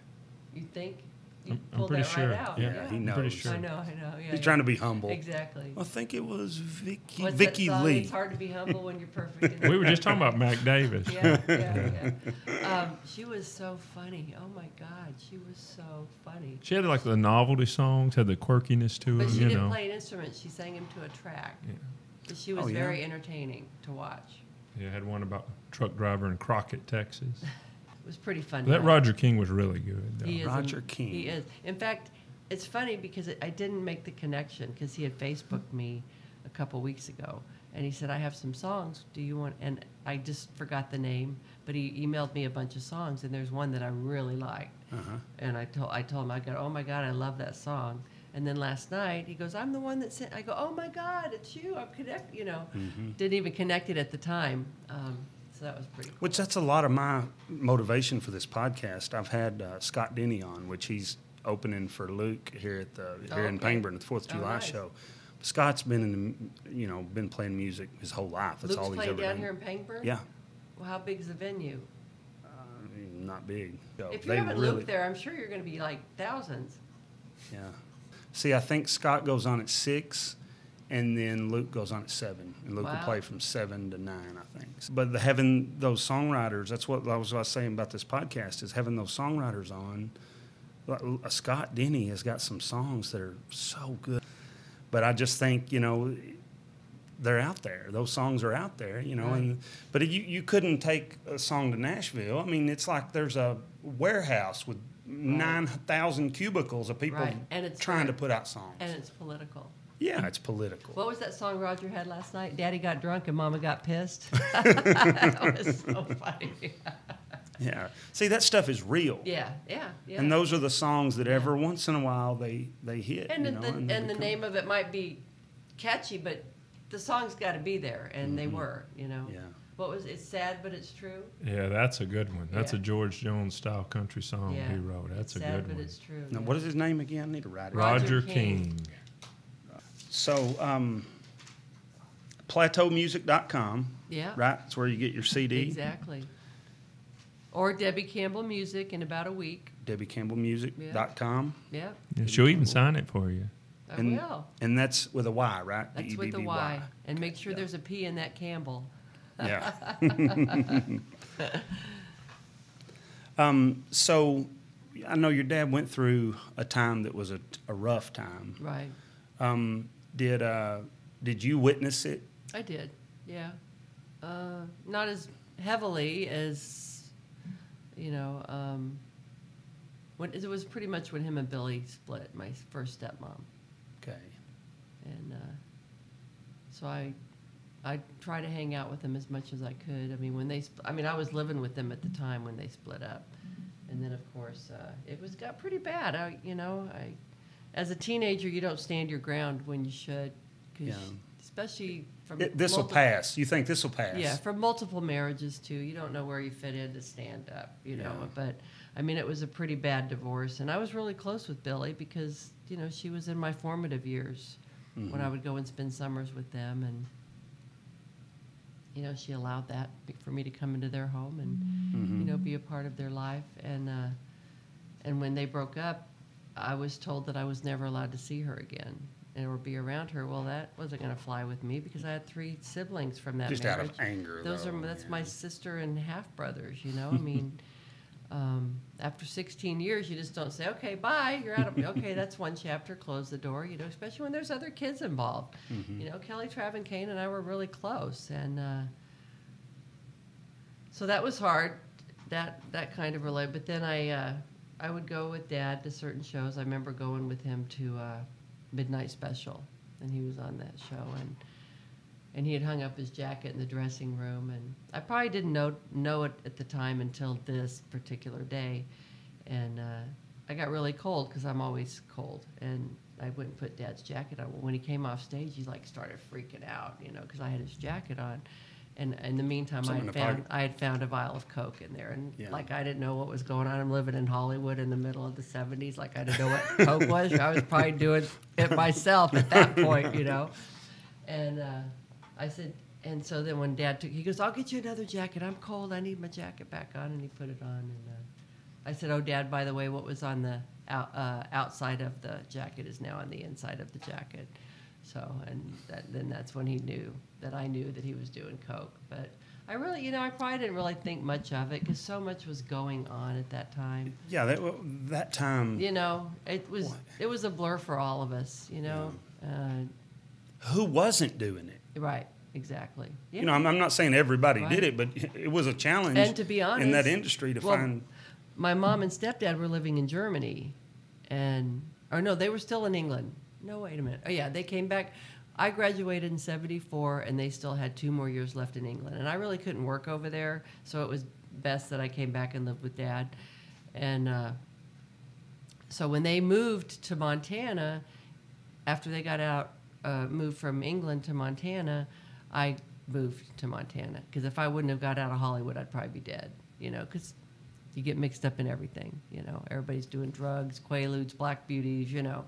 Speaker 3: You think? You
Speaker 4: I'm, I'm
Speaker 3: pulled
Speaker 4: pretty
Speaker 3: that
Speaker 4: sure.
Speaker 3: right out.
Speaker 4: Yeah,
Speaker 1: Yeah, he
Speaker 4: I'm pretty
Speaker 1: knows.
Speaker 4: sure.
Speaker 3: I know, I know. Yeah,
Speaker 1: He's
Speaker 3: yeah.
Speaker 1: trying to be humble.
Speaker 3: Exactly.
Speaker 1: I think it was Vicky
Speaker 3: What's that
Speaker 1: Vicky
Speaker 3: song?
Speaker 1: Lee.
Speaker 3: It's hard to be humble when you're perfect. in
Speaker 4: We were just talking about Mac Davis.
Speaker 3: yeah, yeah, yeah. Um, she was so funny. Oh my God, she was so funny.
Speaker 4: She had like the novelty songs, had the quirkiness to
Speaker 3: But
Speaker 4: it,
Speaker 3: she
Speaker 4: Mm, you
Speaker 3: didn't
Speaker 4: know.
Speaker 3: play an instrument. She sang him to a track. But she
Speaker 1: Oh,
Speaker 3: was
Speaker 1: yeah.
Speaker 3: very entertaining to watch.
Speaker 4: Yeah, had one about truck driver in Crockett, Texas.
Speaker 3: It was pretty fun.
Speaker 4: That
Speaker 3: night.
Speaker 4: Roger King was really good. Though.
Speaker 3: He is
Speaker 1: Roger
Speaker 3: am-
Speaker 1: King.
Speaker 3: He is. In fact, it's funny because it, I didn't make the connection because he had Facebooked me a couple weeks ago, and he said I have some songs. Do you want? And I just forgot the name, but he emailed me a bunch of songs, and there's one that I really liked.
Speaker 1: Uh-huh.
Speaker 3: And I told I told him I go, oh my god, I love that song. And then last night he goes, I'm the one that sent. I go, oh my god, it's you. I'm connect. You know,
Speaker 1: Mm-hmm.
Speaker 3: didn't even connect it at the time. Um, so that was pretty. cool.
Speaker 1: Which that's a lot of my motivation for this podcast. I've had uh, Scott Denny on, which he's opening for Luke here at the
Speaker 3: Oh,
Speaker 1: here in
Speaker 3: okay.
Speaker 1: Pangburn at the Fourth of
Speaker 3: Oh,
Speaker 1: July
Speaker 3: nice.
Speaker 1: show. Scott's been in the, you know been playing music his whole life. That's
Speaker 3: Luke's
Speaker 1: all he's
Speaker 3: playing
Speaker 1: ever
Speaker 3: down
Speaker 1: done.
Speaker 3: here in Pangburn.
Speaker 1: Yeah,
Speaker 3: Well, how big is the venue?
Speaker 1: I mean, not big. So
Speaker 3: If you
Speaker 1: they
Speaker 3: haven't
Speaker 1: really-
Speaker 3: looked there, I'm sure you're going to be like thousands.
Speaker 1: Yeah. See, I think Scott goes on at six, and then Luke goes on at seven, and Luke
Speaker 3: Wow.
Speaker 1: will play from seven to nine, I think. But the, having those songwriters—that's what I was, what I was saying about this podcast—is having those songwriters on. Like, uh, Scott Denny has got some songs that are so good, but I just think you know they're out there. Those songs are out there, you know. And but you you couldn't take a song to Nashville. I mean, it's like there's a warehouse with nine thousand cubicles of people
Speaker 3: Right, and it's
Speaker 1: trying to
Speaker 3: hard.
Speaker 1: put out songs.
Speaker 3: and it's political.
Speaker 1: yeah, it's political.
Speaker 3: What was that song Roger had last night? Daddy got drunk and Mama got pissed. that was so funny.
Speaker 1: yeah, see that stuff is real.
Speaker 3: Yeah, yeah, yeah.
Speaker 1: And those are the songs that every once in a while they they hit.
Speaker 3: and
Speaker 1: you
Speaker 3: the,
Speaker 1: know,
Speaker 3: the, and
Speaker 1: they
Speaker 3: the
Speaker 1: become-
Speaker 3: name of it might be catchy, but the song's got to be there, and they were, you know.
Speaker 1: Mm-hmm. Yeah.
Speaker 3: What was it's sad, but it's true.
Speaker 4: Yeah, that's a good one. That's a
Speaker 3: Yeah.
Speaker 4: George Jones style country song
Speaker 3: yeah,
Speaker 4: Oh, he wrote. That's
Speaker 3: it's
Speaker 4: a
Speaker 3: sad,
Speaker 4: good
Speaker 3: but
Speaker 4: one.
Speaker 3: it's true.
Speaker 1: Now,
Speaker 3: yeah.
Speaker 1: what is his name again? I need to write it.
Speaker 3: Roger
Speaker 4: Roger
Speaker 3: King.
Speaker 4: King.
Speaker 1: So, um, plateaumusic.com.
Speaker 3: Yeah.
Speaker 1: Right? It's where you get your CD.
Speaker 3: Exactly. Or Debbie Campbell music in about a week.
Speaker 1: DebbieCampbellMusic.com.
Speaker 3: Yeah, Oh,
Speaker 4: Yeah, she'll even sign it for you.
Speaker 3: I
Speaker 1: And,
Speaker 3: will.
Speaker 1: and that's with a Y, right? E
Speaker 3: That's with the
Speaker 1: D-E-B-B-Y.
Speaker 3: Y, and make sure there's a P in that Campbell.
Speaker 1: Yeah. um, so, I know your dad went through a time that was a, a rough time.
Speaker 3: Right.
Speaker 1: Um, did uh, did you witness it?
Speaker 3: I did, yeah. Uh, not as heavily as, you know, um, when it was pretty much when him and Billy split, my first stepmom,
Speaker 1: Okay.
Speaker 3: and uh, so I, I tried to hang out with them as much as I could. I mean, when they, spl- I mean, I was living with them at the time when they split up, and then of course uh, it was got pretty bad. I, you know, I, as a teenager, you don't stand your ground when you should, 'cause
Speaker 1: Yeah.
Speaker 3: especially from
Speaker 1: It, this will
Speaker 3: multiple-
Speaker 1: pass. You think this will pass?
Speaker 3: yeah, for multiple marriages too. You don't know where you fit in to stand up, you know.
Speaker 1: Yeah.
Speaker 3: But I mean, it was a pretty bad divorce, and I was really close with Billy because you know she was in my formative years when I would go and spend summers with them, and you know she allowed that be- for me to come into their home and
Speaker 1: Mm-hmm.
Speaker 3: you know be a part of their life. And uh, and when they broke up, I was told that I was never allowed to see her again. And or be around her. Well, that wasn't going to fly with me because I had three siblings from that
Speaker 1: Just out
Speaker 3: marriage.
Speaker 1: of anger.
Speaker 3: Those
Speaker 1: though,
Speaker 3: are that's
Speaker 1: yeah.
Speaker 3: my sister and half brothers. You know, I mean, um, after 16 years, you just don't say, "Okay, bye, you're out of." okay, that's one chapter. Close the door. You know, especially when there's other kids involved.
Speaker 1: Mm-hmm.
Speaker 3: You know, Kelly, Trav, and Kane and I were really close, and uh, so that was hard. That that kind of relate. But then I uh, I would go with Dad to certain shows. I remember going with him to uh, Midnight Special, and he was on that show and and he had hung up his jacket in the dressing room and i probably didn't know know it at the time until this particular day and uh, i got really cold because i'm always cold and i wouldn't put dad's jacket on when he came off stage he like started freaking out you know because i had his jacket on and in the meantime I
Speaker 1: Something
Speaker 3: had,
Speaker 1: in the
Speaker 3: found, I had found a vial of coke in there and
Speaker 1: Yeah.
Speaker 3: like i didn't know what was going on i'm living in hollywood in the middle of the 70s like i didn't know what coke was i was probably doing it myself at that point you know and uh, I said, and so then when Dad took, he goes, "I'll get you another jacket. I'm cold. I need my jacket back on." And he put it on, and uh, I said, "Oh, Dad, by the way, what was on the out, uh, outside of the jacket is now on the inside of the jacket." So, and that, then that's when he knew that I knew that he was doing coke. But I really, you know, I probably didn't really think much of it because so much was going on at that time
Speaker 1: Yeah, that that time.
Speaker 3: you know it was it was a blur for all of us you know
Speaker 1: Who wasn't doing it?
Speaker 3: uh, right exactly yeah.
Speaker 1: You know, I'm, I'm not saying everybody
Speaker 3: Right.
Speaker 1: did it, but it was a challenge.
Speaker 3: And to be
Speaker 1: in
Speaker 3: honest-
Speaker 1: that industry to
Speaker 3: well,
Speaker 1: find
Speaker 3: my mom and stepdad were living in Germany, and or no, they were still in England. No, wait a minute. Oh yeah, they came back. I graduated in '74, and they still had two more years left in England, and I really couldn't work over there, so it was best that I came back and lived with dad, and. Uh, so when they moved to Montana, after they got out, uh, moved from England to Montana, I moved to Montana because if I wouldn't have got out of Hollywood, I'd probably be dead. You know, because you get mixed up in everything. You know, everybody's doing drugs, quaaludes, black beauties. You know,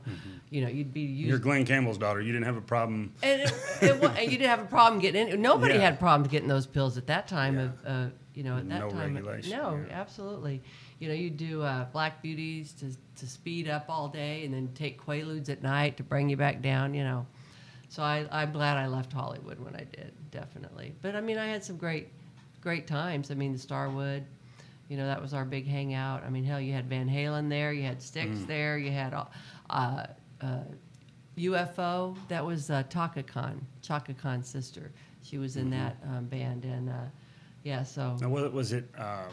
Speaker 3: you know, you'd be used.
Speaker 1: you're Glenn Campbell's daughter. You didn't have a problem.
Speaker 3: and, it, it, wa- and you didn't have a problem getting in. Nobody
Speaker 1: Yeah.
Speaker 3: had problems getting those pills at that time. Of uh, you know, at that
Speaker 1: No
Speaker 3: time,
Speaker 1: regulation,
Speaker 3: no,
Speaker 1: yeah.
Speaker 3: absolutely. You know, you do uh, black beauties to to speed up all day, and then take quaaludes at night to bring you back down. You know, so I, I'm glad I left Hollywood when I did, definitely. But I mean, I had some great great times. I mean, the Starwood. You know, that was our big hangout. I mean, hell, you had Van Halen there, you had Styx
Speaker 1: Mm.
Speaker 3: there, you had all- uh, uh, UFO. That was uh, Taka Khan, Chaka Khan's sister. She was
Speaker 1: Mm-hmm.
Speaker 3: in that um, band, and uh, yeah, so
Speaker 1: Now, was it, was it um,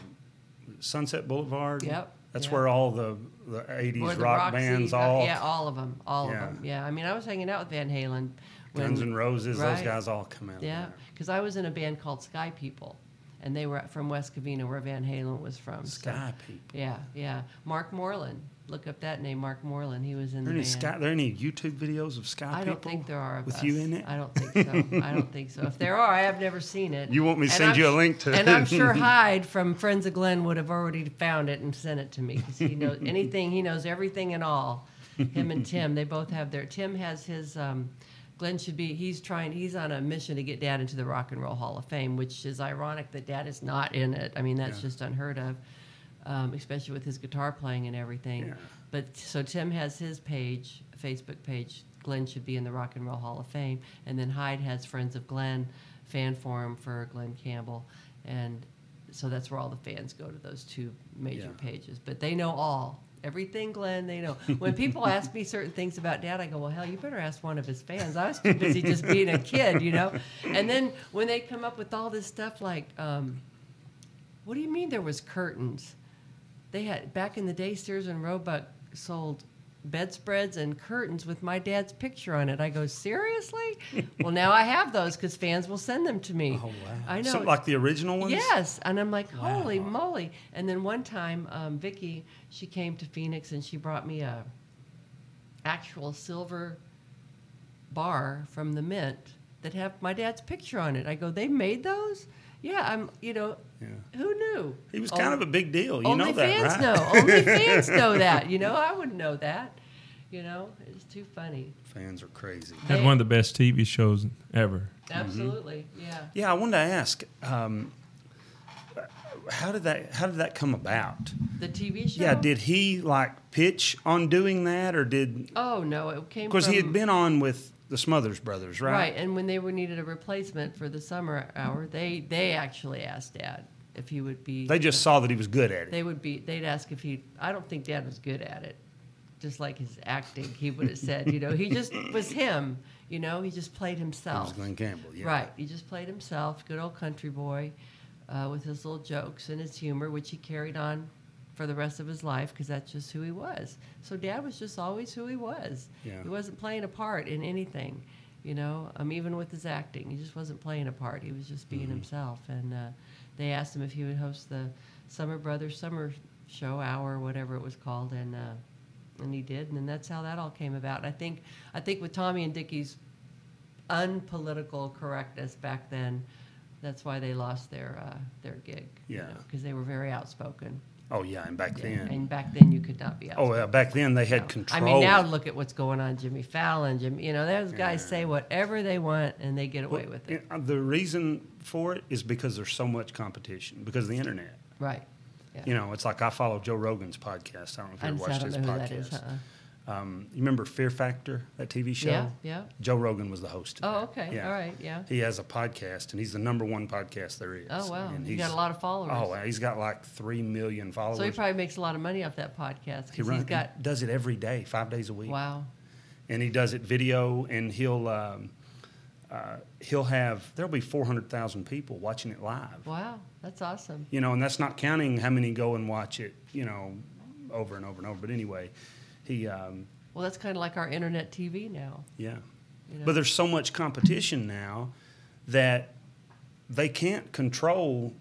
Speaker 1: Sunset Boulevard?
Speaker 3: yep,
Speaker 1: That's
Speaker 3: Yeah.
Speaker 1: where all the, the 80s
Speaker 3: Or
Speaker 1: rock,
Speaker 3: the
Speaker 1: bands,
Speaker 3: Roxy, uh,
Speaker 1: all
Speaker 3: yeah, all of them, all
Speaker 1: Yeah.
Speaker 3: of them. Yeah, I mean, I was hanging out with Van Halen. when-
Speaker 1: Guns and Roses, those
Speaker 3: Right.
Speaker 1: guys all come out. of
Speaker 3: Yeah,
Speaker 1: there.
Speaker 3: because I was in a band called Sky People, and they were from West Covina, where Van Halen was from. so-
Speaker 1: Sky people.
Speaker 3: Yeah, yeah. Mark Moreland. Look up that name, Mark Moreland. He was in
Speaker 1: Are there
Speaker 3: the
Speaker 1: any
Speaker 3: band.
Speaker 1: sky, there any YouTube videos of Sky
Speaker 3: I
Speaker 1: people?
Speaker 3: don't think there are of
Speaker 1: with
Speaker 3: us.
Speaker 1: you in it.
Speaker 3: I don't think so. I don't think so. If there are, I have never seen it.
Speaker 1: You want me to
Speaker 3: And
Speaker 1: send
Speaker 3: I'm
Speaker 1: you a
Speaker 3: sh-
Speaker 1: link to
Speaker 3: And I'm
Speaker 1: it?
Speaker 3: sure Hyde from Friends of Glen would have already found it and sent it to me because he knows anything. He knows everything and all. Him and Tim, they both have their. Tim has his. Um, Glenn should be. He's trying. He's on a mission to get Dad into the Rock and Roll Hall of Fame, which is ironic that Dad is not in it. I mean, that's just unheard of, um, especially with his guitar playing and everything.
Speaker 1: Yeah.
Speaker 3: But so Tim has his page, Facebook page. Glenn should be in the Rock and Roll Hall of Fame, and then Hyde has Friends of Glenn fan forum for Glenn Campbell, and so that's where all the fans go to those two major
Speaker 1: Yeah.
Speaker 3: pages. But they know all everything, Glenn. They know. When people ask me certain things about Dad, I go, "Well, hell, you better ask one of his fans." I was too busy just being a kid, you know. And then when they come up with all this stuff like. Um, what do you mean there was curtains? They had back in the day Sears and Roebuck sold bedspreads and curtains with my dad's picture on it. I go, "Seriously?" well, now I have those cuz fans will send them to me.
Speaker 1: Oh wow!
Speaker 3: I know.
Speaker 1: Something like the original ones.
Speaker 3: Yes, and I'm like, holy
Speaker 1: Wow.
Speaker 3: moly! And then one time, um, Vicky, she came to Phoenix and she brought me a actual silver bar from the Mint that have my dad's picture on it. I go, they made those? Yeah, I'm, you know,
Speaker 1: Yeah.
Speaker 3: who knew?
Speaker 1: He was
Speaker 3: Oh,
Speaker 1: kind of a big deal. You
Speaker 3: only
Speaker 1: know that,
Speaker 3: fans
Speaker 1: right?
Speaker 3: know. Only fans know that. You know, I wouldn't know that. You know, it's too funny.
Speaker 1: Fans are crazy.
Speaker 4: Had one of the best TV shows ever.
Speaker 3: Absolutely, yeah.
Speaker 1: Yeah, I wanted to ask, um, how did that how did that come about?
Speaker 3: The TV show.
Speaker 1: Yeah, did he like pitch on doing that, or did
Speaker 3: Oh no, it came
Speaker 1: because he
Speaker 3: from-
Speaker 1: had been on with the Smothers Brothers, right?
Speaker 3: Right, and when they were needed a replacement for the summer hour, they they actually asked Dad if he would be.
Speaker 1: They just saw that he was good at it.
Speaker 3: they would be they'd ask if he. I don't think Dad was good at it, just like his acting. He would have said, you know, he just was him. You know, he just played
Speaker 1: It
Speaker 3: himself.
Speaker 1: was Glenn Campbell, yeah.
Speaker 3: Right. He just played himself, good old country boy, uh, with his little jokes and his humor, which he carried on for the rest of his life because that's just who he was. So dad was just always who he was.
Speaker 1: Yeah.
Speaker 3: He wasn't playing a part in anything, you know, um, even with his acting. He just wasn't playing a part. He was just
Speaker 1: Mm-hmm.
Speaker 3: being himself. And uh, they asked him if he would host the Summer Brothers Summer Show Hour, whatever it was called. And, uh, and he did, and then that's how that all came about. And I think, I think with Tommy and Dickie's unpolitical correctness back then. That's why they lost their uh, their gig.
Speaker 1: Yeah.
Speaker 3: because they were very outspoken.
Speaker 1: Oh yeah, and back then.
Speaker 3: And back then, you could not be
Speaker 1: oh
Speaker 3: outspoken.
Speaker 1: yeah, back then they had
Speaker 3: I
Speaker 1: control.
Speaker 3: mean, now look at what's going on, Jimmy Fallon. Jimmy, you know, those guys
Speaker 1: Yeah.
Speaker 3: say whatever they want and they get
Speaker 1: Well,
Speaker 3: away with it.
Speaker 1: yeah, uh, The reason for it is because there's so much competition because of the internet.
Speaker 3: Right. Yeah.
Speaker 1: You know, it's like I follow Joe Rogan's podcast. I don't know if you
Speaker 3: I
Speaker 1: ever
Speaker 3: just I
Speaker 1: watched
Speaker 3: don't
Speaker 1: his
Speaker 3: know who that is.
Speaker 1: podcast.
Speaker 3: Uh-uh.
Speaker 1: Um, you remember Fear Factor, that TV show?
Speaker 3: Yeah, yeah.
Speaker 1: Joe Rogan was the host. of
Speaker 3: Oh,
Speaker 1: that.
Speaker 3: okay. All right, yeah.
Speaker 1: He has a podcast, and he's the number one podcast there is.
Speaker 3: Oh wow,
Speaker 1: And
Speaker 3: you got
Speaker 1: he's-
Speaker 3: a lot of followers.
Speaker 1: Oh, wow, he's got like three million followers.
Speaker 3: so he probably makes a lot of money off that podcast
Speaker 1: he
Speaker 3: because
Speaker 1: runs,
Speaker 3: he's got.
Speaker 1: he does it every day, five days a week.
Speaker 3: Wow.
Speaker 1: And he does it video, and he'll um, uh, he'll have there'll be four hundred thousand people watching it live.
Speaker 3: Wow, that's awesome.
Speaker 1: you know, and that's not counting how many go and watch it, you know, over and over and over. But anyway, he, um,
Speaker 3: Well, that's kind of like our internet TV now.
Speaker 1: yeah.
Speaker 3: You know?
Speaker 1: But there's so much competition now that they can't control,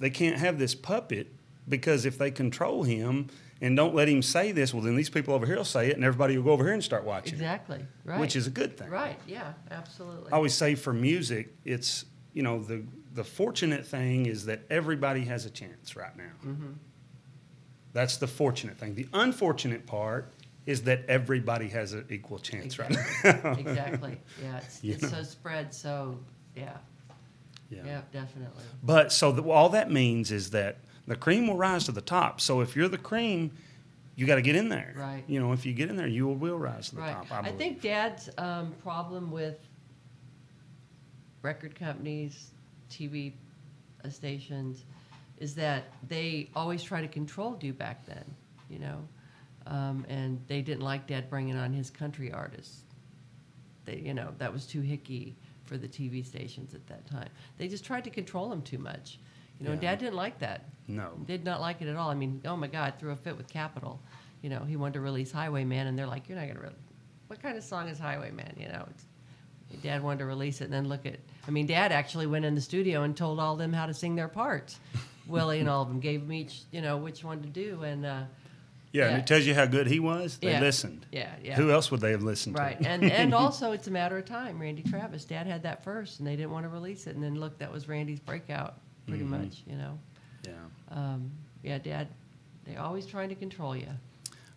Speaker 1: they can't have this puppet because if they control him and don't let him say this, well, then these people over here will say it and everybody will go over here and start watching. it,
Speaker 3: Exactly. Right.
Speaker 1: Which is a good thing.
Speaker 3: Right. Yeah. Absolutely.
Speaker 1: I always say for music, it's you know the the fortunate thing is that everybody has a chance right now.
Speaker 3: Mm-hmm.
Speaker 1: That's the fortunate thing. The unfortunate part is that everybody has an equal chance right now.
Speaker 3: exactly. Yeah. It's,
Speaker 1: You
Speaker 3: it's
Speaker 1: know.
Speaker 3: so spread. So yeah.
Speaker 1: yeah.
Speaker 3: Yeah. definitely.
Speaker 1: But so the, all that means is that the cream will rise to the top. So if you're the cream, you got to get in there.
Speaker 3: Right.
Speaker 1: You know, if you get in there, you will rise to the
Speaker 3: Right.
Speaker 1: top. I,
Speaker 3: I,
Speaker 1: believe.
Speaker 3: think Dad's um, problem with record companies, TV stations, is that they always try to control you back then. You know. Um, and they didn't like Dad bringing on his country artists. they, you know, that was too hicky for the TV stations at that time. They just tried to control him too much. You know, and
Speaker 1: Yeah.
Speaker 3: Dad didn't like that.
Speaker 1: No.
Speaker 3: Did not like it at all. I mean, oh my God, threw a fit with Capitol. You know, he wanted to release Highwayman, and they're like, you're not gonna. Re- what kind of song is Highwayman? You know, it's, Dad wanted to release it, and then look at. I mean, Dad actually went in the studio and told all them how to sing their parts. Willie and all of them gave them each, you know, which one to do, and. uh
Speaker 1: Yeah, and
Speaker 3: Yeah.
Speaker 1: it tells you how good he was. They
Speaker 3: Yeah.
Speaker 1: listened.
Speaker 3: Yeah, yeah.
Speaker 1: Who else would they have listened
Speaker 3: Right,
Speaker 1: to?
Speaker 3: and and also it's a matter of time. Randy Travis, Dad had that first, and they didn't want to release it. And then look, that was Randy's breakout,
Speaker 1: Mm.
Speaker 3: pretty much. You know,
Speaker 1: Yeah.
Speaker 3: um, yeah, Dad, they're always trying to control you,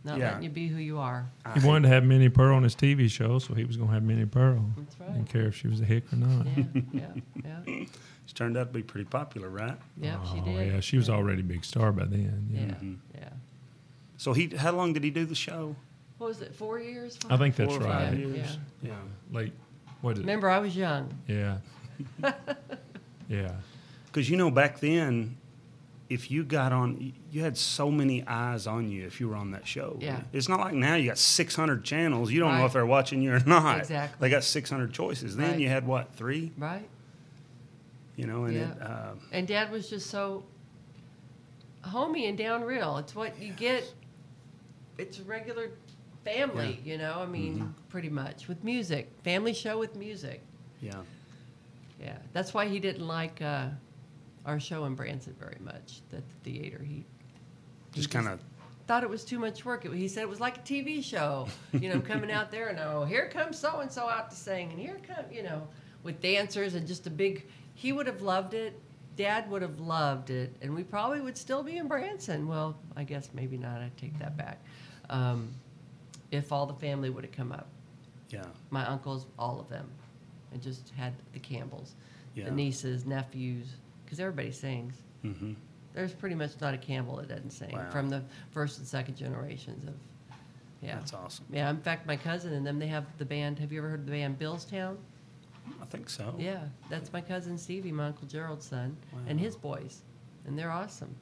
Speaker 3: not
Speaker 1: Yeah.
Speaker 3: letting you be who you are.
Speaker 4: He wanted to have Minnie Pearl on his TV show, so he was going to have Minnie Pearl.
Speaker 3: That's right.
Speaker 4: Didn't care if she was a hick or not.
Speaker 3: Yeah, yeah, yeah,
Speaker 1: She turned out to be pretty popular, right?
Speaker 3: yep, she
Speaker 4: Oh,
Speaker 3: did.
Speaker 4: yeah, she was already a big star by then.
Speaker 3: Yeah,
Speaker 4: Yeah.
Speaker 3: yeah.
Speaker 1: So he, how long did he do the show?
Speaker 3: What was it? Four years?
Speaker 4: I think that's
Speaker 1: Four or
Speaker 4: right.
Speaker 1: five
Speaker 3: Yeah,
Speaker 1: years.
Speaker 3: yeah.
Speaker 1: Yeah.
Speaker 4: Like, what is it?
Speaker 3: Remember, I was young.
Speaker 4: Yeah. yeah.
Speaker 1: Because you know, back then, if you got on, you had so many eyes on you if you were on that show.
Speaker 3: Yeah.
Speaker 1: It's not like now you got 600 channels. You don't know
Speaker 3: Right.
Speaker 1: if they're watching you or not.
Speaker 3: Exactly.
Speaker 1: They got 600 choices. Then
Speaker 3: Right.
Speaker 1: you had what, three?
Speaker 3: Right.
Speaker 1: You know, and it,
Speaker 3: Yeah.
Speaker 1: uh,
Speaker 3: And dad was just so homey and down real. It's what you get. It's a regular family, you know. I mean,
Speaker 4: Mm-hmm.
Speaker 3: pretty much with music, family show with music.
Speaker 1: yeah.
Speaker 3: Yeah, that's why he didn't like uh, our show in Branson very much. That the theater he
Speaker 1: Just kind of,
Speaker 3: thought it was too much work. It, he said it was like a TV show, you know, coming out there and oh, here comes so and so out to sing, and here come you know, with dancers and just a big. He would have loved it. Dad would have loved it, and we probably would still be in Branson. Well, I guess maybe not. I take that back. Um, if all the family would have come up,
Speaker 1: yeah.
Speaker 3: my uncles, all of them, and just had the Campbells,
Speaker 1: Yeah.
Speaker 3: the nieces, nephews, because everybody sings.
Speaker 1: Mm-hmm.
Speaker 3: There's pretty much not a Campbell that doesn't sing
Speaker 1: Wow.
Speaker 3: from the first and second generations of, yeah.
Speaker 1: That's awesome.
Speaker 3: Yeah, in fact, my cousin and them, they have the band. Have you ever heard of the band Billstown?
Speaker 1: I think so.
Speaker 3: Yeah, that's my cousin Stevie, my Uncle Gerald's son, and his boys. And they're awesome.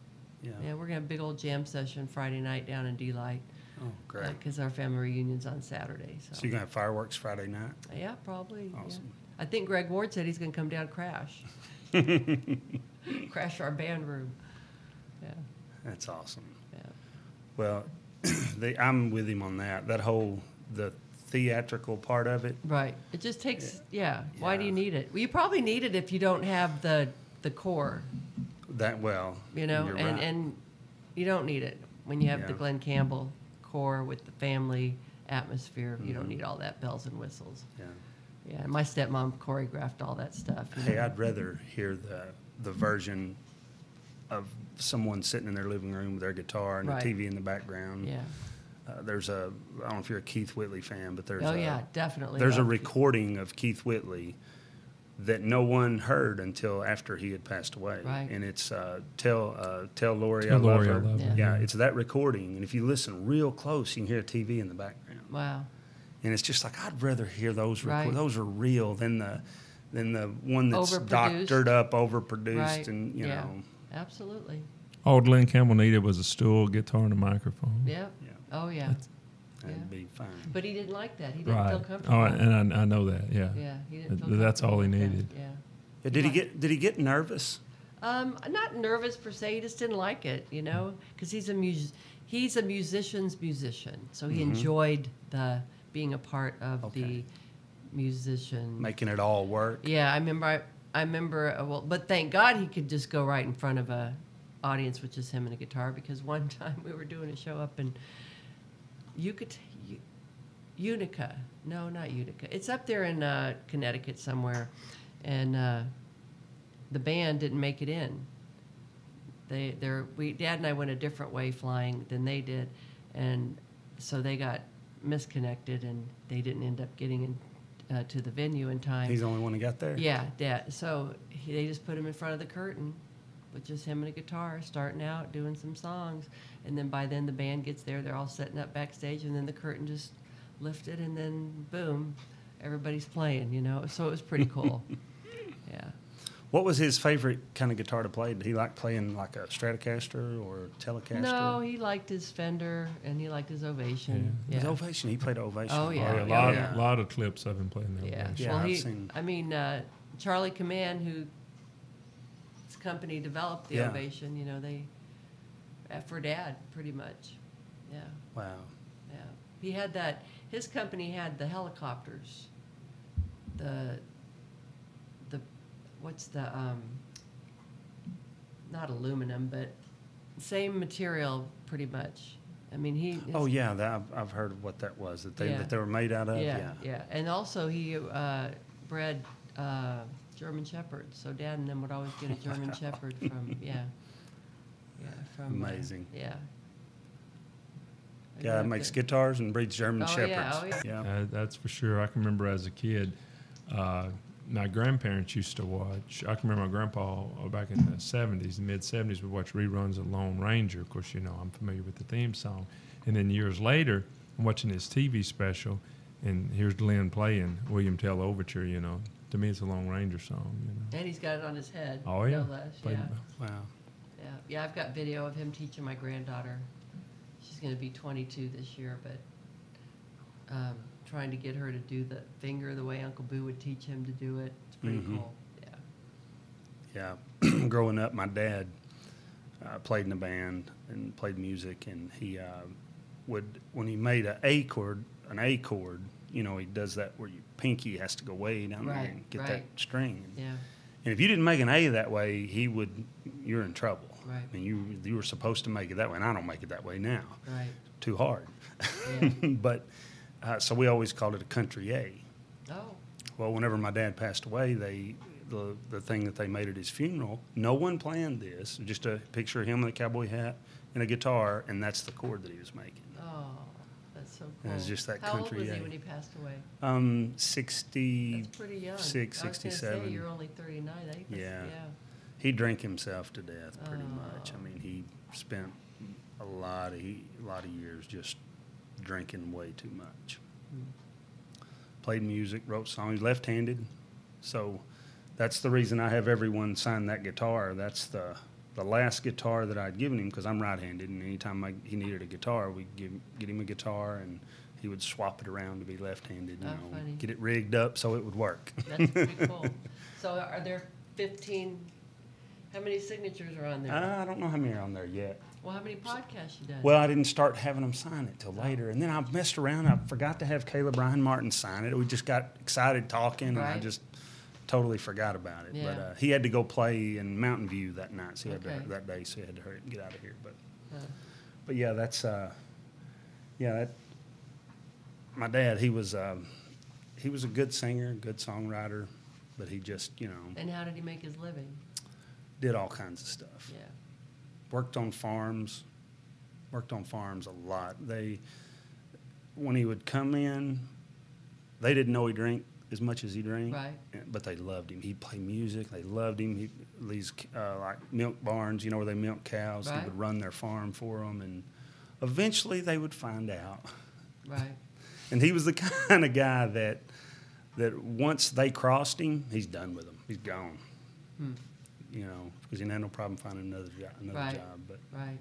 Speaker 1: Yeah.
Speaker 3: Yeah, we're going to have a big old jam session Friday night down in D Light
Speaker 1: Oh, great.
Speaker 3: because our family reunion's on Saturday.
Speaker 1: So you're going to have fireworks Friday night?
Speaker 3: Yeah, probably. yeah.
Speaker 1: Awesome.
Speaker 3: I think Greg Ward said he's going to come down and crash. crash our band room. Yeah,
Speaker 1: That's awesome.
Speaker 3: yeah.
Speaker 1: Well, they, I'm with him on that. That whole the theatrical part of it.
Speaker 3: Right. It just takes, yeah. Why do you
Speaker 1: Yeah.
Speaker 3: need it? Well, you probably need it if you don't have the the core,
Speaker 1: That well,
Speaker 3: you know,
Speaker 1: you're
Speaker 3: and
Speaker 1: right.
Speaker 3: and you don't need it when you have the
Speaker 1: Yeah.
Speaker 3: Glenn Campbell core with the family atmosphere. You
Speaker 4: Mm-hmm.
Speaker 3: don't need all that bells and whistles.
Speaker 1: yeah.
Speaker 3: Yeah, and my stepmom choreographed all that stuff. you
Speaker 1: Hey,
Speaker 3: know.
Speaker 1: I'd rather hear the the version of someone sitting in their living room with their guitar and
Speaker 3: Right.
Speaker 1: the TV in the background.
Speaker 3: yeah.
Speaker 1: Uh, there's a I don't know if you're a Keith Whitley fan, but there's
Speaker 3: Oh
Speaker 1: a,
Speaker 3: yeah, definitely.
Speaker 1: there's a
Speaker 3: love-
Speaker 1: recording of Keith Whitley that no one heard until after he had passed away.
Speaker 3: Right.
Speaker 1: And it's uh, tell uh, tell Lori
Speaker 4: Tell
Speaker 1: I love
Speaker 4: Lori I
Speaker 1: her.
Speaker 4: love
Speaker 3: her.
Speaker 1: Yeah. it's that recording, and if you listen real close, you can hear TV in the background.
Speaker 3: Wow.
Speaker 1: And it's just like I'd rather hear those. Record-
Speaker 3: Right.
Speaker 1: Those are real than the than the one that's
Speaker 3: Overproduced.
Speaker 1: doctored up, overproduced,
Speaker 3: Right.
Speaker 1: and you
Speaker 3: yeah.
Speaker 1: know,
Speaker 3: Absolutely.
Speaker 4: All Oh, Glenn Campbell needed was a stool, guitar, and a microphone.
Speaker 3: Yep.
Speaker 1: Yeah.
Speaker 3: Oh yeah.
Speaker 1: that'd
Speaker 3: Yeah.
Speaker 1: be fine.
Speaker 3: But he didn't like that. He didn't feel
Speaker 4: Right.
Speaker 3: comfortable.
Speaker 4: Oh, and I, I know that. Yeah.
Speaker 3: yeah, he didn't feel
Speaker 4: That's all he
Speaker 3: comfortable with
Speaker 4: needed.
Speaker 3: that, Yeah.
Speaker 1: Yeah, Did he get Did he get nervous?
Speaker 3: Um, not nervous per se. He just didn't like it, you know, because he's a mus- he's a musician's musician, so he enjoyed the being a part of
Speaker 1: Okay.
Speaker 3: the musician.
Speaker 1: Making it all work.
Speaker 3: yeah, I remember. I, I remember. uh, Well, but thank God he could just go right in front of a audience, which is him and a guitar. Because one time we were doing a show up in Yucat, U- Unica. No, not Utica. It's up there in uh, Connecticut somewhere, and uh, the band didn't make it in. They, they're, we, Dad and I went a different way flying than they did, and so they got misconnected, and they didn't end up getting in, uh, to the venue in time.
Speaker 1: He's the only one who got there.
Speaker 3: Yeah, Dad. So he, they just put him in front of the curtain with just him and a guitar, starting out doing some songs, and then by then the band gets there. They're all setting up backstage, and then the curtain just lifted, and then boom, everybody's playing. You know, so it was pretty cool. yeah.
Speaker 1: What was his favorite kind of guitar to play? Did he like playing like a Stratocaster or Telecaster?
Speaker 3: No, he liked his Fender and he liked his Ovation.
Speaker 1: It was
Speaker 3: Yeah.
Speaker 1: Ovation. He played Ovation.
Speaker 3: Oh,
Speaker 4: Oh, yeah,
Speaker 3: Yeah,
Speaker 4: a lot,
Speaker 1: yeah.
Speaker 4: Of, lot of clips of him playing there.
Speaker 3: Yeah.
Speaker 1: Yeah,
Speaker 3: well,
Speaker 1: I've
Speaker 3: he,
Speaker 1: seen-
Speaker 3: I mean, uh, Charlie Command, who is company developed the
Speaker 1: Yeah.
Speaker 3: Ovation. You know, they uh, for Dad pretty much. Yeah,
Speaker 1: Wow.
Speaker 3: yeah. He had that. His company had the helicopters. The the what's the um not aluminum but same material pretty much. I mean he
Speaker 1: Oh
Speaker 3: his-
Speaker 1: yeah, that, I've, I've heard of what that was that they
Speaker 3: Yeah.
Speaker 1: that they were made out of. Yeah.
Speaker 3: yeah, yeah. And also, he uh, bred uh, German Shepherds. So Dad and them would always get a German Shepherd from yeah, yeah, from uh,
Speaker 1: Amazing.
Speaker 3: yeah. I
Speaker 1: Yeah,
Speaker 3: grew
Speaker 1: it
Speaker 3: up
Speaker 1: makes
Speaker 3: there.
Speaker 1: guitars and breeds German
Speaker 3: Oh,
Speaker 1: shepherds.
Speaker 3: yeah, oh,
Speaker 1: yeah.
Speaker 4: Uh, that's for sure. I can remember as a kid, uh, my grandparents used to watch. I can remember my grandpa uh, back in the 70s, the mid 70s, would watch reruns of Lone Ranger. Of course, you know, I'm familiar with the theme song. And then years later, I'm watching his TV special, and here's Lynn playing William Tell Overture, you know. To me, it's a Lone Ranger song, you know.
Speaker 3: And he's got it on his head.
Speaker 4: Oh,
Speaker 3: no
Speaker 4: yeah.
Speaker 3: less,
Speaker 4: Played-
Speaker 3: yeah.
Speaker 1: Wow.
Speaker 3: Yeah, yeah. I've got video of him teaching my granddaughter. She's going to be 22 this year, but um, trying to get her to do the finger the way Uncle Boo would teach him to do it. It's pretty
Speaker 1: Mm-hmm.
Speaker 3: cool. Yeah.
Speaker 1: Yeah. Growing up, my dad uh, played in a band and played music, and he uh, would when he made an A chord, an A chord. You know, he does that where your pinky has to go way down
Speaker 3: Right,
Speaker 1: there and get that
Speaker 3: right.
Speaker 1: string.
Speaker 3: Yeah.
Speaker 1: And if you didn't make an A that way, he would. You're in trouble.
Speaker 3: Right.
Speaker 1: And you you were supposed to make it that way, and I don't make it that way now.
Speaker 3: Right.
Speaker 1: Too hard.
Speaker 3: Yeah.
Speaker 1: but uh, so we always called it a country A.
Speaker 3: Oh.
Speaker 1: Well, whenever my dad passed away, they the the thing that they made at his funeral. No one planned this. Just a picture of him in a cowboy hat and a guitar, and that's the chord that he was making.
Speaker 3: Oh, that's so cool.
Speaker 1: And it's just that
Speaker 3: How
Speaker 1: country
Speaker 3: old was he
Speaker 1: egg.
Speaker 3: when he passed away?
Speaker 1: Um, sixty.
Speaker 3: That's pretty young.
Speaker 1: six,
Speaker 3: I was gonna say,
Speaker 1: 67.
Speaker 3: You're only 39. I think that's,
Speaker 1: Yeah.
Speaker 3: yeah.
Speaker 1: He drank himself to death, pretty much.
Speaker 3: Oh.
Speaker 1: I mean, he spent a lot of he, a lot of years just drinking way too much. Played music, wrote songs. Left-handed, so that's the reason I have everyone sign that guitar. That's the the last guitar that I'd given him because I'm right-handed, and anytime I, he needed a guitar, we'd give, get him a guitar, and he would swap it around to be left-handed. You
Speaker 3: Oh,
Speaker 1: know,
Speaker 3: funny.
Speaker 1: get it rigged up so it would work.
Speaker 3: That's pretty cool. So are there 15? How many signatures are on there?
Speaker 1: I don't know how many are on there yet.
Speaker 3: well, how many podcasts you done?
Speaker 1: Uh, Well, I didn't start having them sign it till later, and then I messed around. I forgot to have Caleb Ryan Martin sign it. We just got excited talking, and I
Speaker 3: Right.
Speaker 1: just totally forgot about it. But
Speaker 3: Yeah.
Speaker 1: uh, he had to go play in Mountain View that night, so he had
Speaker 3: Okay.
Speaker 1: to, that day, so he had to hurry and get out of here. But
Speaker 3: Huh.
Speaker 1: but yeah, that's uh, yeah. That, my dad, he was um, he was a good singer, good songwriter, but he just you know
Speaker 3: and how did he make his living?
Speaker 1: did all kinds of stuff
Speaker 3: Yeah.
Speaker 1: worked on farms, worked on farms a lot. They, when he would come in, they didn't know he drank as much as he drank,
Speaker 3: Right.
Speaker 1: and- but they loved him. He'd play music. They loved him. He, these uh, like milk barns, you know, where they milk cows. He
Speaker 3: Right.
Speaker 1: would run their farm for them, and eventually they would find out.
Speaker 3: Right.
Speaker 1: And he was the kind of guy that that once they crossed him, he's done with them. He's gone.
Speaker 3: Hmm.
Speaker 1: You know, because he had no problem finding another job. Another
Speaker 3: Right.
Speaker 1: job, but
Speaker 3: Right.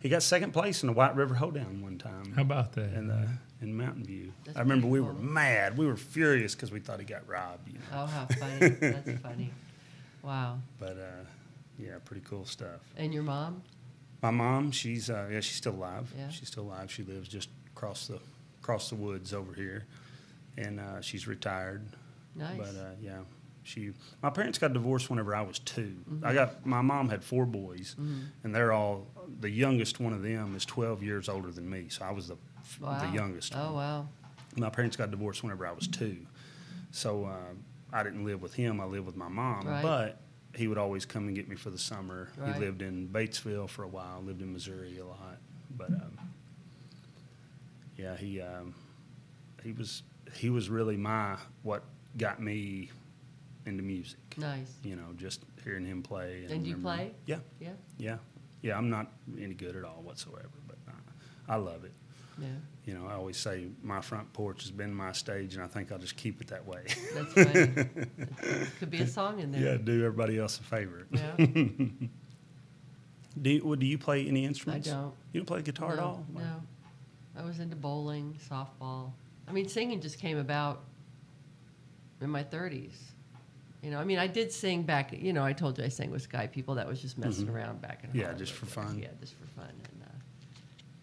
Speaker 1: he got second place in the White River Hoedown one time.
Speaker 4: How about that?
Speaker 1: in the in Mountain View?
Speaker 3: That's
Speaker 1: I remember we
Speaker 3: pretty
Speaker 1: were
Speaker 3: cool.
Speaker 1: mad. We were furious because we thought he got robbed. You know?
Speaker 3: Oh, how funny. That's funny. Wow.
Speaker 1: But uh, yeah, pretty cool stuff.
Speaker 3: And your mom?
Speaker 1: My mom, she's uh, yeah, she's still alive.
Speaker 3: Yeah.
Speaker 1: She's still alive. She lives just across the across the woods over here, and uh, she's retired.
Speaker 3: Nice.
Speaker 1: But uh, yeah, she. My parents got divorced whenever I was 2
Speaker 3: Mm-hmm.
Speaker 1: I got my mom had four boys, and they're all the youngest one of them is twelve years older than me. So I was the f-
Speaker 3: wow.
Speaker 1: the youngest.
Speaker 3: Oh,
Speaker 1: one.
Speaker 3: wow.
Speaker 1: My parents got divorced whenever I was two, so uh, I didn't live with him. I lived with my mom,
Speaker 3: Right.
Speaker 1: but he would always come and get me for the summer.
Speaker 3: Right.
Speaker 1: He lived in Batesville for a while. Lived in Missouri a lot, but um, yeah, he um, he was he was really my what got me into music.
Speaker 3: Nice.
Speaker 1: You know, just hearing him play.
Speaker 3: And you
Speaker 1: remember-
Speaker 3: play?
Speaker 1: Yeah,
Speaker 3: Yeah.
Speaker 1: yeah, yeah. I'm not any good at all whatsoever, but I, I love it
Speaker 3: Yeah.
Speaker 1: you know, I always say my front porch has been my stage, and I think I'll just keep it that way.
Speaker 3: That's funny. Could be a song in
Speaker 1: yeah,
Speaker 3: there.
Speaker 1: do everybody else a favor.
Speaker 3: yeah.
Speaker 1: Do you, well, do you play any instruments?
Speaker 3: don't.
Speaker 1: You don't play guitar at
Speaker 3: no,
Speaker 1: all?
Speaker 3: No. I was into bowling, softball. I mean, singing just came about in my 30s. You know, I mean, I did sing back. You know, I told you I sang with Sky People. That was just messing around back and
Speaker 1: Yeah,
Speaker 3: Harlem
Speaker 1: just for
Speaker 3: over there.
Speaker 1: fun.
Speaker 3: Yeah, just for fun. And uh,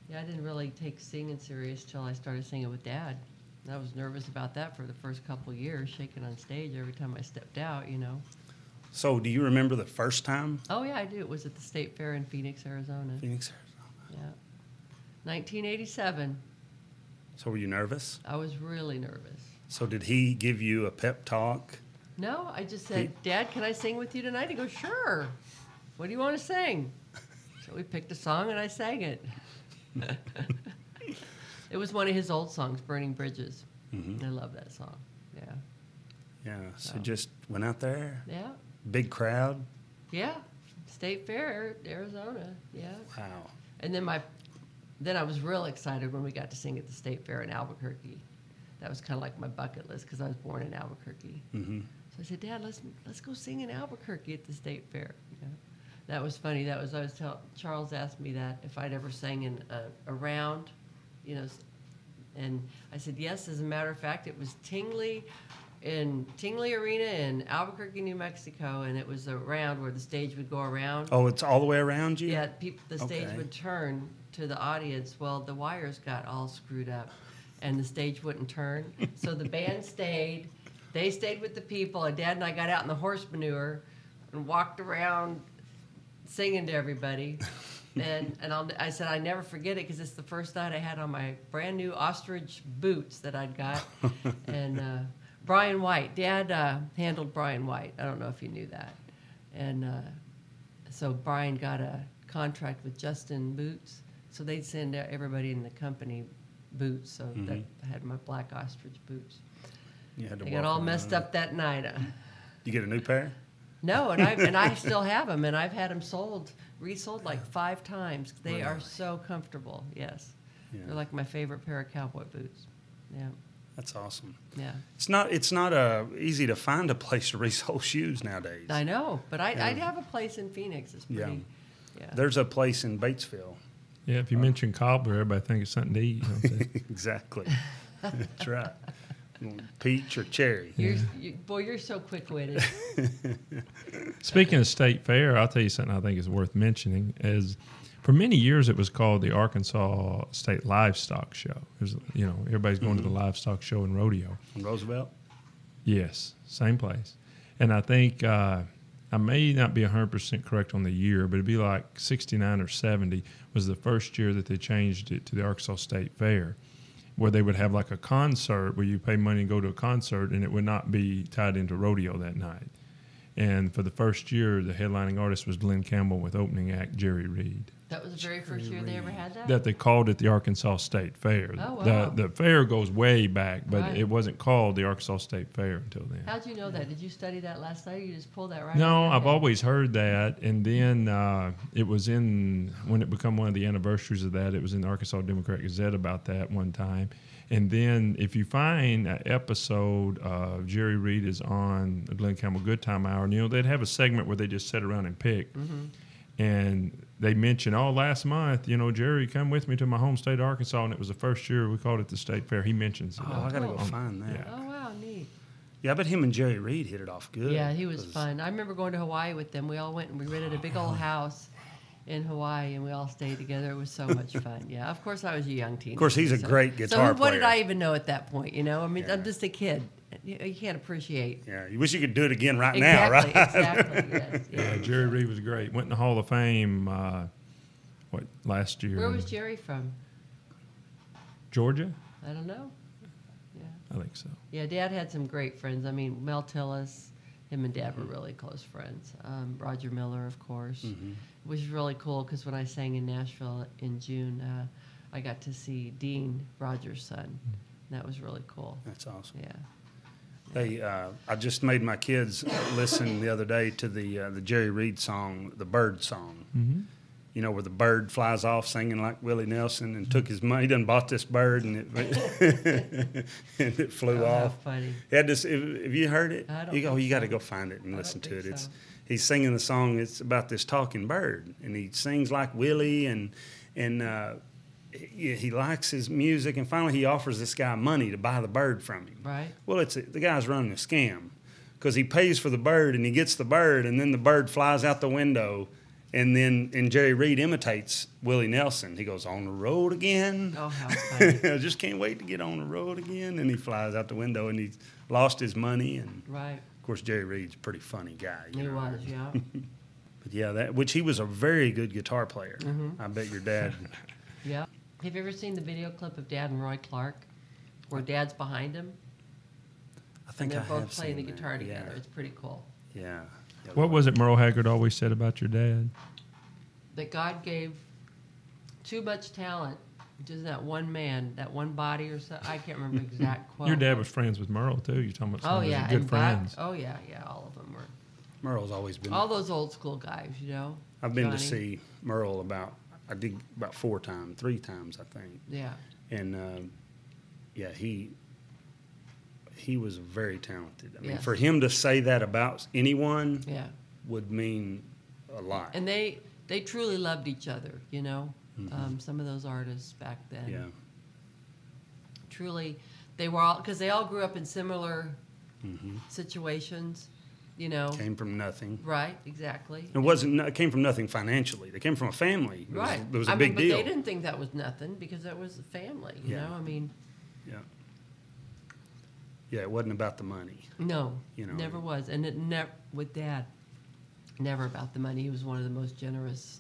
Speaker 3: yeah, I didn't really take singing serious till I started singing with Dad. And I was nervous about that for the first couple years, shaking on stage every time I stepped out. You know.
Speaker 1: So, do you remember the first time?
Speaker 3: Oh yeah, I do. It was at the State Fair in Phoenix, Arizona.
Speaker 1: Phoenix, Arizona.
Speaker 3: Yeah. 1987.
Speaker 1: So, were you nervous?
Speaker 3: I was really nervous.
Speaker 1: So, did he give you a pep talk?
Speaker 3: No, I just said, Dad, can I sing with you tonight? He goes, Sure. What do you want to sing? So we picked a song and I sang it. it was one of his old songs, Burning Bridges. I love that song. Yeah.
Speaker 1: Yeah. So,
Speaker 3: No.
Speaker 1: just went out there,
Speaker 3: Yeah.
Speaker 1: big crowd.
Speaker 3: Yeah. State Fair, Arizona. Yeah.
Speaker 1: Wow.
Speaker 3: And then my, then I was real excited when we got to sing at the State Fair in Albuquerque. That was kind of like my bucket list because I was born in Albuquerque.
Speaker 1: Mm-hmm.
Speaker 3: So I said, Dad, let's let's go sing in Albuquerque at the state fair. You know? That was funny. That was I was tell, Charles asked me that if I'd ever sang in a, a round, you know, s- and I said yes. As a matter of fact, it was Tingley, in Tingley Arena in Albuquerque, New Mexico, and it was a round where the stage would go around.
Speaker 1: Oh, it's all the way around you?
Speaker 3: Yeah, people, the stage
Speaker 1: Okay.
Speaker 3: would turn to the audience. Well, the wires got all screwed up, and the stage wouldn't turn. So the band stayed. They stayed with the people, and Dad and I got out in the horse manure and walked around singing to everybody. And and I'll, I said I never forget it because it's the first night I had on my brand new ostrich boots that I'd got. and uh, Brian White, Dad uh, handled Brian White. I don't know if you knew that. And uh, so Brian got a contract with Justin Boots, so they'd send out everybody in the company boots. So
Speaker 1: Mm-hmm.
Speaker 3: that I had my black ostrich boots.
Speaker 1: You had to
Speaker 3: They
Speaker 1: walk
Speaker 3: got all
Speaker 1: around.
Speaker 3: messed up that night.
Speaker 1: You get a new pair?
Speaker 3: No, and I and I still have them, and I've had them sold, resold like five times. They are so comfortable. Yes,
Speaker 1: Yeah.
Speaker 3: they're like my favorite pair of cowboy boots. Yeah,
Speaker 1: That's awesome.
Speaker 3: yeah.
Speaker 1: It's not. It's not uh, easy to find a place to resole shoes nowadays.
Speaker 3: I know, but I, I'd
Speaker 1: Yeah.
Speaker 3: have a place in Phoenix. It's
Speaker 1: Yeah.
Speaker 3: pretty. Yeah.
Speaker 1: There's a place in Batesville.
Speaker 4: Yeah, if you mention cobbler, everybody thinks it's something to eat. don't they?
Speaker 1: exactly. That's right. Peach or cherry.
Speaker 3: You're, you, boy, you're so quick-witted.
Speaker 4: Speaking of state fair, I'll tell you something I think is worth mentioning. Is for many years it was called the Arkansas State Livestock Show. It was, you know, everybody's going to the livestock show and rodeo.
Speaker 1: From Roosevelt.
Speaker 4: Yes, same place. And I think uh, I may not be 100% correct on the year, but it'd be like 69 or 70 was the first year that they changed it to the Arkansas State Fair, where they would have like a concert where you pay money and go to a concert, and it would not be tied into rodeo that night. And for the first year, the headlining artist was Glenn Campbell with opening act Jerry Reed.
Speaker 3: That was the very first year they ever had that.
Speaker 4: That they called it the Arkansas State Fair.
Speaker 3: Oh, wow.
Speaker 4: the, the fair goes way back, but
Speaker 3: Right.
Speaker 4: it wasn't called the Arkansas State Fair until then.
Speaker 3: How'd you know that? Did you study that last night? Or you just pulled that right. out of
Speaker 4: No,
Speaker 3: your
Speaker 4: I've
Speaker 3: head?
Speaker 4: always heard that, and then uh, it was in when it became one of the anniversaries of that. It was in the Arkansas Democrat Gazette about that one time, and then if you find an episode of Jerry Reed is on the Glenn Campbell Good Time Hour, and you know they'd have a segment where they just sit around and pick, and they mention, oh, last month, you know, Jerry, come with me to my home state, Arkansas, and it was the first year we called it the state fair. He mentions it.
Speaker 1: Oh, I gotta go
Speaker 3: cool.
Speaker 1: find that. Yeah.
Speaker 3: Oh wow, neat.
Speaker 1: I bet him and Jerry Reed hit it off good.
Speaker 3: Yeah, he was
Speaker 1: 'Cause
Speaker 3: fun. I remember going to Hawaii with them. We all went and we rented a big
Speaker 1: Oh.
Speaker 3: old house in Hawaii, and we all stayed together. It was so much fun. Yeah, of course I was a young teenager.
Speaker 1: course, he's a
Speaker 3: so-
Speaker 1: great
Speaker 3: So
Speaker 1: guitar
Speaker 3: who- what did
Speaker 1: player.
Speaker 3: I even know at that point? You know, I mean,
Speaker 1: Yeah.
Speaker 3: I'm just a kid. You, you can't appreciate.
Speaker 1: Yeah, you wish you could do it again right
Speaker 3: exactly,
Speaker 1: now, right?
Speaker 3: exactly. Yes,
Speaker 4: Yeah,
Speaker 3: yes.
Speaker 4: Uh, Jerry Reed was great. Went in the Hall of Fame. Uh, what last year?
Speaker 3: Where was Jerry from?
Speaker 4: Georgia?
Speaker 3: I don't know. Yeah.
Speaker 4: I think so.
Speaker 3: Yeah, Dad had some great friends. I mean, Mel Tillis, him and Dad were
Speaker 1: Mm-hmm.
Speaker 3: really close friends. Um, Roger Miller, of course, which is really cool because when I sang in Nashville in June, uh, I got to see Dean Roger's son. And that was really cool.
Speaker 1: That's awesome.
Speaker 3: Yeah.
Speaker 1: They, uh, I just made my kids listen the other day to the uh, the Jerry Reed song, the Bird song. Mm-hmm. You know where the bird flies off singing like Willie Nelson and took his money, done bought this bird and it and it flew
Speaker 3: Oh, how
Speaker 1: off.
Speaker 3: funny.
Speaker 1: He had this. If, have you heard it?
Speaker 3: I don't
Speaker 1: you go. "Oh,
Speaker 3: think
Speaker 1: You got to
Speaker 3: so.
Speaker 1: go find it and
Speaker 3: I
Speaker 1: listen
Speaker 3: don't
Speaker 1: to it.
Speaker 3: think
Speaker 1: It's
Speaker 3: so.
Speaker 1: he's singing the song. It's about this talking bird, and he sings like Willie, and and uh, he, he likes his music. And finally, he offers this guy money to buy the bird from him.
Speaker 3: Right.
Speaker 1: Well, it's the guy's running a scam. because he pays for the bird and he gets the bird and then the bird flies out the window and then and Jerry Reed imitates Willie Nelson. He goes on the road again.
Speaker 3: Oh, how funny.
Speaker 1: I just can't wait to get on the road again. And he flies out the window and he's lost his money. And
Speaker 3: right.
Speaker 1: of course, Jerry Reed's a pretty funny guy. you
Speaker 3: He
Speaker 1: know.
Speaker 3: was, yeah.
Speaker 1: But yeah, that which he was a very good guitar player.
Speaker 3: Mm-hmm.
Speaker 1: I bet your dad.
Speaker 3: Yeah. Have you ever seen the video clip of Dad and Roy Clark where Dad's behind him
Speaker 1: I
Speaker 3: and
Speaker 1: think
Speaker 3: they're
Speaker 1: I
Speaker 3: both
Speaker 1: have
Speaker 3: playing the
Speaker 1: seen
Speaker 3: guitar
Speaker 1: that.
Speaker 3: together? It's pretty cool.
Speaker 1: Yeah. yeah. Yeah,
Speaker 4: What was it Merle Haggard always said about your dad?
Speaker 3: That God gave too much talent to that one man, that one body or so. I can't remember the exact quote.
Speaker 4: Your dad was friends with Merle too. You're talking about
Speaker 3: Oh
Speaker 4: some
Speaker 3: yeah,
Speaker 4: good
Speaker 3: and Bob-
Speaker 4: friends.
Speaker 3: oh yeah, yeah, all of them were.
Speaker 1: Merle's always been.
Speaker 3: All those old school guys, you know.
Speaker 1: I've been to
Speaker 3: Johnny.
Speaker 1: see Merle about I did about four times, three times I think,
Speaker 3: Yeah,
Speaker 1: and uh, yeah, he he was very talented. I mean,
Speaker 3: Yes.
Speaker 1: for him to say that about anyone
Speaker 3: yeah,
Speaker 1: would mean a lot.
Speaker 3: and they they truly loved each other, you know. Um, some of those artists back then.
Speaker 1: yeah,
Speaker 3: truly they were all because they all grew up in similar situations you know
Speaker 1: came from nothing.
Speaker 3: right exactly
Speaker 1: It wasn't. no- It came from nothing financially. They came from a family. It was-
Speaker 3: right
Speaker 1: It was a
Speaker 3: I
Speaker 1: big
Speaker 3: mean,
Speaker 1: deal.
Speaker 3: but they didn't think that was nothing because that was a family you
Speaker 1: Yeah.
Speaker 3: know i mean
Speaker 1: Yeah. Yeah, it wasn't about the money.
Speaker 3: no
Speaker 1: You know,
Speaker 3: never
Speaker 1: and-
Speaker 3: was and it never with dad never about the money he was one of the most generous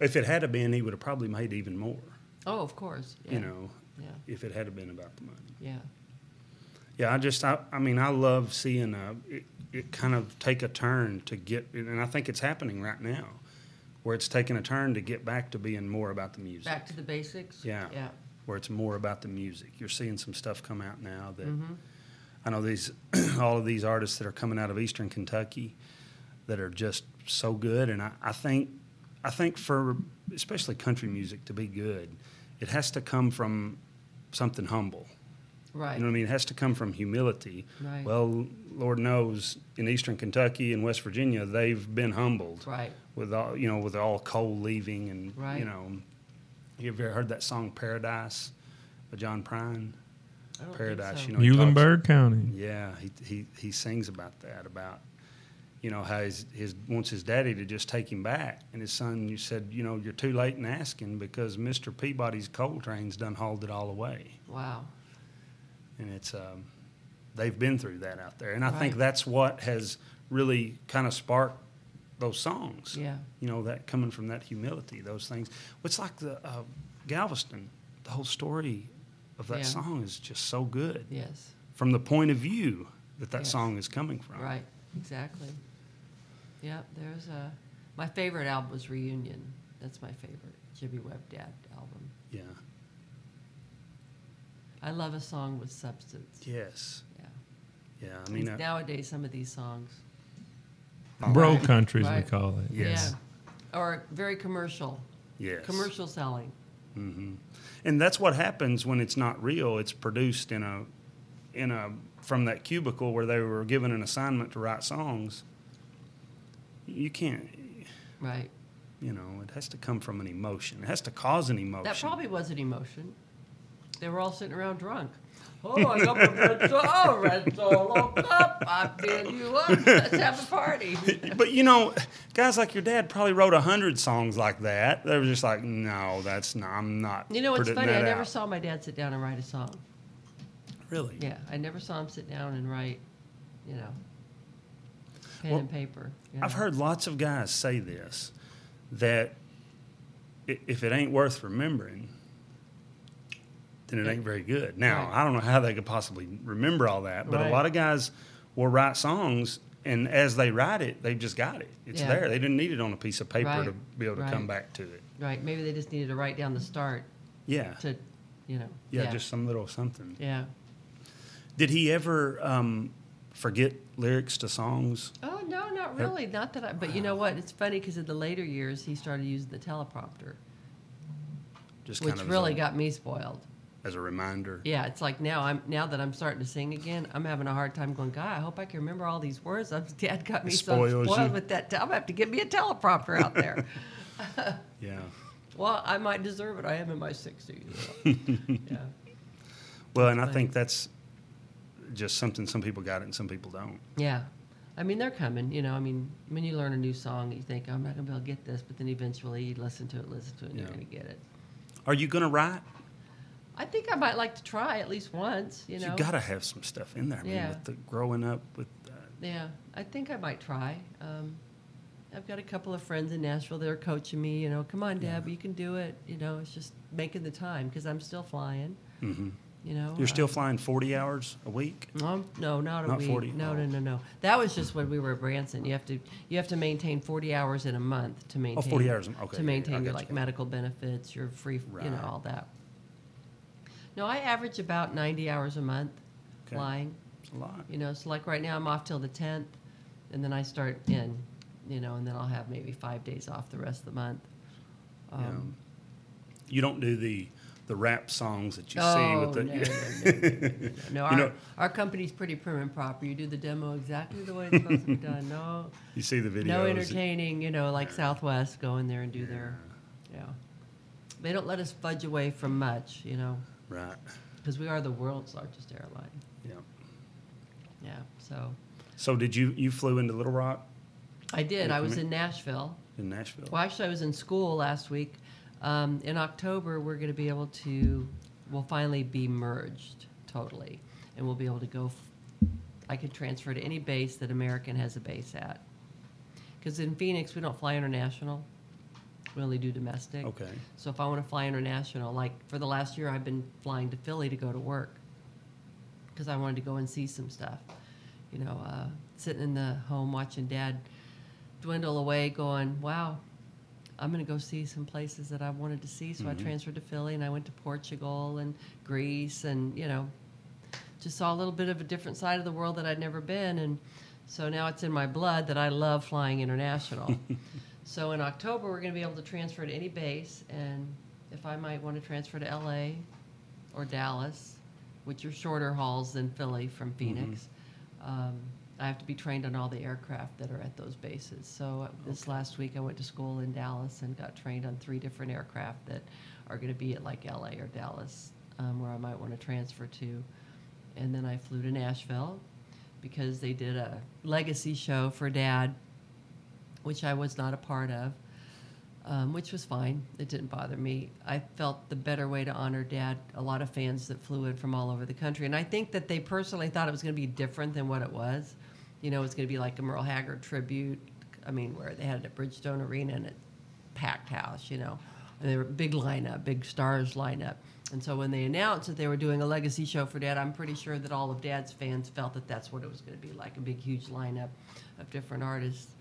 Speaker 1: If it had have been, he would have probably made even more.
Speaker 3: oh of course yeah.
Speaker 1: You know,
Speaker 3: yeah
Speaker 1: if it had have been about the money.
Speaker 3: yeah
Speaker 1: Yeah, I just, I, I mean, I love seeing uh it, it kind of take a turn to get, and I think it's happening right now, where it's taking a turn to get back to being more about the music.
Speaker 3: back to the basics
Speaker 1: Yeah.
Speaker 3: yeah
Speaker 1: Where it's more about the music. You're seeing some stuff come out now that I know these, all of these artists that are coming out of Eastern Kentucky that are just so good. And I, I think, I think for especially country music to be good, it has to come from something humble.
Speaker 3: right
Speaker 1: You know what I mean? It has to come from humility.
Speaker 3: Right.
Speaker 1: Well, Lord knows, in Eastern Kentucky and West Virginia, they've been humbled
Speaker 3: right
Speaker 1: with all you know, with all coal leaving and
Speaker 3: Right.
Speaker 1: you know. You ever heard that song "Paradise" by John Prine?
Speaker 3: I don't think
Speaker 1: Paradise,
Speaker 3: so.
Speaker 1: you know. he talks-
Speaker 4: Muhlenberg County.
Speaker 1: yeah, he, he he sings about that about you know how his his wants his daddy to just take him back, and his son you said you know you're too late in asking because Mister Peabody's coal train's done hauled it all away
Speaker 3: wow
Speaker 1: and it's um, they've been through that out there, and I think
Speaker 3: Right.
Speaker 1: that's what has really kind of sparked those songs.
Speaker 3: Yeah.
Speaker 1: you know that coming from that humility, those things. It's like the uh, Galveston, the whole story of that
Speaker 3: Yeah.
Speaker 1: song is just so good
Speaker 3: yes
Speaker 1: from the point of view that that
Speaker 3: Yes.
Speaker 1: song is coming from.
Speaker 3: Right, exactly. Yep, there's a. My favorite album was Reunion. That's my favorite Jimmy Webb Dad album.
Speaker 1: Yeah.
Speaker 3: I love a song with substance.
Speaker 1: Yes.
Speaker 3: Yeah.
Speaker 1: Yeah. I mean, uh,
Speaker 3: Nowadays, some of these songs.
Speaker 4: Bro country, as we
Speaker 3: Right.
Speaker 4: call it.
Speaker 1: Yes.
Speaker 3: Yeah. Or very commercial,
Speaker 1: yes.
Speaker 3: commercial selling.
Speaker 1: and that's what happens when it's not real it's produced in a in a from that cubicle where they were given an assignment to write songs you can't
Speaker 3: Right.
Speaker 1: you know it has to come from an emotion it has to cause an emotion
Speaker 3: That probably was an emotion. They were all sitting around drunk. Oh, I got my red soul, oh, red soul up. I feel you up. Let's have a party.
Speaker 1: but you know guys like your dad probably wrote a hundred songs like that they were just like no that's not i'm not
Speaker 3: You know what's
Speaker 1: putting
Speaker 3: funny? I
Speaker 1: that
Speaker 3: never
Speaker 1: out."
Speaker 3: saw my dad sit down and write a song.
Speaker 1: really
Speaker 3: Yeah, I never saw him sit down and write, you know, pen
Speaker 1: Well,
Speaker 3: and paper. you
Speaker 1: I've
Speaker 3: know.
Speaker 1: heard lots of guys say this that i- if it ain't worth remembering, then it ain't very good. Now,
Speaker 3: Right.
Speaker 1: I don't know how they could possibly remember all that, but a
Speaker 3: Right.
Speaker 1: lot of guys will write songs and as they write it, they've just got it. It's
Speaker 3: Yeah.
Speaker 1: there. They didn't need it on a piece of paper
Speaker 3: Right.
Speaker 1: to be able to come
Speaker 3: Right.
Speaker 1: back to it.
Speaker 3: Right, maybe they just needed to write down the start
Speaker 1: Yeah.
Speaker 3: to, you know.
Speaker 1: yeah, just some little something.
Speaker 3: Yeah.
Speaker 1: Did he ever um, forget lyrics to songs?
Speaker 3: Oh, no, not really. Not that I, but you know what? It's funny because in the later years, he started using the teleprompter,
Speaker 1: Just
Speaker 3: which
Speaker 1: kind of
Speaker 3: really
Speaker 1: as a,
Speaker 3: got me spoiled.
Speaker 1: as a reminder.
Speaker 3: Yeah, it's like now I'm now that I'm starting to sing again, I'm having a hard time going. God, I hope I can remember all these words. I'm, Dad got me so
Speaker 1: Spoils you.
Speaker 3: spoiled with that. Te- I'm gonna have to give me a teleprompter out there.
Speaker 1: yeah.
Speaker 3: well, I might deserve it. I am in my 60s. so, yeah.
Speaker 1: Well, and I
Speaker 3: Right.
Speaker 1: think that's just something some people got it and some people don't.
Speaker 3: Yeah. I mean, they're coming, you know. I mean, when you learn a new song, you think, I'm not going to be able to get this, but then eventually you listen to it, listen to it, and you're
Speaker 1: Yeah.
Speaker 3: going to get it.
Speaker 1: Are you going to write?
Speaker 3: I think I might like to try at least once, you
Speaker 1: You,
Speaker 3: know.
Speaker 1: got to have some stuff in there. I mean,
Speaker 3: Yeah.
Speaker 1: with the growing up with uh,
Speaker 3: Yeah, I think I might try. Um, I've got a couple of friends in Nashville that are coaching me. You know, come on, Deb, you can do it. You know, it's just making the time because I'm still flying. You know,
Speaker 1: Mm-hmm. you're still flying 40 hours a week.
Speaker 3: Um, no, not a
Speaker 1: Not
Speaker 3: week.
Speaker 1: 40?
Speaker 3: No,
Speaker 1: Oh.
Speaker 3: no, no, no. That was just when we were at Branson. You have to you have to maintain forty hours in a month to maintain.
Speaker 1: 40 Oh, hours in- okay, yeah,
Speaker 3: To
Speaker 1: yeah,
Speaker 3: maintain
Speaker 1: I
Speaker 3: your
Speaker 1: got
Speaker 3: like
Speaker 1: you.
Speaker 3: medical benefits, your free, you know,
Speaker 1: Right.
Speaker 3: all that. No, I average about ninety hours a month
Speaker 1: Okay.
Speaker 3: flying.
Speaker 1: It's a lot.
Speaker 3: You know, so like right now I'm off till the tenth, and then I start in, you know, and then I'll have maybe five days off the rest of the month. Um,
Speaker 1: You don't do the the rap songs that you see
Speaker 3: Oh,
Speaker 1: with the.
Speaker 3: no, no, no, no, no, no, no.
Speaker 1: You
Speaker 3: Our,
Speaker 1: know-
Speaker 3: our company's pretty prim and proper. You do the demo exactly the way it's supposed to be done. No,
Speaker 1: You see the videos.
Speaker 3: no entertaining, you know, like Southwest go in there and do their, yeah. They don't let us fudge away from much, you know,
Speaker 1: Right.
Speaker 3: because we are the world's largest airline.
Speaker 1: Yeah.
Speaker 3: Yeah, so
Speaker 1: So did you you flew into Little Rock
Speaker 3: I did. I was
Speaker 1: Mhm.
Speaker 3: in Nashville.
Speaker 1: in Nashville?
Speaker 3: Well, actually, I was in school last week. Um, in October, we're going to be able to, we'll finally be merged totally, and we'll be able to go. F- I can transfer to any base that American has a base at, because in Phoenix we don't fly international. We only do domestic.
Speaker 1: Okay.
Speaker 3: So if I want to fly international, like for the last year, I've been flying to Philly to go to work because I wanted to go and see some stuff. You know, uh, sitting in the home watching dad dwindle away, going, wow, I'm going to go see some places that I wanted to see. So I transferred to Philly and I went to Portugal and Greece and, you know, just saw a little bit of a different side of the world that I'd never been. And so now it's in my blood that I love flying international. so in October, we're going to be able to transfer to any base. And if I might want to transfer to LA or Dallas, which are shorter hauls than Philly from Phoenix, um, I have to be trained on all the aircraft that are at those bases. So uh, this last week, I went to school in Dallas and got trained on three different aircraft that are going to be at like LA or Dallas, um, where I might want to transfer to and then I flew to Nashville because they did a legacy show for Dad, which I was not a part of, um, which was fine. It didn't bother me. I felt the better way to honor Dad. A lot of fans that flew in from all over the country, and I think that they personally thought it was going to be different than what it was. You know, it was going to be like a Merle Haggard tribute. I mean, where they had it at Bridgestone Arena and it packed house, you know. And they were big lineup, big stars lineup. And so when they announced that they were doing a legacy show for Dad, I'm pretty sure that all of Dad's fans felt that that's what it was going to be like a big, huge lineup of different artists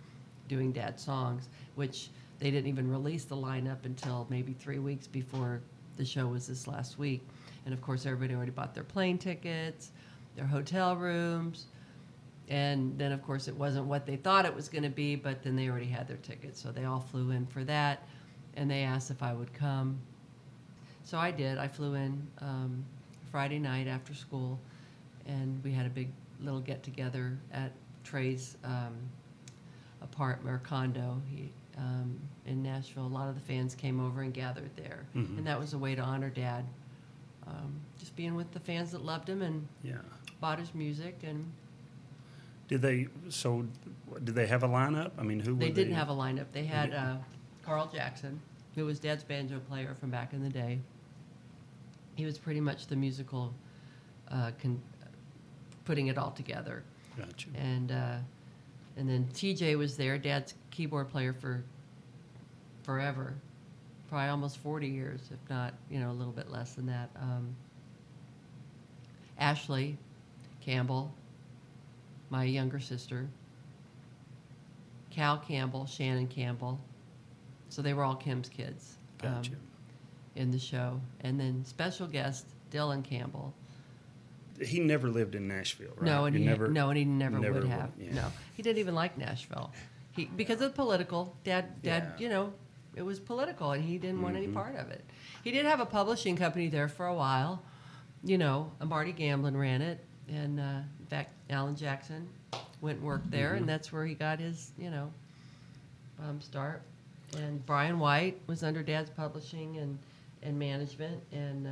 Speaker 3: doing Dad songs, which they didn't even release the lineup until maybe three weeks before the show was this last week. And of course, everybody already bought their plane tickets, their hotel rooms, and then, of course, it wasn't what they thought it was going to be, but then they already had their tickets. So they all flew in for that. And they asked if I would come. So I did. I flew in um, Friday night after school, and we had a big little get together at Trey's um, apartment or condo he, um, in Nashville. A lot of the fans came over and gathered there. And that was a way to honor dad. Um, just being with the fans that loved him and
Speaker 1: Yeah.
Speaker 3: bought his music and
Speaker 1: Did they so? Did they have a lineup? I mean, who
Speaker 3: They
Speaker 1: were
Speaker 3: didn't
Speaker 1: they?
Speaker 3: have a lineup. They had uh, Carl Jackson, who was Dad's banjo player from back in the day. He was pretty much the musical, uh, con- putting it all together.
Speaker 1: Gotcha.
Speaker 3: And uh, and then TJ was there, Dad's keyboard player for forever, probably almost forty years, if not you know a little bit less than that. Um, Ashley Campbell, my younger sister. Cal Campbell, Shannon Campbell. So they were all Kim's kids um,
Speaker 1: Gotcha.
Speaker 3: in the show. And then special guest Dylan Campbell.
Speaker 1: he never lived in Nashville, right?
Speaker 3: No, and
Speaker 1: You
Speaker 3: he
Speaker 1: never.
Speaker 3: no, and he never,
Speaker 1: never
Speaker 3: would
Speaker 1: would,
Speaker 3: have.
Speaker 1: yeah.
Speaker 3: No, he didn't even like Nashville. He because of political. Dad, dad,
Speaker 1: Yeah. Mm-hmm.
Speaker 3: you know, it was political, and he didn't want any part of it. He did have a publishing company there for a while. You know, uh, Marty Gamblin ran it, and uh, in fact, Alan Jackson went and worked there,
Speaker 1: Mm-hmm.
Speaker 3: and that's where he got his, you know, um, start. And Brian White was under Dad's publishing and and management, and uh,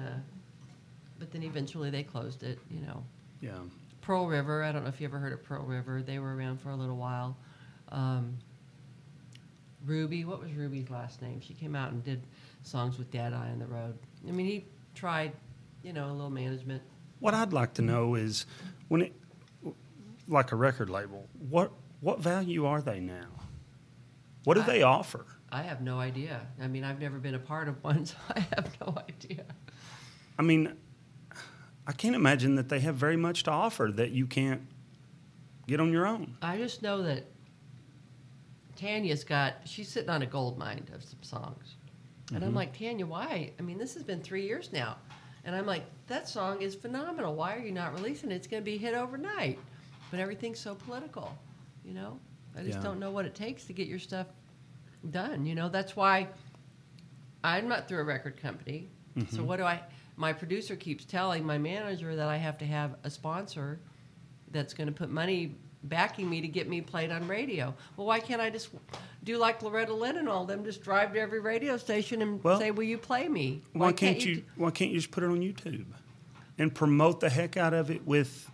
Speaker 3: but then eventually they closed it. You know
Speaker 1: Yeah.
Speaker 3: Pearl River. I don't know if you ever heard of Pearl River. They were around for a little while. Um, Ruby, what was Ruby's last name? She came out and did songs with Dead Eye on the Road. I mean, he tried, you know, a little management.
Speaker 1: What I'd like to know is when it, like a record label, what what value are they now? What do
Speaker 3: I-
Speaker 1: they offer?
Speaker 3: I have no idea. I mean, I've never been a part of one, so I have no idea.
Speaker 1: I mean, I can't imagine that they have very much to offer that you can't get on your own.
Speaker 3: I just know that Tanya's got she's sitting on a gold mine of some songs. And I'm like, Tanya, why? I mean, this has been three years now. And I'm like, that song is phenomenal. Why are you not releasing it? It's gonna be a hit overnight. But everything's so political, you know? I just
Speaker 1: Yeah.
Speaker 3: don't know what it takes to get your stuff done, you know. That's why I'm not through a record company. So
Speaker 1: Mm-hmm.
Speaker 3: what do I my producer keeps telling my manager that I have to have a sponsor that's going to put money backing me to get me played on radio. Well, why can't I just do like Loretta Lynn and all them just drive to every radio station and
Speaker 1: Well,
Speaker 3: say, "Will you play me?"
Speaker 1: Why, can't, you?
Speaker 3: do-
Speaker 1: why can't you just put it on YouTube and promote the heck out of it with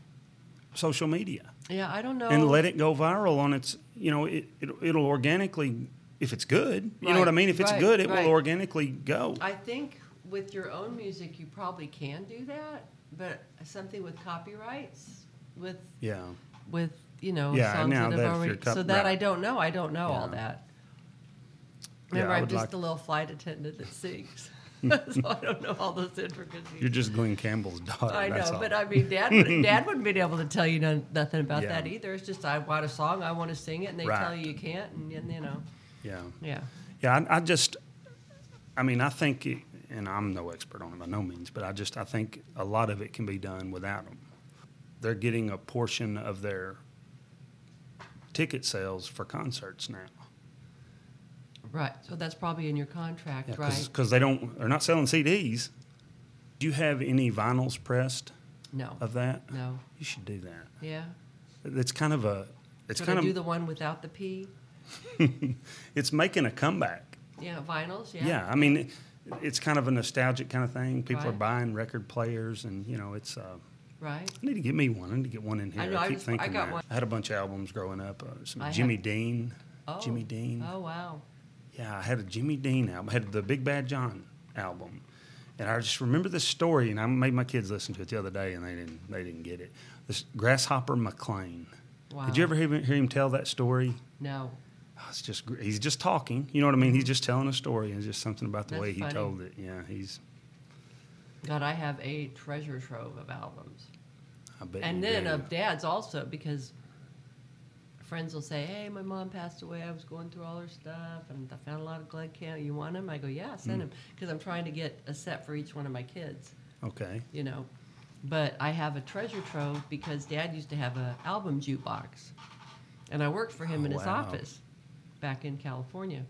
Speaker 1: social media
Speaker 3: yeah, I don't know.
Speaker 1: and let it go viral on its? You know, it, it it'll organically if it's good. You know what I
Speaker 3: Right,
Speaker 1: mean? If it's
Speaker 3: right,
Speaker 1: good, it
Speaker 3: right.
Speaker 1: will organically go.
Speaker 3: I think with your own music, you probably can do that, but something with copyrights, with
Speaker 1: yeah.
Speaker 3: with you know
Speaker 1: Yeah,
Speaker 3: songs
Speaker 1: now
Speaker 3: that
Speaker 1: that if
Speaker 3: have already.
Speaker 1: you're cop-
Speaker 3: so that I
Speaker 1: right.
Speaker 3: don't know. I don't know all
Speaker 1: Yeah.
Speaker 3: that.
Speaker 1: Yeah,
Speaker 3: Remember,
Speaker 1: I
Speaker 3: I'm
Speaker 1: would
Speaker 3: just
Speaker 1: like-
Speaker 3: a little flight attendant that sings, so I don't know all those intricacies.
Speaker 1: You're just Glenn Campbell's daughter.
Speaker 3: I
Speaker 1: that's
Speaker 3: know,
Speaker 1: all.
Speaker 3: but I mean, Dad, would, Dad wouldn't be able to tell you none, nothing about
Speaker 1: Yeah.
Speaker 3: that either. It's just I want a song, I want to sing it, and they tell
Speaker 1: Right.
Speaker 3: you you can't, and, and you know,
Speaker 1: yeah.
Speaker 3: yeah,
Speaker 1: Yeah, I, I just, I mean, I think, it, and I'm no expert on it by no means, but I just, I think a lot of it can be done without them. They're getting a portion of their ticket sales for concerts now.
Speaker 3: right. So that's probably in your contract,
Speaker 1: Yeah,
Speaker 3: right?
Speaker 1: Because they don't, they're not selling CDs. Do you have any vinyls pressed
Speaker 3: No,
Speaker 1: of that?
Speaker 3: no,
Speaker 1: You should do that.
Speaker 3: yeah.
Speaker 1: It's kind of a, it's
Speaker 3: Should
Speaker 1: kind
Speaker 3: I
Speaker 1: of,
Speaker 3: do the one without the P?
Speaker 1: it's making a comeback.
Speaker 3: Yeah, vinyls. Yeah.
Speaker 1: Yeah, I mean, it, it's kind of a nostalgic kind of thing. People are
Speaker 3: Right.
Speaker 1: buying record players, and you know, it's. Uh,
Speaker 3: Right.
Speaker 1: I need to get me one. I need to get one in here.
Speaker 3: I know, I
Speaker 1: keep
Speaker 3: just- I
Speaker 1: thinking
Speaker 3: got
Speaker 1: that.
Speaker 3: one.
Speaker 1: I had a bunch of albums growing up. Uh, some
Speaker 3: I have-
Speaker 1: Jimmy Dean.
Speaker 3: Oh.
Speaker 1: Jimmy Dean.
Speaker 3: Oh wow.
Speaker 1: Yeah, I had a Jimmy Dean album. I had the Big Bad John album, and I just remember this story. And I made my kids listen to it the other day, and they didn't. They didn't get it. This Grasshopper McLean.
Speaker 3: Wow.
Speaker 1: Did you ever hear, him- hear him tell that story?
Speaker 3: No.
Speaker 1: Oh, It's just gr- he's just talking. You know what I mean? He's just telling a story, and it's just something about the
Speaker 3: That's
Speaker 1: way he
Speaker 3: funny.
Speaker 1: told it. Yeah, he's.
Speaker 3: God, I have a treasure trove of albums.
Speaker 1: I bet.
Speaker 3: and
Speaker 1: you
Speaker 3: then
Speaker 1: do.
Speaker 3: of dads also because friends will say hey my mom passed away i was going through all her stuff and i found a lot of glen camp you want them i go yeah
Speaker 1: Mm.
Speaker 3: send them because i'm trying to get a set for each one of my kids
Speaker 1: okay.
Speaker 3: you know but i have a treasure trove because dad used to have an album jukebox and i worked for him
Speaker 1: Oh,
Speaker 3: in his
Speaker 1: wow.
Speaker 3: office back in california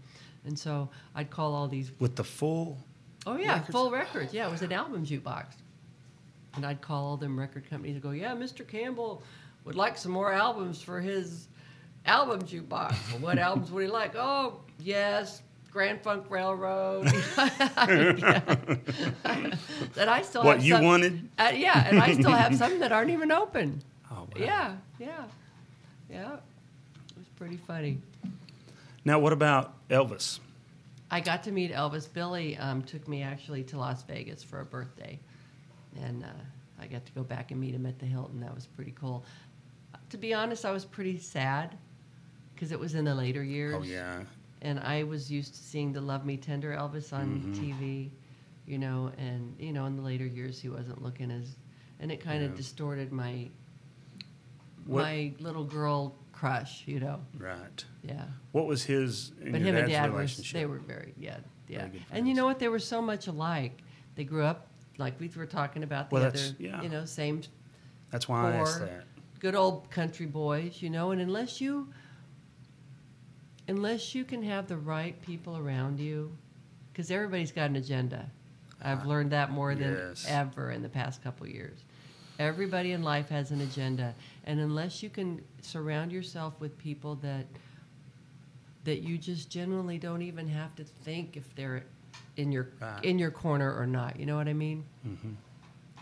Speaker 3: and so i'd call all these
Speaker 1: With the full
Speaker 3: Oh yeah,
Speaker 1: Records?
Speaker 3: full records. Yeah, it was an album jukebox, and I'd call all them record companies and go, "Yeah, Mr. Campbell would like some more albums for his album jukebox. Well, what albums would he like? Oh, yes, Grand Funk Railroad. that I still
Speaker 1: what
Speaker 3: have
Speaker 1: you
Speaker 3: some-
Speaker 1: wanted.
Speaker 3: Uh, yeah, and I still have some that aren't even open.
Speaker 1: Oh, wow.
Speaker 3: Yeah, yeah, yeah. It was pretty funny.
Speaker 1: Now, what about Elvis?
Speaker 3: I got to meet Elvis. Billy um, took me actually to Las Vegas for a birthday, and uh, I got to go back and meet him at the Hilton. That was pretty cool. To be honest, I was pretty sad because it was in the later years.
Speaker 1: Oh yeah,
Speaker 3: And I was used to seeing the Love Me Tender Elvis on
Speaker 1: Mm-hmm.
Speaker 3: TV, you know, and you know, in the later years he wasn't looking as, and it kind of
Speaker 1: Yeah.
Speaker 3: distorted my
Speaker 1: What-
Speaker 3: my little girl crush, you know.
Speaker 1: right.
Speaker 3: Yeah.
Speaker 1: What was his and
Speaker 3: But
Speaker 1: your
Speaker 3: him and
Speaker 1: dad's
Speaker 3: dad were
Speaker 1: relationship?
Speaker 3: they were very yeah yeah.
Speaker 1: good
Speaker 3: And you know
Speaker 1: friends.
Speaker 3: what? They were so much alike. They grew up like we were talking about the
Speaker 1: Well,
Speaker 3: other
Speaker 1: that's- yeah.
Speaker 3: you know same
Speaker 1: That's why I asked
Speaker 3: poor.
Speaker 1: that.
Speaker 3: good old country boys you know. And unless you unless you can have the right people around you, because everybody's got an agenda. I've learned that more than
Speaker 1: Uh, yes.
Speaker 3: ever in the past couple years. Everybody in life has an agenda, and unless you can surround yourself with people that that you just generally don't even have to think if they're in your
Speaker 1: Right.
Speaker 3: in your corner or not. You know what I mean?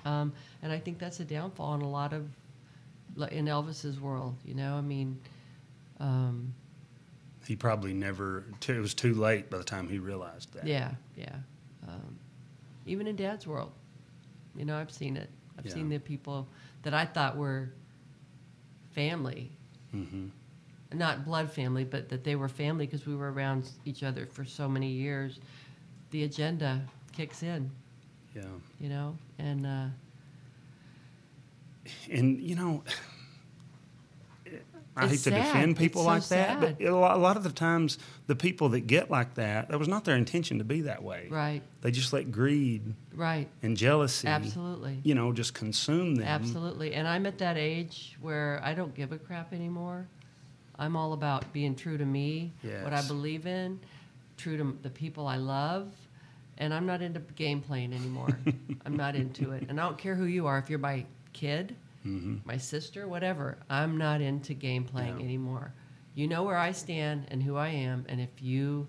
Speaker 3: Um, and I think that's a downfall in a lot of like, in Elvis's world. You know, I mean, um,
Speaker 1: He probably never. T- it was too late by the time he realized that.
Speaker 3: yeah, yeah. Um, even in Dad's world, you know, I've seen it. I've
Speaker 1: Yeah.
Speaker 3: seen the people that I thought were family,
Speaker 1: Mm-hmm.
Speaker 3: not blood family, but that they were family because we were around each other for so many years. The agenda kicks in,
Speaker 1: Yeah.
Speaker 3: you know, and uh,
Speaker 1: And you know, I
Speaker 3: It's
Speaker 1: hate to
Speaker 3: sad.
Speaker 1: defend
Speaker 3: It's
Speaker 1: people
Speaker 3: so
Speaker 1: like that,
Speaker 3: sad.
Speaker 1: but a lot, a lot of the times the people that get like that, that was not their intention to be that way.
Speaker 3: right,
Speaker 1: They just let greed
Speaker 3: right,
Speaker 1: and jealousy,
Speaker 3: absolutely.
Speaker 1: you know, just consume them.
Speaker 3: Absolutely. And I'm at that age where I don't give a crap anymore. I'm all about being true to me, what I
Speaker 1: Yes.
Speaker 3: believe in, true to the people I love. And I'm not into game playing anymore. I'm not into it. And I don't care who you are, if you're my kid,
Speaker 1: Mm-hmm.
Speaker 3: my sister, whatever, I'm not into game playing
Speaker 1: Yeah.
Speaker 3: anymore. You know where I stand and who I am. And if you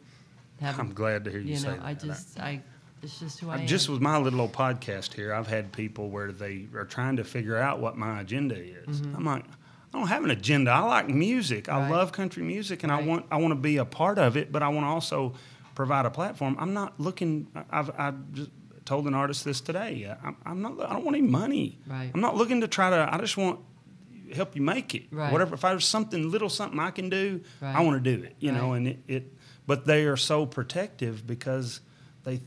Speaker 3: have,
Speaker 1: I'm glad to hear you,
Speaker 3: you
Speaker 1: say
Speaker 3: know,
Speaker 1: that.
Speaker 3: I just, I, it's just who I am.
Speaker 1: just with my little old podcast here, I've had people where they are trying to figure out what my agenda is. I'm like, I don't have an agenda. I like music. I
Speaker 3: Mm-hmm. Right.
Speaker 1: love country music, and I
Speaker 3: Right.
Speaker 1: want I want to be a part of it, but I want to also provide a platform. I'm not looking. I- I've I just told an artist this today. uh, I'm, I'm not. I don't want any money.
Speaker 3: Right.
Speaker 1: I'm not looking to try to. I just want help you make it.
Speaker 3: Right.
Speaker 1: Whatever. If there's something little something I can do, I
Speaker 3: Right.
Speaker 1: want to do it. You know,
Speaker 3: Right.
Speaker 1: and it, it. But they are so protective because they.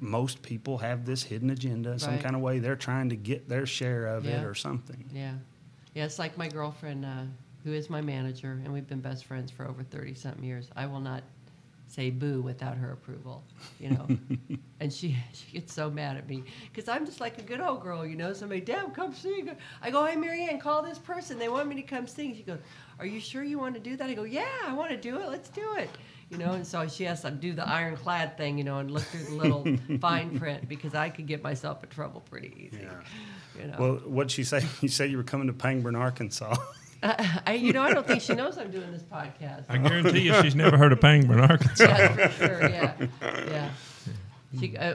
Speaker 1: Most people have this hidden agenda in some
Speaker 3: Right.
Speaker 1: kind of way. They're trying to get their share of
Speaker 3: Yeah.
Speaker 1: it or something.
Speaker 3: Yeah. Yeah, it's like my girlfriend, uh, who is my manager, and we've been best friends for over 30 something years. I will not say boo without her approval, you know. and she, she gets so mad at me because I'm just like a good old girl, you know. Somebody, damn, come sing. I go, hey, Marianne, call this person. They want me to come sing. She goes, are you sure you want to do that? I go, yeah, I want to do it. Let's do it. You know, and so she has to do the ironclad thing, you know, and look through the little fine print because I could get myself in trouble pretty easy. You know?
Speaker 1: Well, what'd she say? You said you were coming to Pangburn, Arkansas.
Speaker 3: I, you know, I don't think she knows I'm doing this podcast.
Speaker 4: I guarantee you, she's never heard of Pangburn, Arkansas.
Speaker 3: Yeah, for sure. Yeah, yeah. She uh,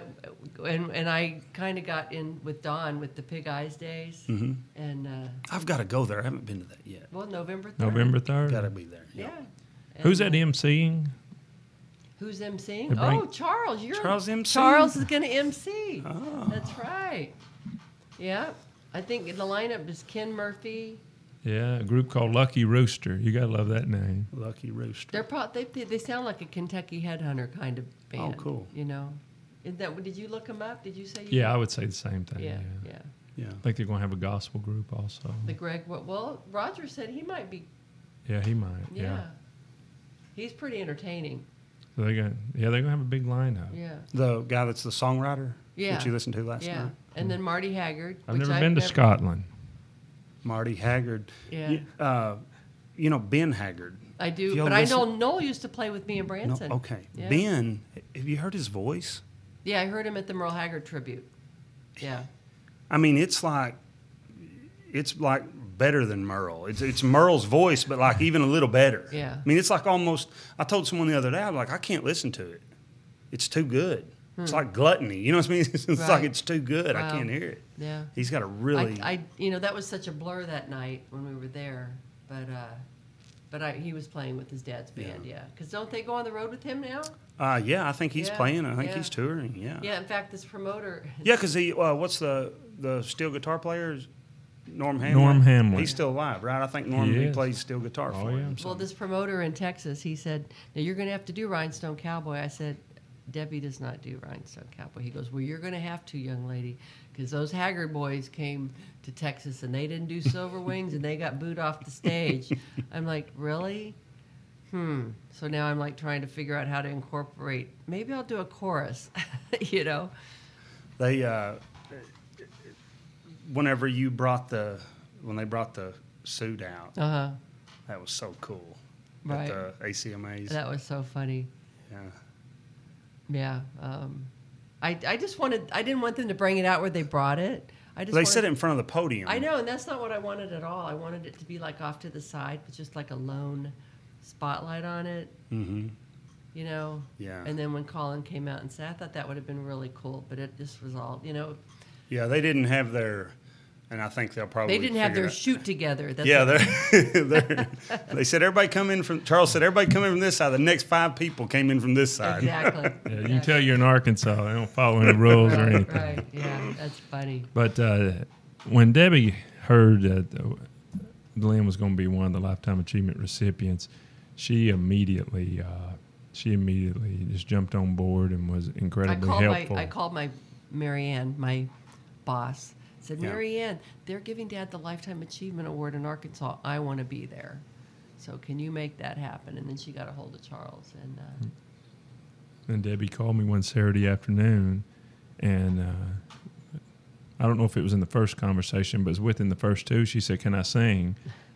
Speaker 3: and and I kind of got in with Don with the Pig Eyes days,
Speaker 4: Mm-hmm.
Speaker 3: and uh,
Speaker 1: I've got to go there. I haven't been to that yet.
Speaker 3: well, November 3rd.
Speaker 4: November third.
Speaker 1: Got to be there.
Speaker 3: Yeah.
Speaker 4: Who's that
Speaker 3: And, uh,
Speaker 4: emceeing?
Speaker 3: Who's emceeing?
Speaker 4: They're bring-
Speaker 3: Oh, Charles. You're
Speaker 1: Charles MC.
Speaker 3: Charles is going to MC.
Speaker 4: Oh.
Speaker 3: That's right. Yeah. I think the lineup is Ken Murphy.
Speaker 4: Yeah, a group called Lucky Rooster. You gotta love that name.
Speaker 1: Lucky Rooster.
Speaker 3: They're pro- they, they they sound like a Kentucky Headhunter kind of
Speaker 4: Oh,
Speaker 3: band.
Speaker 1: cool.
Speaker 3: You know, is that? Did you look them up? Did you say? You
Speaker 4: Yeah, I would say the same thing.
Speaker 3: Yeah,
Speaker 4: Yeah,
Speaker 3: yeah.
Speaker 1: Yeah.
Speaker 4: I think they're gonna have a gospel group also.
Speaker 3: The Greg, well, well, Roger said he might be,
Speaker 4: Yeah, he might.
Speaker 3: yeah.
Speaker 4: Yeah.
Speaker 3: He's pretty entertaining.
Speaker 4: So they got. Yeah, they're gonna have a big lineup.
Speaker 3: Yeah.
Speaker 1: The guy that's the songwriter
Speaker 3: Yeah.
Speaker 1: that you listened to last
Speaker 3: yeah.
Speaker 1: night,
Speaker 3: And then Marty Haggard.
Speaker 4: I've
Speaker 3: which
Speaker 4: never been to Scotland.
Speaker 1: Marty Haggard.
Speaker 3: Yeah.
Speaker 1: You, uh, you know Ben Haggard.
Speaker 3: I do,
Speaker 1: If you'll
Speaker 3: but I know
Speaker 1: listen-
Speaker 3: Noel used to play with me
Speaker 1: No,
Speaker 3: in Branson.
Speaker 1: okay.
Speaker 3: Yeah.
Speaker 1: Ben, have you heard his voice?
Speaker 3: Yeah, I heard him at the Merle Haggard tribute. Yeah.
Speaker 1: I mean, it's like it's like better than Merle. It's it's Merle's voice, but like even a little better.
Speaker 3: Yeah.
Speaker 1: I mean, it's like almost. I told someone the other day, I'm like, I can't listen to it. It's too good. It's like gluttony. You know what I mean? It's
Speaker 3: Hmm. Right.
Speaker 1: like it's too good.
Speaker 3: Wow.
Speaker 1: I can't hear it.
Speaker 3: Yeah.
Speaker 1: He's got a really.
Speaker 3: I, I, you know, that was such a blur that night when we were there, but, uh, but I, he was playing with his dad's band, yeah. Because don't they go on the road with him now?
Speaker 1: uh, yeah, I think he's
Speaker 3: Yeah,
Speaker 1: playing. I think
Speaker 3: yeah.
Speaker 1: he's touring. Yeah.
Speaker 3: Yeah, in fact, this promoter,
Speaker 1: Yeah, because he. Uh, what's the the steel guitar player? Is Norm Hamlin.
Speaker 4: Norm Hamlin.
Speaker 1: He's still alive, right? I think Norm
Speaker 4: He
Speaker 1: he
Speaker 4: is.
Speaker 1: plays steel guitar
Speaker 4: Oh,
Speaker 1: for
Speaker 4: yeah.
Speaker 1: him.
Speaker 3: Well, this promoter in Texas, he said, "Now you're going to have to do Rhinestone Cowboy." I said, "Debbie does not do Rhinestone Cowboy." He goes, "Well, you're going to have to, young lady, because those Haggard boys came to Texas and they didn't do Silver Wings and they got booed off the stage." I'm like, "Really?" Hmm. So now I'm like trying to figure out how to incorporate. Maybe I'll do a chorus, you know?
Speaker 1: they uh, whenever you brought the when they brought the suit out
Speaker 3: Uh huh.
Speaker 1: that was so cool
Speaker 3: Right.
Speaker 1: at the acmas
Speaker 3: That was so funny.
Speaker 1: yeah
Speaker 3: Yeah. Um, I I just wanted I didn't want them to bring it out where they brought it. I just
Speaker 1: they
Speaker 3: wanted-
Speaker 1: said it in front of the podium
Speaker 3: I know, and that's not what I wanted at all. I wanted it to be like off to the side with just like a lone spotlight on it,
Speaker 1: mm-hmm.
Speaker 3: you know.
Speaker 1: yeah
Speaker 3: And then when Colin came out and said, I thought that would have been really cool, but it just was all, you know,
Speaker 1: yeah they didn't have their and I think they'll probably
Speaker 3: They didn't have
Speaker 1: figure
Speaker 3: their
Speaker 1: it Oh, out.
Speaker 3: shoot together. That's
Speaker 1: Yeah,
Speaker 3: what-
Speaker 1: they're, they're, they said everybody come in from Charles said everybody come in from this side. The next five people came in from this side.
Speaker 3: exactly.
Speaker 4: Yeah, you can tell you're in Arkansas. They don't follow any rules or
Speaker 3: Right,
Speaker 4: anything.
Speaker 3: right. Yeah, that's funny.
Speaker 4: But uh, when Debbie heard that uh, Glenn was going to be one of the lifetime achievement recipients, she immediately uh, she immediately just jumped on board and was
Speaker 3: I
Speaker 4: incredibly
Speaker 3: called
Speaker 4: helpful.
Speaker 3: my I called my Marianne, my boss. Said
Speaker 1: Yeah.
Speaker 3: Marianne, they're giving Dad the Lifetime Achievement Award in Arkansas. I want to be there, so can you make that happen? And then she got a hold of Charles, and uh,
Speaker 4: and Debbie called me one Saturday afternoon, and uh, I don't know if it was in the first conversation, but it was within the first two. She said, "Can I sing?"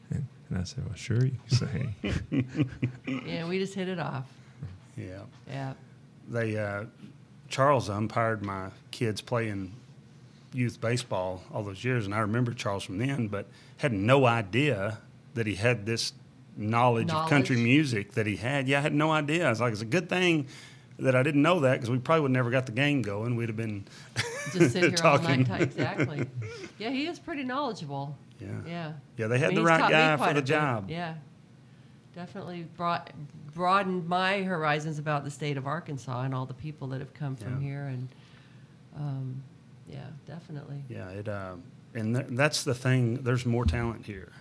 Speaker 4: And, and I said, "Well, sure, you can sing."
Speaker 1: Mm.
Speaker 3: yeah, we just hit it off.
Speaker 1: Yeah,
Speaker 3: Yeah,
Speaker 1: they uh, Charles umpired my kids playing youth baseball all those years, and I remember Charles from then, but had no idea that he had this knowledge, of country
Speaker 3: Knowledge.
Speaker 1: music that he had. Yeah, I had no idea. I was like, it's a good thing. That I didn't know that because we probably would never got the game going. We'd have been,
Speaker 3: just sit here all night.
Speaker 1: Talking.
Speaker 3: ti- Exactly. Yeah, he is pretty knowledgeable.
Speaker 1: yeah,
Speaker 3: Yeah.
Speaker 1: Yeah, they had the
Speaker 3: he's
Speaker 1: right
Speaker 3: taught me
Speaker 1: guy
Speaker 3: quite
Speaker 1: for
Speaker 3: a
Speaker 1: the
Speaker 3: bit.
Speaker 1: job.
Speaker 3: Yeah. Definitely brought, broadened my horizons about the state of Arkansas and all the people that have come from
Speaker 1: Yeah.
Speaker 3: here. And um, yeah, definitely.
Speaker 1: yeah. It, uh, and th- that's the thing. There's more talent here.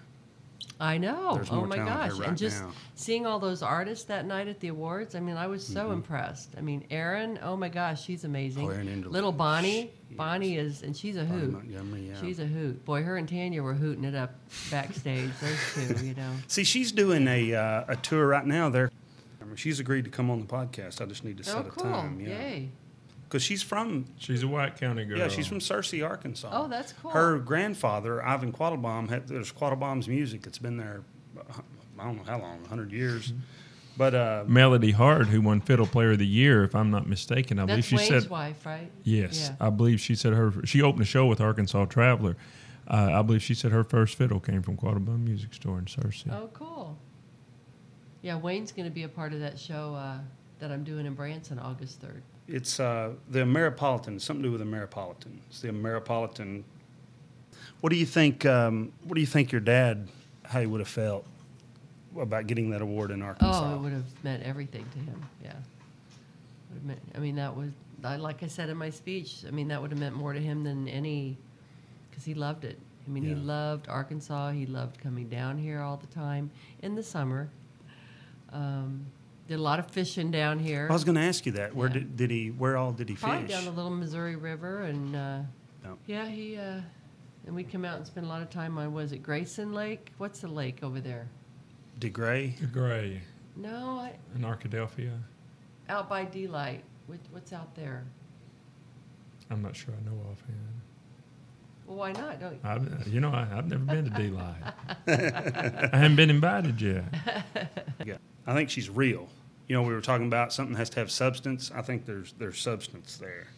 Speaker 3: I know.
Speaker 1: There's
Speaker 3: oh
Speaker 1: more
Speaker 3: my
Speaker 1: talent
Speaker 3: gosh.
Speaker 1: here right
Speaker 3: and just
Speaker 1: now.
Speaker 3: seeing all those artists that night at the awards, I mean, I was so impressed. I mean, Erin, oh my gosh, she's amazing.
Speaker 1: Mm-hmm. Oh, Erin Enderle.
Speaker 3: Little Bonnie.
Speaker 1: She
Speaker 3: Bonnie is, and she's a
Speaker 1: Bonnie
Speaker 3: hoot.
Speaker 1: Montgomery, yeah.
Speaker 3: She's a hoot. Boy, her and Tanya were hooting it up backstage. Those two, you know.
Speaker 1: See, she's doing a uh, a tour right now. There, I mean, she's agreed to come on the podcast. I just need to set
Speaker 3: Oh,
Speaker 1: a
Speaker 3: cool.
Speaker 1: time. Yeah,
Speaker 3: Yay.
Speaker 1: because she's from
Speaker 4: She's a White County girl.
Speaker 1: yeah, she's from Searcy, Arkansas.
Speaker 3: Oh, that's cool.
Speaker 1: Her grandfather, Ivan Quattlebaum, had, there's Quattlebaum's music. It's been there, uh, I don't know how long, hundred years. But uh,
Speaker 4: Melody Hart, who won Fiddle Player of the Year, if I'm not mistaken. I believe
Speaker 3: That's
Speaker 4: she
Speaker 3: Wayne's
Speaker 4: said
Speaker 3: wife, right?
Speaker 4: yes.
Speaker 3: Yeah.
Speaker 4: I believe she said her she opened a show with Arkansas Traveler. Uh, I believe she said her first fiddle came from Quattlebaum Music Store in Searcy.
Speaker 3: Oh, cool. Yeah, Wayne's going to be a part of that show uh, that I'm doing in Branson August 3rd.
Speaker 1: it's uh, the Ameripolitan. It's something to do with Ameripolitan. It's the Ameripolitan. What do you think? Um, what do you think your dad, how he would have felt about getting that award in Arkansas?
Speaker 3: Oh, it would have meant everything to him. Yeah. Would have meant, I mean, that was, I, like I said in my speech, I mean, that would have meant more to him than any, because he loved it. I mean, he
Speaker 1: Yeah.
Speaker 3: loved Arkansas. He loved coming down here all the time in the summer. Um, did a lot of fishing down here.
Speaker 1: I was going to ask you that. Where
Speaker 3: Yeah.
Speaker 1: did, did he? Where all did he
Speaker 3: Probably
Speaker 1: fish?
Speaker 3: down the Little Missouri River, and uh,
Speaker 1: Yep.
Speaker 3: yeah, he uh, and we come out and spend a lot of time on was it Grayson Lake? What's the lake over there?
Speaker 1: DeGray.
Speaker 4: Gray
Speaker 3: No, I,
Speaker 4: in Arkadelphia.
Speaker 3: out by D Light. What, what's out there?
Speaker 4: I'm not sure I know offhand.
Speaker 3: Well, why not? Don't
Speaker 4: I've, you know, I, I've never been to D Light. I haven't been invited yet.
Speaker 1: Yeah. I think she's real. You know, we were talking about something has to have substance. I think there's there's substance there.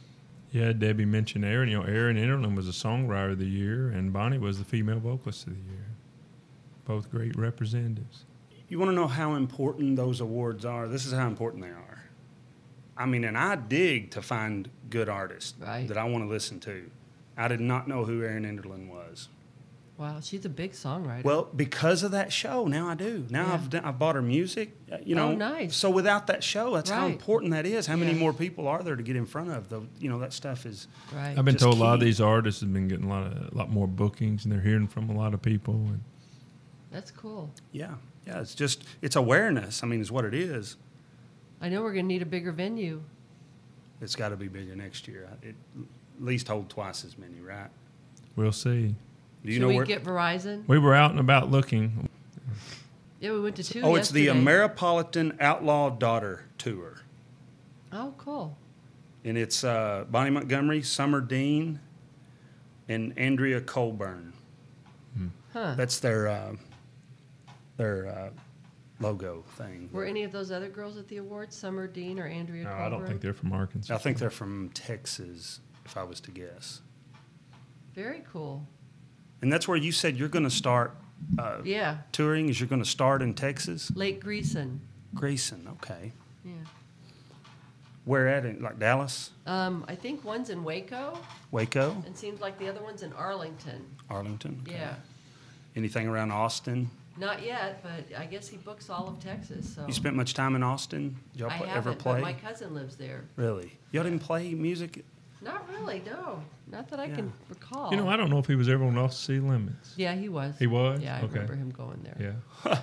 Speaker 4: Yeah, Debbie mentioned Aaron. You know, Aaron Enderlin was a songwriter of the year, and Bonnie was the female vocalist of the year. Both great representatives.
Speaker 1: You want to know how important those awards are? This is how important they are. I mean, and I dig to find good artists
Speaker 3: Right.
Speaker 1: that I want to listen to. I did not know who Erin Enderlin was.
Speaker 3: Wow, she's a big songwriter.
Speaker 1: Well, because of that show, now I do. Now
Speaker 3: Yeah.
Speaker 1: I've done, I've bought her music. uh, You know,
Speaker 3: Oh, nice.
Speaker 1: So without that show, that's how
Speaker 3: Right.
Speaker 1: important that is. How many
Speaker 3: Yeah.
Speaker 1: more people are there to get in front of? The you know that stuff is.
Speaker 3: right.
Speaker 4: I've been
Speaker 1: Just
Speaker 4: told a lot of
Speaker 1: key.
Speaker 4: these artists have been getting a lot of a lot more bookings, and they're hearing from a lot of people. And
Speaker 3: That's cool.
Speaker 1: Yeah, yeah. It's just it's awareness. I mean, is what it is.
Speaker 3: I know we're going to need a bigger venue.
Speaker 1: It's got to be bigger next year. I- It at least hold twice as many, right?
Speaker 4: we'll see.
Speaker 1: Do you
Speaker 3: Should
Speaker 1: know
Speaker 3: we
Speaker 1: where?
Speaker 3: get Verizon?
Speaker 4: We were out and about looking.
Speaker 3: Yeah, we went to two.
Speaker 1: oh, it's the
Speaker 3: yesterday.
Speaker 1: Ameripolitan Outlaw Daughter Tour,
Speaker 3: Oh, cool.
Speaker 1: and it's uh, Bonnie Montgomery, Summer Dean, and Andrea Colburn.
Speaker 3: Huh.
Speaker 1: That's their uh, their uh, logo thing.
Speaker 3: Were any of those other girls at the awards? Summer Dean or Andrea?
Speaker 4: No, I don't
Speaker 3: Colburn?
Speaker 4: think they're from Arkansas.
Speaker 1: I think they're from Texas, if I was to guess.
Speaker 3: Very cool.
Speaker 1: And that's where you said you're going to start uh,
Speaker 3: Yeah,
Speaker 1: touring. Is you're going to start in Texas,
Speaker 3: Lake Greason.
Speaker 1: Grayson? Okay.
Speaker 3: Yeah.
Speaker 1: Where at? In, like Dallas,
Speaker 3: Um, I think one's in Waco,
Speaker 1: Waco,
Speaker 3: and seems like the other one's in Arlington.
Speaker 1: Arlington. okay.
Speaker 3: Yeah,
Speaker 1: Anything around Austin?
Speaker 3: not yet, but I guess he books all of Texas. So
Speaker 1: You spent much time in Austin? Did y'all
Speaker 3: I
Speaker 1: pl-
Speaker 3: haven't,
Speaker 1: ever play?
Speaker 3: but my cousin lives there.
Speaker 1: really? Y'all didn't play music?
Speaker 3: Not really, no, not that I can
Speaker 1: Yeah.
Speaker 3: recall.
Speaker 4: You know, I don't know if he was ever on off sea limits.
Speaker 3: yeah, he was.
Speaker 4: He was?
Speaker 3: Yeah, I
Speaker 4: Okay.
Speaker 3: remember him going there.
Speaker 4: Yeah.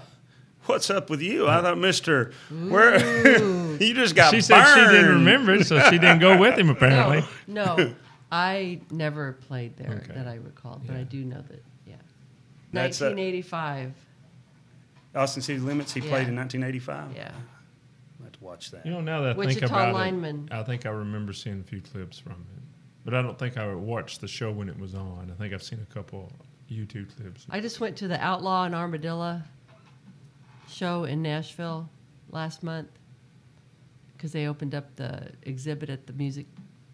Speaker 1: What's up with you? I thought, Mister, where you just got
Speaker 4: She said she didn't
Speaker 1: burned.
Speaker 4: remember it, so she didn't go with him apparently.
Speaker 3: No, no, I never played there
Speaker 4: Okay.
Speaker 3: that I recalled, but I
Speaker 4: Yeah.
Speaker 3: do know that. Yeah,
Speaker 1: That's a-
Speaker 3: 1985.
Speaker 1: Austin City Limits. He played
Speaker 3: Yeah.
Speaker 1: in 1985.
Speaker 3: Yeah,
Speaker 1: I have to watch that.
Speaker 4: You know, now that I think
Speaker 3: Wichita
Speaker 4: about
Speaker 3: lineman.
Speaker 4: it, I think I remember seeing a few clips from it, but I don't think I watched the show when it was on. I think I've seen a couple YouTube clips.
Speaker 3: I just went to the Outlaw and Armadillo show in Nashville last month because they opened up the exhibit at the music.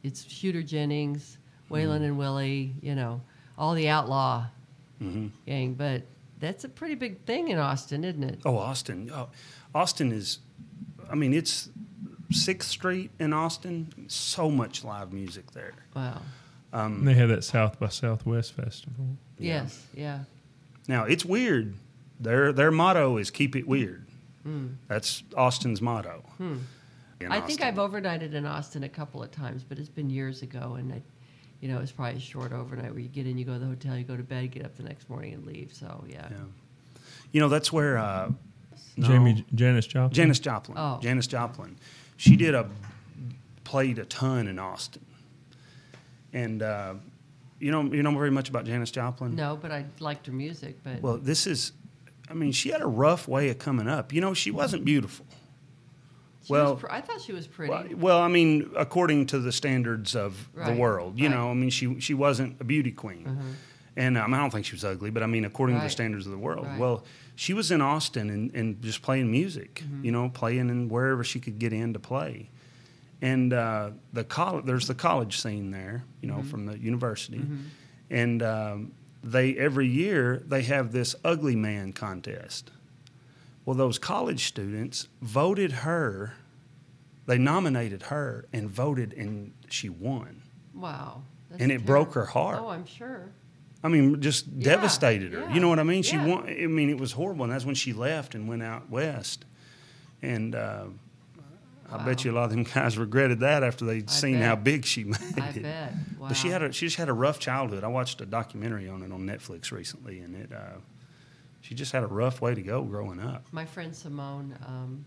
Speaker 3: It's Shooter Jennings, Waylon and Willie, you know, all the Outlaw gang. But that's a pretty big thing in Austin, isn't it?
Speaker 1: oh, Austin. Oh, Austin is. I mean, it's Sixth Street in Austin. So much live music there.
Speaker 3: Wow.
Speaker 4: And they had that South by Southwest festival.
Speaker 3: Yes. Yeah.
Speaker 1: Now it's weird. Their their motto is keep it weird. That's Austin's motto. In
Speaker 3: Hmm. I think
Speaker 1: Austin.
Speaker 3: I've overnighted in Austin a couple of times, but it's been years ago, and I, you know, it's probably a short overnight where you get in, you go to the hotel, you go to bed, get up the next morning, and leave. So yeah.
Speaker 1: Yeah. You know, that's where uh, no.
Speaker 4: Jamie Janice Joplin.
Speaker 1: Janis Joplin.
Speaker 3: Oh.
Speaker 1: Janis Joplin. She did a played a ton in Austin, and uh, you know you know very much about Janis Joplin.
Speaker 3: No, but I liked her music, but
Speaker 1: Well, this is, I mean, she had a rough way of coming up. You know, she wasn't beautiful.
Speaker 3: she
Speaker 1: well-
Speaker 3: was pr- I thought she was pretty.
Speaker 1: Well, well, I mean, according to the standards of the
Speaker 3: Right,
Speaker 1: world, you
Speaker 3: right. Mm-hmm.
Speaker 1: know, I mean, she she wasn't a beauty queen, and um, I don't think she was ugly, but I mean, according to the
Speaker 3: Right.
Speaker 1: standards of the world,
Speaker 3: Right.
Speaker 1: well, she was in Austin and, and just playing music, you know, playing in wherever she could get in to play, and uh, the college there's the college scene there, you know, from the university, and um, they every year they have this ugly man contest. Well, those college students voted her they nominated her and voted and she won
Speaker 3: wow. that's
Speaker 1: and it broke her
Speaker 3: terrible.
Speaker 1: heart
Speaker 3: Oh, I'm sure.
Speaker 1: i mean just
Speaker 3: Yeah,
Speaker 1: devastated her
Speaker 3: yeah,
Speaker 1: you know what i mean she
Speaker 3: yeah.
Speaker 1: won i mean it was horrible and that's when she left and went out west and uh, i bet
Speaker 3: Wow.
Speaker 1: you a lot of them guys regretted that after they'd
Speaker 3: I
Speaker 1: seen how
Speaker 3: bet.
Speaker 1: big she made
Speaker 3: I
Speaker 1: it
Speaker 3: bet. Wow.
Speaker 1: but she had a she just had a rough childhood i watched a documentary on it on netflix recently and it uh, she just had a rough way to go growing up
Speaker 3: My friend Simone um,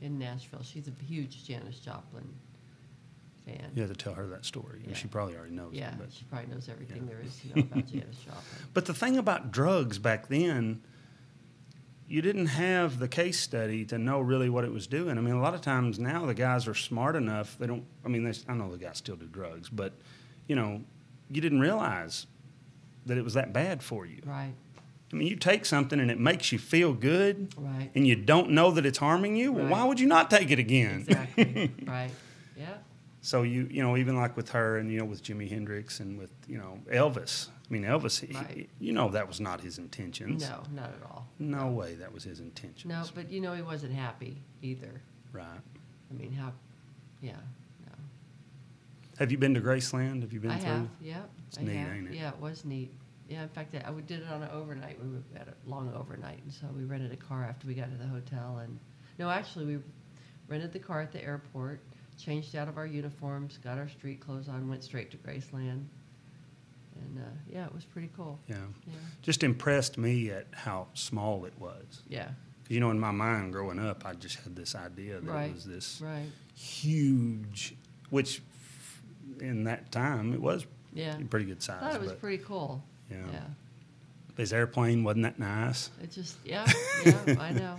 Speaker 3: in Nashville. She's a huge Janis Joplin fan.
Speaker 1: you have to tell her that story
Speaker 3: Yeah.
Speaker 1: she probably already knows
Speaker 3: Yeah,
Speaker 1: it but
Speaker 3: she probably knows everything there is to know about Janis Joplin.
Speaker 1: But the thing about drugs back then, you didn't have the case study to know really what it was doing. I mean, a lot of times now the guys are smart enough. They don't. I mean, they, I know the guys still do drugs, but you know, you didn't realize that it was that bad for you.
Speaker 3: Right,
Speaker 1: I mean, you take something and it makes you feel good,
Speaker 3: right.
Speaker 1: and you don't know that it's harming you. Well, why
Speaker 3: Right.
Speaker 1: would you not take it again?
Speaker 3: Exactly. right. Yeah.
Speaker 1: So you you know even like with her and you know with Jimi Hendrix and with you know Elvis. I mean Elvis, he-
Speaker 3: Right.
Speaker 1: you know that was not his intentions.
Speaker 3: No, not at all.
Speaker 1: No way that was his intentions.
Speaker 3: No, but you know he wasn't happy either.
Speaker 1: Right.
Speaker 3: I mean, how? Yeah. No.
Speaker 1: Have you been to Graceland? Have you been
Speaker 3: I
Speaker 1: through?
Speaker 3: have. Yep.
Speaker 1: It's
Speaker 3: I
Speaker 1: neat,
Speaker 3: have.
Speaker 1: ain't it?
Speaker 3: Yeah, it was neat. Yeah, in fact, I, we did it on an overnight. We were at a long overnight, and so we rented a car after we got to the hotel. And no, actually, we rented the car at the airport, changed out of our uniforms, got our street clothes on, went straight to Graceland. And uh, yeah, it was pretty cool.
Speaker 1: Yeah.
Speaker 3: Yeah.
Speaker 1: Just impressed me at how small it was. 'Cause,
Speaker 3: Yeah.
Speaker 1: You know, in my mind growing up, I just had this idea that
Speaker 3: Right.
Speaker 1: it was this
Speaker 3: Right.
Speaker 1: huge, which f- in that time it was
Speaker 3: Yeah.
Speaker 1: a pretty good
Speaker 3: I
Speaker 1: size.
Speaker 3: thought it was
Speaker 1: but
Speaker 3: pretty cool.
Speaker 1: yeah.
Speaker 3: Yeah.
Speaker 1: his airplane wasn't that nice,
Speaker 3: It just yeah yeah I know.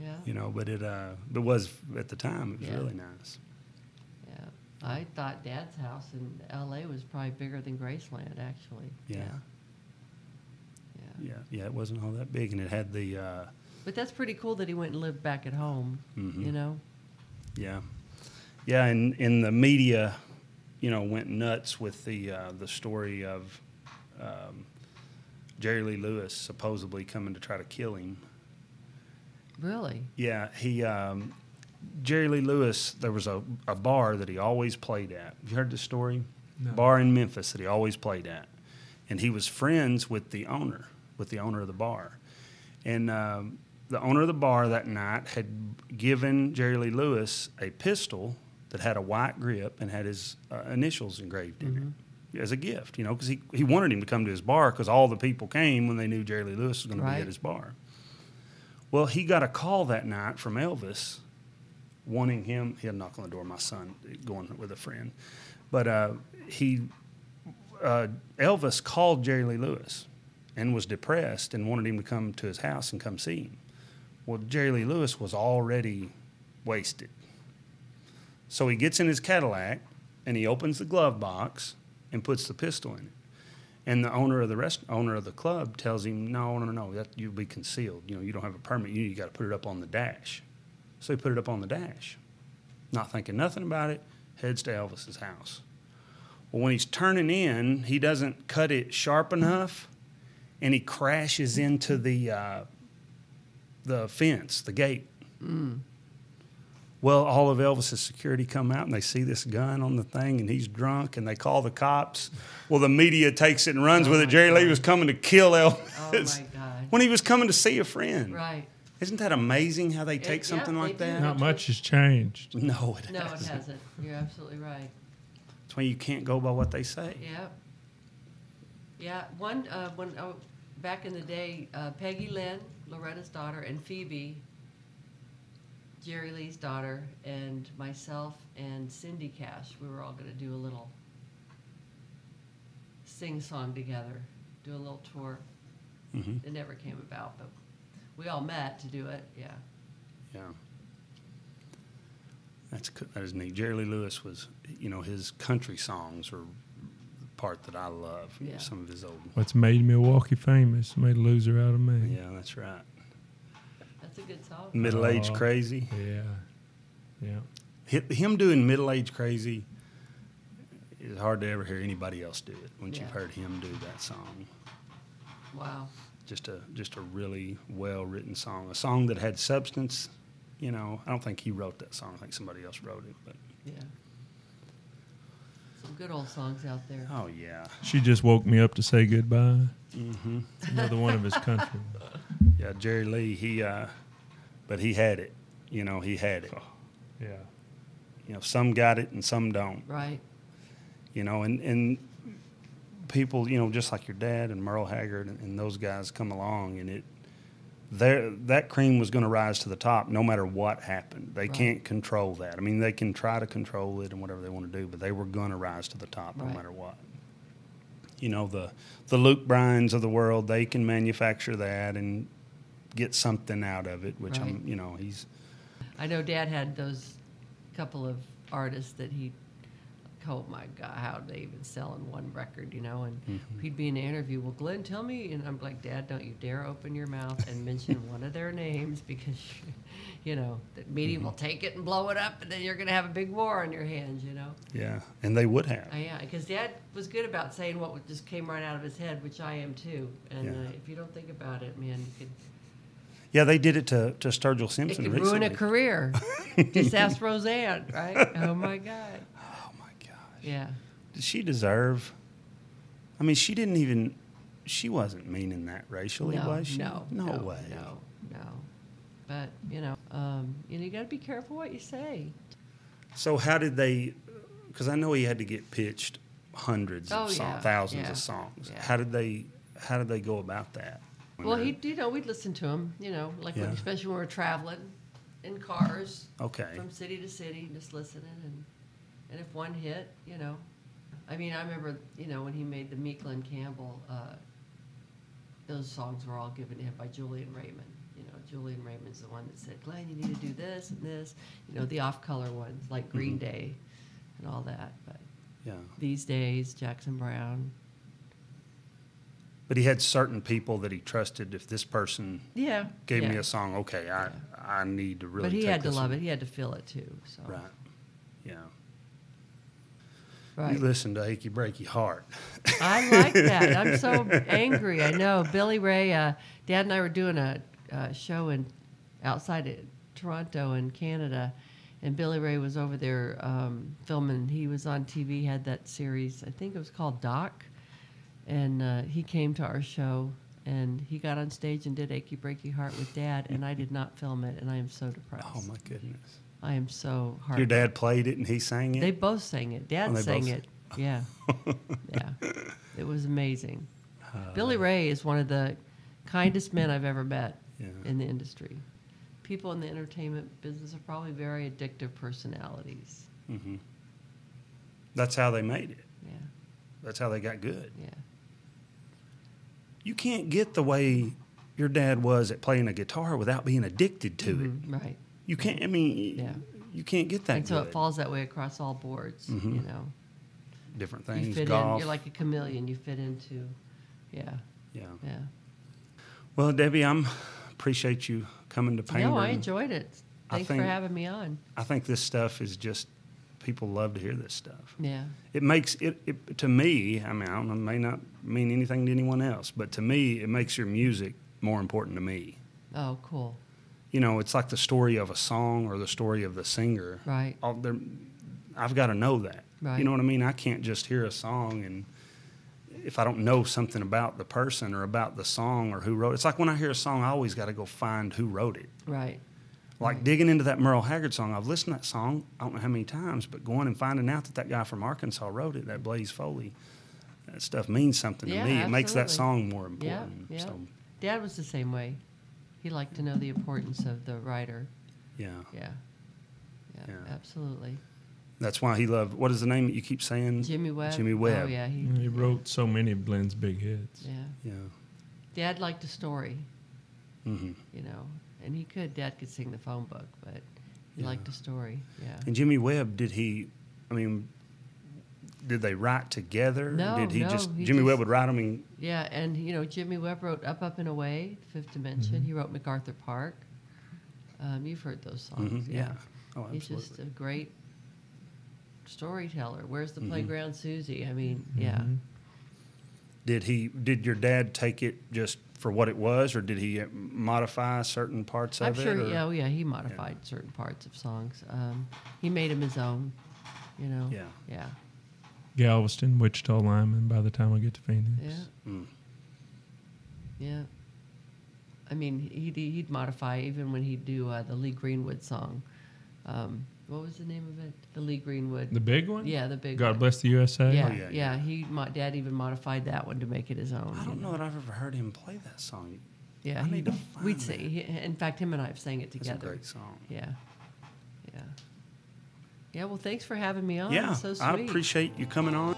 Speaker 3: Yeah.
Speaker 1: you know, but it uh, it was at the time it was
Speaker 3: Yeah.
Speaker 1: really nice.
Speaker 3: Yeah, I thought Dad's house in L.A. was probably bigger than Graceland, actually.
Speaker 1: Yeah.
Speaker 3: yeah, yeah.
Speaker 1: Yeah, yeah, it wasn't all that big, and it had the uh,
Speaker 3: But that's pretty cool that he went and lived back at home.
Speaker 1: Mhm.
Speaker 3: You know,
Speaker 1: Yeah, yeah, and and the media, you know, went nuts with the uh, the story of um, Jerry Lee Lewis supposedly coming to try to kill him.
Speaker 3: really.
Speaker 1: Yeah, he um, Jerry Lee Lewis, there was a, a bar that he always played at. You heard the story? Bar in Memphis that he always played at. And he was friends with the owner, with the owner of the bar. And um, the owner of the bar that night had given Jerry Lee Lewis a pistol that had a white grip and had his uh, initials engraved in it as a gift, you know, because he, he wanted him to come to his bar because all the people came when they knew Jerry Lee Lewis was going to be
Speaker 3: Right.
Speaker 1: at his bar. Well, he got a call that night from Elvis wanting him. He'll knock on the door. My son going with a friend, but uh, he uh, Elvis called Jerry Lee Lewis and was depressed and wanted him to come to his house and come see him. Well, Jerry Lee Lewis was already wasted, so he gets in his Cadillac and he opens the glove box and puts the pistol in it. And the owner of the rest owner of the club tells him, "No, no, no, no. That you'll be concealed. You know, you don't have a permit. You, you got to put it up on the dash." So he put it up on the dash, not thinking nothing about it. Heads to Elvis's house. Well, when he's turning in, he doesn't cut it sharp enough, and he crashes into the uh, the fence, the gate.
Speaker 3: Mm.
Speaker 1: Well, all of Elvis's security come out and they see this gun on the thing, and he's drunk, and they call the cops. Well, the media takes it and runs
Speaker 3: Oh
Speaker 1: with it. Jerry Lee was coming to kill Elvis
Speaker 3: my God.
Speaker 1: when he was coming to see a friend.
Speaker 3: Right.
Speaker 1: Isn't that amazing how they take
Speaker 3: yeah,
Speaker 1: something
Speaker 3: they
Speaker 1: like
Speaker 3: do.
Speaker 1: that?
Speaker 4: Not much has changed.
Speaker 1: No, it
Speaker 3: No, it
Speaker 1: hasn't.
Speaker 3: hasn't. You're absolutely right.
Speaker 1: That's why you can't go by what they say.
Speaker 3: Yeah. Yeah. One, uh, when, oh, back in the day, uh, Peggy Lynn, Loretta's daughter, and Phoebe, Jerry Lee's daughter, and myself and Cindy Cash, we were all going to do a little sing song together, do a little tour. It never came about, but we all met to do it. Yeah.
Speaker 1: Yeah. That's co- that is neat. Jerry Lee Lewis was, you know, his country songs are the part that I love. you know,
Speaker 3: Yeah.
Speaker 1: Some of his old.
Speaker 4: What's made Milwaukee famous made a loser out of me.
Speaker 1: Yeah, that's right.
Speaker 3: That's a good song.
Speaker 1: Middle Age
Speaker 4: Aw.
Speaker 1: Crazy.
Speaker 4: Yeah. Yeah.
Speaker 1: Hi- Him doing Middle Age Crazy is hard to ever hear anybody else do it. Once you've
Speaker 3: Yeah.
Speaker 1: heard him do that song,
Speaker 3: Wow.
Speaker 1: just a just a really well written song, a song that had substance. You know, I don't think he wrote that song. I think somebody else wrote it. But
Speaker 3: Yeah. Some good old songs out there.
Speaker 1: oh yeah,
Speaker 4: She just woke me up to say goodbye. Mm-hmm. Another one of his country.
Speaker 1: yeah. Jerry Lee, he, uh, but he had it. You know, he had it.
Speaker 4: Yeah.
Speaker 1: you know some got it and some don't
Speaker 3: Right.
Speaker 1: you know and and people you know just like your dad and merle haggard and, and those guys come along and it there that cream was going to rise to the top no matter what happened they
Speaker 3: Right.
Speaker 1: can't control that i mean they can try to control it and whatever they want to do but they were going to rise to the top
Speaker 3: Right.
Speaker 1: no matter what you know the the luke bryans of the world they can manufacture that and get something out of it which i'm
Speaker 3: Right.
Speaker 1: you know he's
Speaker 3: I know Dad had those couple of artists that he, oh my God, how would they even sell in one record, you know? And he'd be in an interview. Well, Glenn, tell me, and I'm like, Dad, don't you dare open your mouth and mention one of their names because, you know, the media will take it and blow it up, and then you're gonna have a big war on your hands, you know?
Speaker 1: yeah and they would have
Speaker 3: Uh, yeah, because Dad was good about saying what would- just came right out of his head, which I am too. And
Speaker 1: Yeah.
Speaker 3: uh, if you don't think about it, man, you could.
Speaker 1: yeah they did it to, to sturgill
Speaker 3: It
Speaker 1: simpson
Speaker 3: could
Speaker 1: recently.
Speaker 3: ruin a career. Just ask Roseanne, right? Oh my God.
Speaker 1: Oh my gosh.
Speaker 3: Yeah.
Speaker 1: Did she deserve? I mean, she didn't even. She wasn't meaning that racially,
Speaker 3: no,
Speaker 1: was she?
Speaker 3: No,
Speaker 1: no, way.
Speaker 3: No, no. But you know, um, you know, you got to be careful what you say.
Speaker 1: So how did they? Because I know he had to get pitched hundreds
Speaker 3: Oh,
Speaker 1: of songs,
Speaker 3: yeah,
Speaker 1: thousands
Speaker 3: yeah,
Speaker 1: of songs.
Speaker 3: yeah.
Speaker 1: How did they? How did they go about that?
Speaker 3: Well, he, you know, we'd listen to him. You know, like when,
Speaker 1: Yeah.
Speaker 3: especially when we're traveling in cars
Speaker 1: Okay.
Speaker 3: from city to city, just listening, and and if one hit, you know, I mean, I remember, you know, when he made the Meekland Campbell. Uh, those songs were all given to him by Julian Raymond. You know, Julian Raymond's the one that said, Glenn, you need to do this and this. You know, the off-color ones like Green
Speaker 1: Mm-hmm.
Speaker 3: Day and all that. But
Speaker 1: Yeah.
Speaker 3: these days, Jackson Brown.
Speaker 1: But he had certain people that he trusted. If this person
Speaker 3: Yeah.
Speaker 1: gave me
Speaker 3: yeah.
Speaker 1: a song, okay, I I need to really.
Speaker 3: But he
Speaker 1: take
Speaker 3: had to
Speaker 1: this
Speaker 3: love
Speaker 1: one.
Speaker 3: it. He had to feel it too. So
Speaker 1: Right. Yeah.
Speaker 3: Right.
Speaker 1: You listen to "Achy Breaky Heart."
Speaker 3: I like that. I'm so angry. I know. Billy Ray, uh, Dad and I were doing a uh, show in outside of Toronto in Canada, and Billy Ray was over there um, filming. He was on TV, had that series. I think it was called Doc, and uh, he came to our show. And he got on stage and did "Achy Breaky Heart" with Dad, and I did not film it, and I am so depressed.
Speaker 1: Oh my goodness!
Speaker 3: I am so hard.
Speaker 1: Your dad played it and he sang it.
Speaker 3: They both sang it. Dad
Speaker 1: Oh, they
Speaker 3: sang
Speaker 1: both-
Speaker 3: it. Yeah, yeah. It was amazing.
Speaker 1: Uh,
Speaker 3: Billy Ray is one of the kindest men I've ever met
Speaker 1: Yeah.
Speaker 3: in the industry. People in the entertainment business are probably very addictive personalities.
Speaker 1: That's how they made it.
Speaker 3: Yeah,
Speaker 1: That's how they got good.
Speaker 3: yeah.
Speaker 1: You can't get the way your dad was at playing a guitar without being addicted to it.
Speaker 3: Right.
Speaker 1: You can't. I mean,
Speaker 3: Mm-hmm. Yeah.
Speaker 1: you can't get Mm-hmm. that.
Speaker 3: and so
Speaker 1: good.
Speaker 3: it falls that way across all boards. You know,
Speaker 1: different
Speaker 3: you
Speaker 1: things.
Speaker 3: fit in.
Speaker 1: golf.
Speaker 3: You're like a chameleon. You fit into. Yeah,
Speaker 1: yeah.
Speaker 3: yeah.
Speaker 1: Well, Debbie, I'm appreciate you coming to Painter.
Speaker 3: No, I
Speaker 1: and
Speaker 3: enjoyed it.
Speaker 1: I
Speaker 3: Thanks
Speaker 1: think-
Speaker 3: for having me on.
Speaker 1: I think this stuff is just people love to hear this stuff.
Speaker 3: Yeah,
Speaker 1: It makes it, it to me. I mean, I don't know, it may not mean anything to anyone else, but to me, it makes your music more important to me.
Speaker 3: Oh, cool.
Speaker 1: You know, it's like the story of a song or the story of the singer.
Speaker 3: Right.
Speaker 1: All there- I've got to know that.
Speaker 3: Right.
Speaker 1: You know what I mean? I can't just hear a song and if I don't know something about the person or about the song or who wrote it. It's like when I hear a song, I always got to go find who wrote it.
Speaker 3: Right.
Speaker 1: Like digging into that Merle Haggard song, I've listened to that song I don't know how many times, but going and finding out that that guy from Arkansas wrote it, that Blaze Foley, that stuff means something to
Speaker 3: Yeah,
Speaker 1: me. It makes that
Speaker 3: absolutely.
Speaker 1: song more
Speaker 3: Yeah,
Speaker 1: important.
Speaker 3: yeah.
Speaker 1: So,
Speaker 3: Dad was the same way. He liked to know the importance of the writer.
Speaker 1: yeah.
Speaker 3: Yeah. Yeah,
Speaker 1: Yeah.
Speaker 3: absolutely.
Speaker 1: That's why he loved. What is the name that you keep saying?
Speaker 3: Jimmy Webb.
Speaker 1: Jimmy Webb.
Speaker 3: Oh yeah, he.
Speaker 4: He wrote so many of Glenn's big hits.
Speaker 3: Yeah.
Speaker 1: Yeah.
Speaker 3: Dad liked a story,
Speaker 1: hmm
Speaker 3: you know, and he could. Dad could sing the phone book, but he
Speaker 1: Yeah.
Speaker 3: liked a story. Yeah.
Speaker 1: And Jimmy Webb, did he? I mean, did they write together?
Speaker 3: No,
Speaker 1: did he
Speaker 3: no,
Speaker 1: just?
Speaker 3: he
Speaker 1: Jimmy
Speaker 3: just-
Speaker 1: Webb would write them. And,
Speaker 3: Yeah, and you know Jimmy Webb wrote "Up, Up and Away," Fifth Dimension. He wrote MacArthur Park. Um, you've heard those songs,
Speaker 1: Mhm,
Speaker 3: yeah.
Speaker 1: yeah. oh,
Speaker 3: He's
Speaker 1: absolutely.
Speaker 3: just a great storyteller. Where's the
Speaker 1: Mm-hmm.
Speaker 3: playground, Susie? I mean, yeah.
Speaker 1: did he? Did your dad take it just for what it was, or did he uh, modify certain parts
Speaker 3: I'm
Speaker 1: of
Speaker 3: sure.
Speaker 1: it? or-
Speaker 3: yeah, oh yeah. He modified certain parts of songs. Um, he made them his own. You know.
Speaker 1: Yeah.
Speaker 3: Yeah.
Speaker 4: Galveston, Wichita lineman. By the time I get to Phoenix,
Speaker 3: Yeah.
Speaker 1: Mm.
Speaker 3: Yeah. I mean, he'd, he'd modify even when he'd do uh, the Lee Greenwood song. Um, what was the name of it? The Lee Greenwood.
Speaker 4: the big one.
Speaker 3: yeah, the big.
Speaker 4: God
Speaker 3: one.
Speaker 4: bless the USA.
Speaker 3: Yeah,
Speaker 1: Oh,
Speaker 3: yeah,
Speaker 1: yeah,
Speaker 3: He, my dad, even modified that one to make it his own.
Speaker 1: I
Speaker 3: you
Speaker 1: don't know that I've ever heard him play that song.
Speaker 3: Yeah,
Speaker 1: I
Speaker 3: he,
Speaker 1: need to
Speaker 3: we'd
Speaker 1: find
Speaker 3: sing.
Speaker 1: that.
Speaker 3: He, in fact, him and I have sang it
Speaker 1: That's
Speaker 3: together.
Speaker 1: a great song.
Speaker 3: Yeah, yeah, yeah. Well, thanks for having me on.
Speaker 1: yeah,
Speaker 3: Oh, so sweet.
Speaker 1: I appreciate you coming on.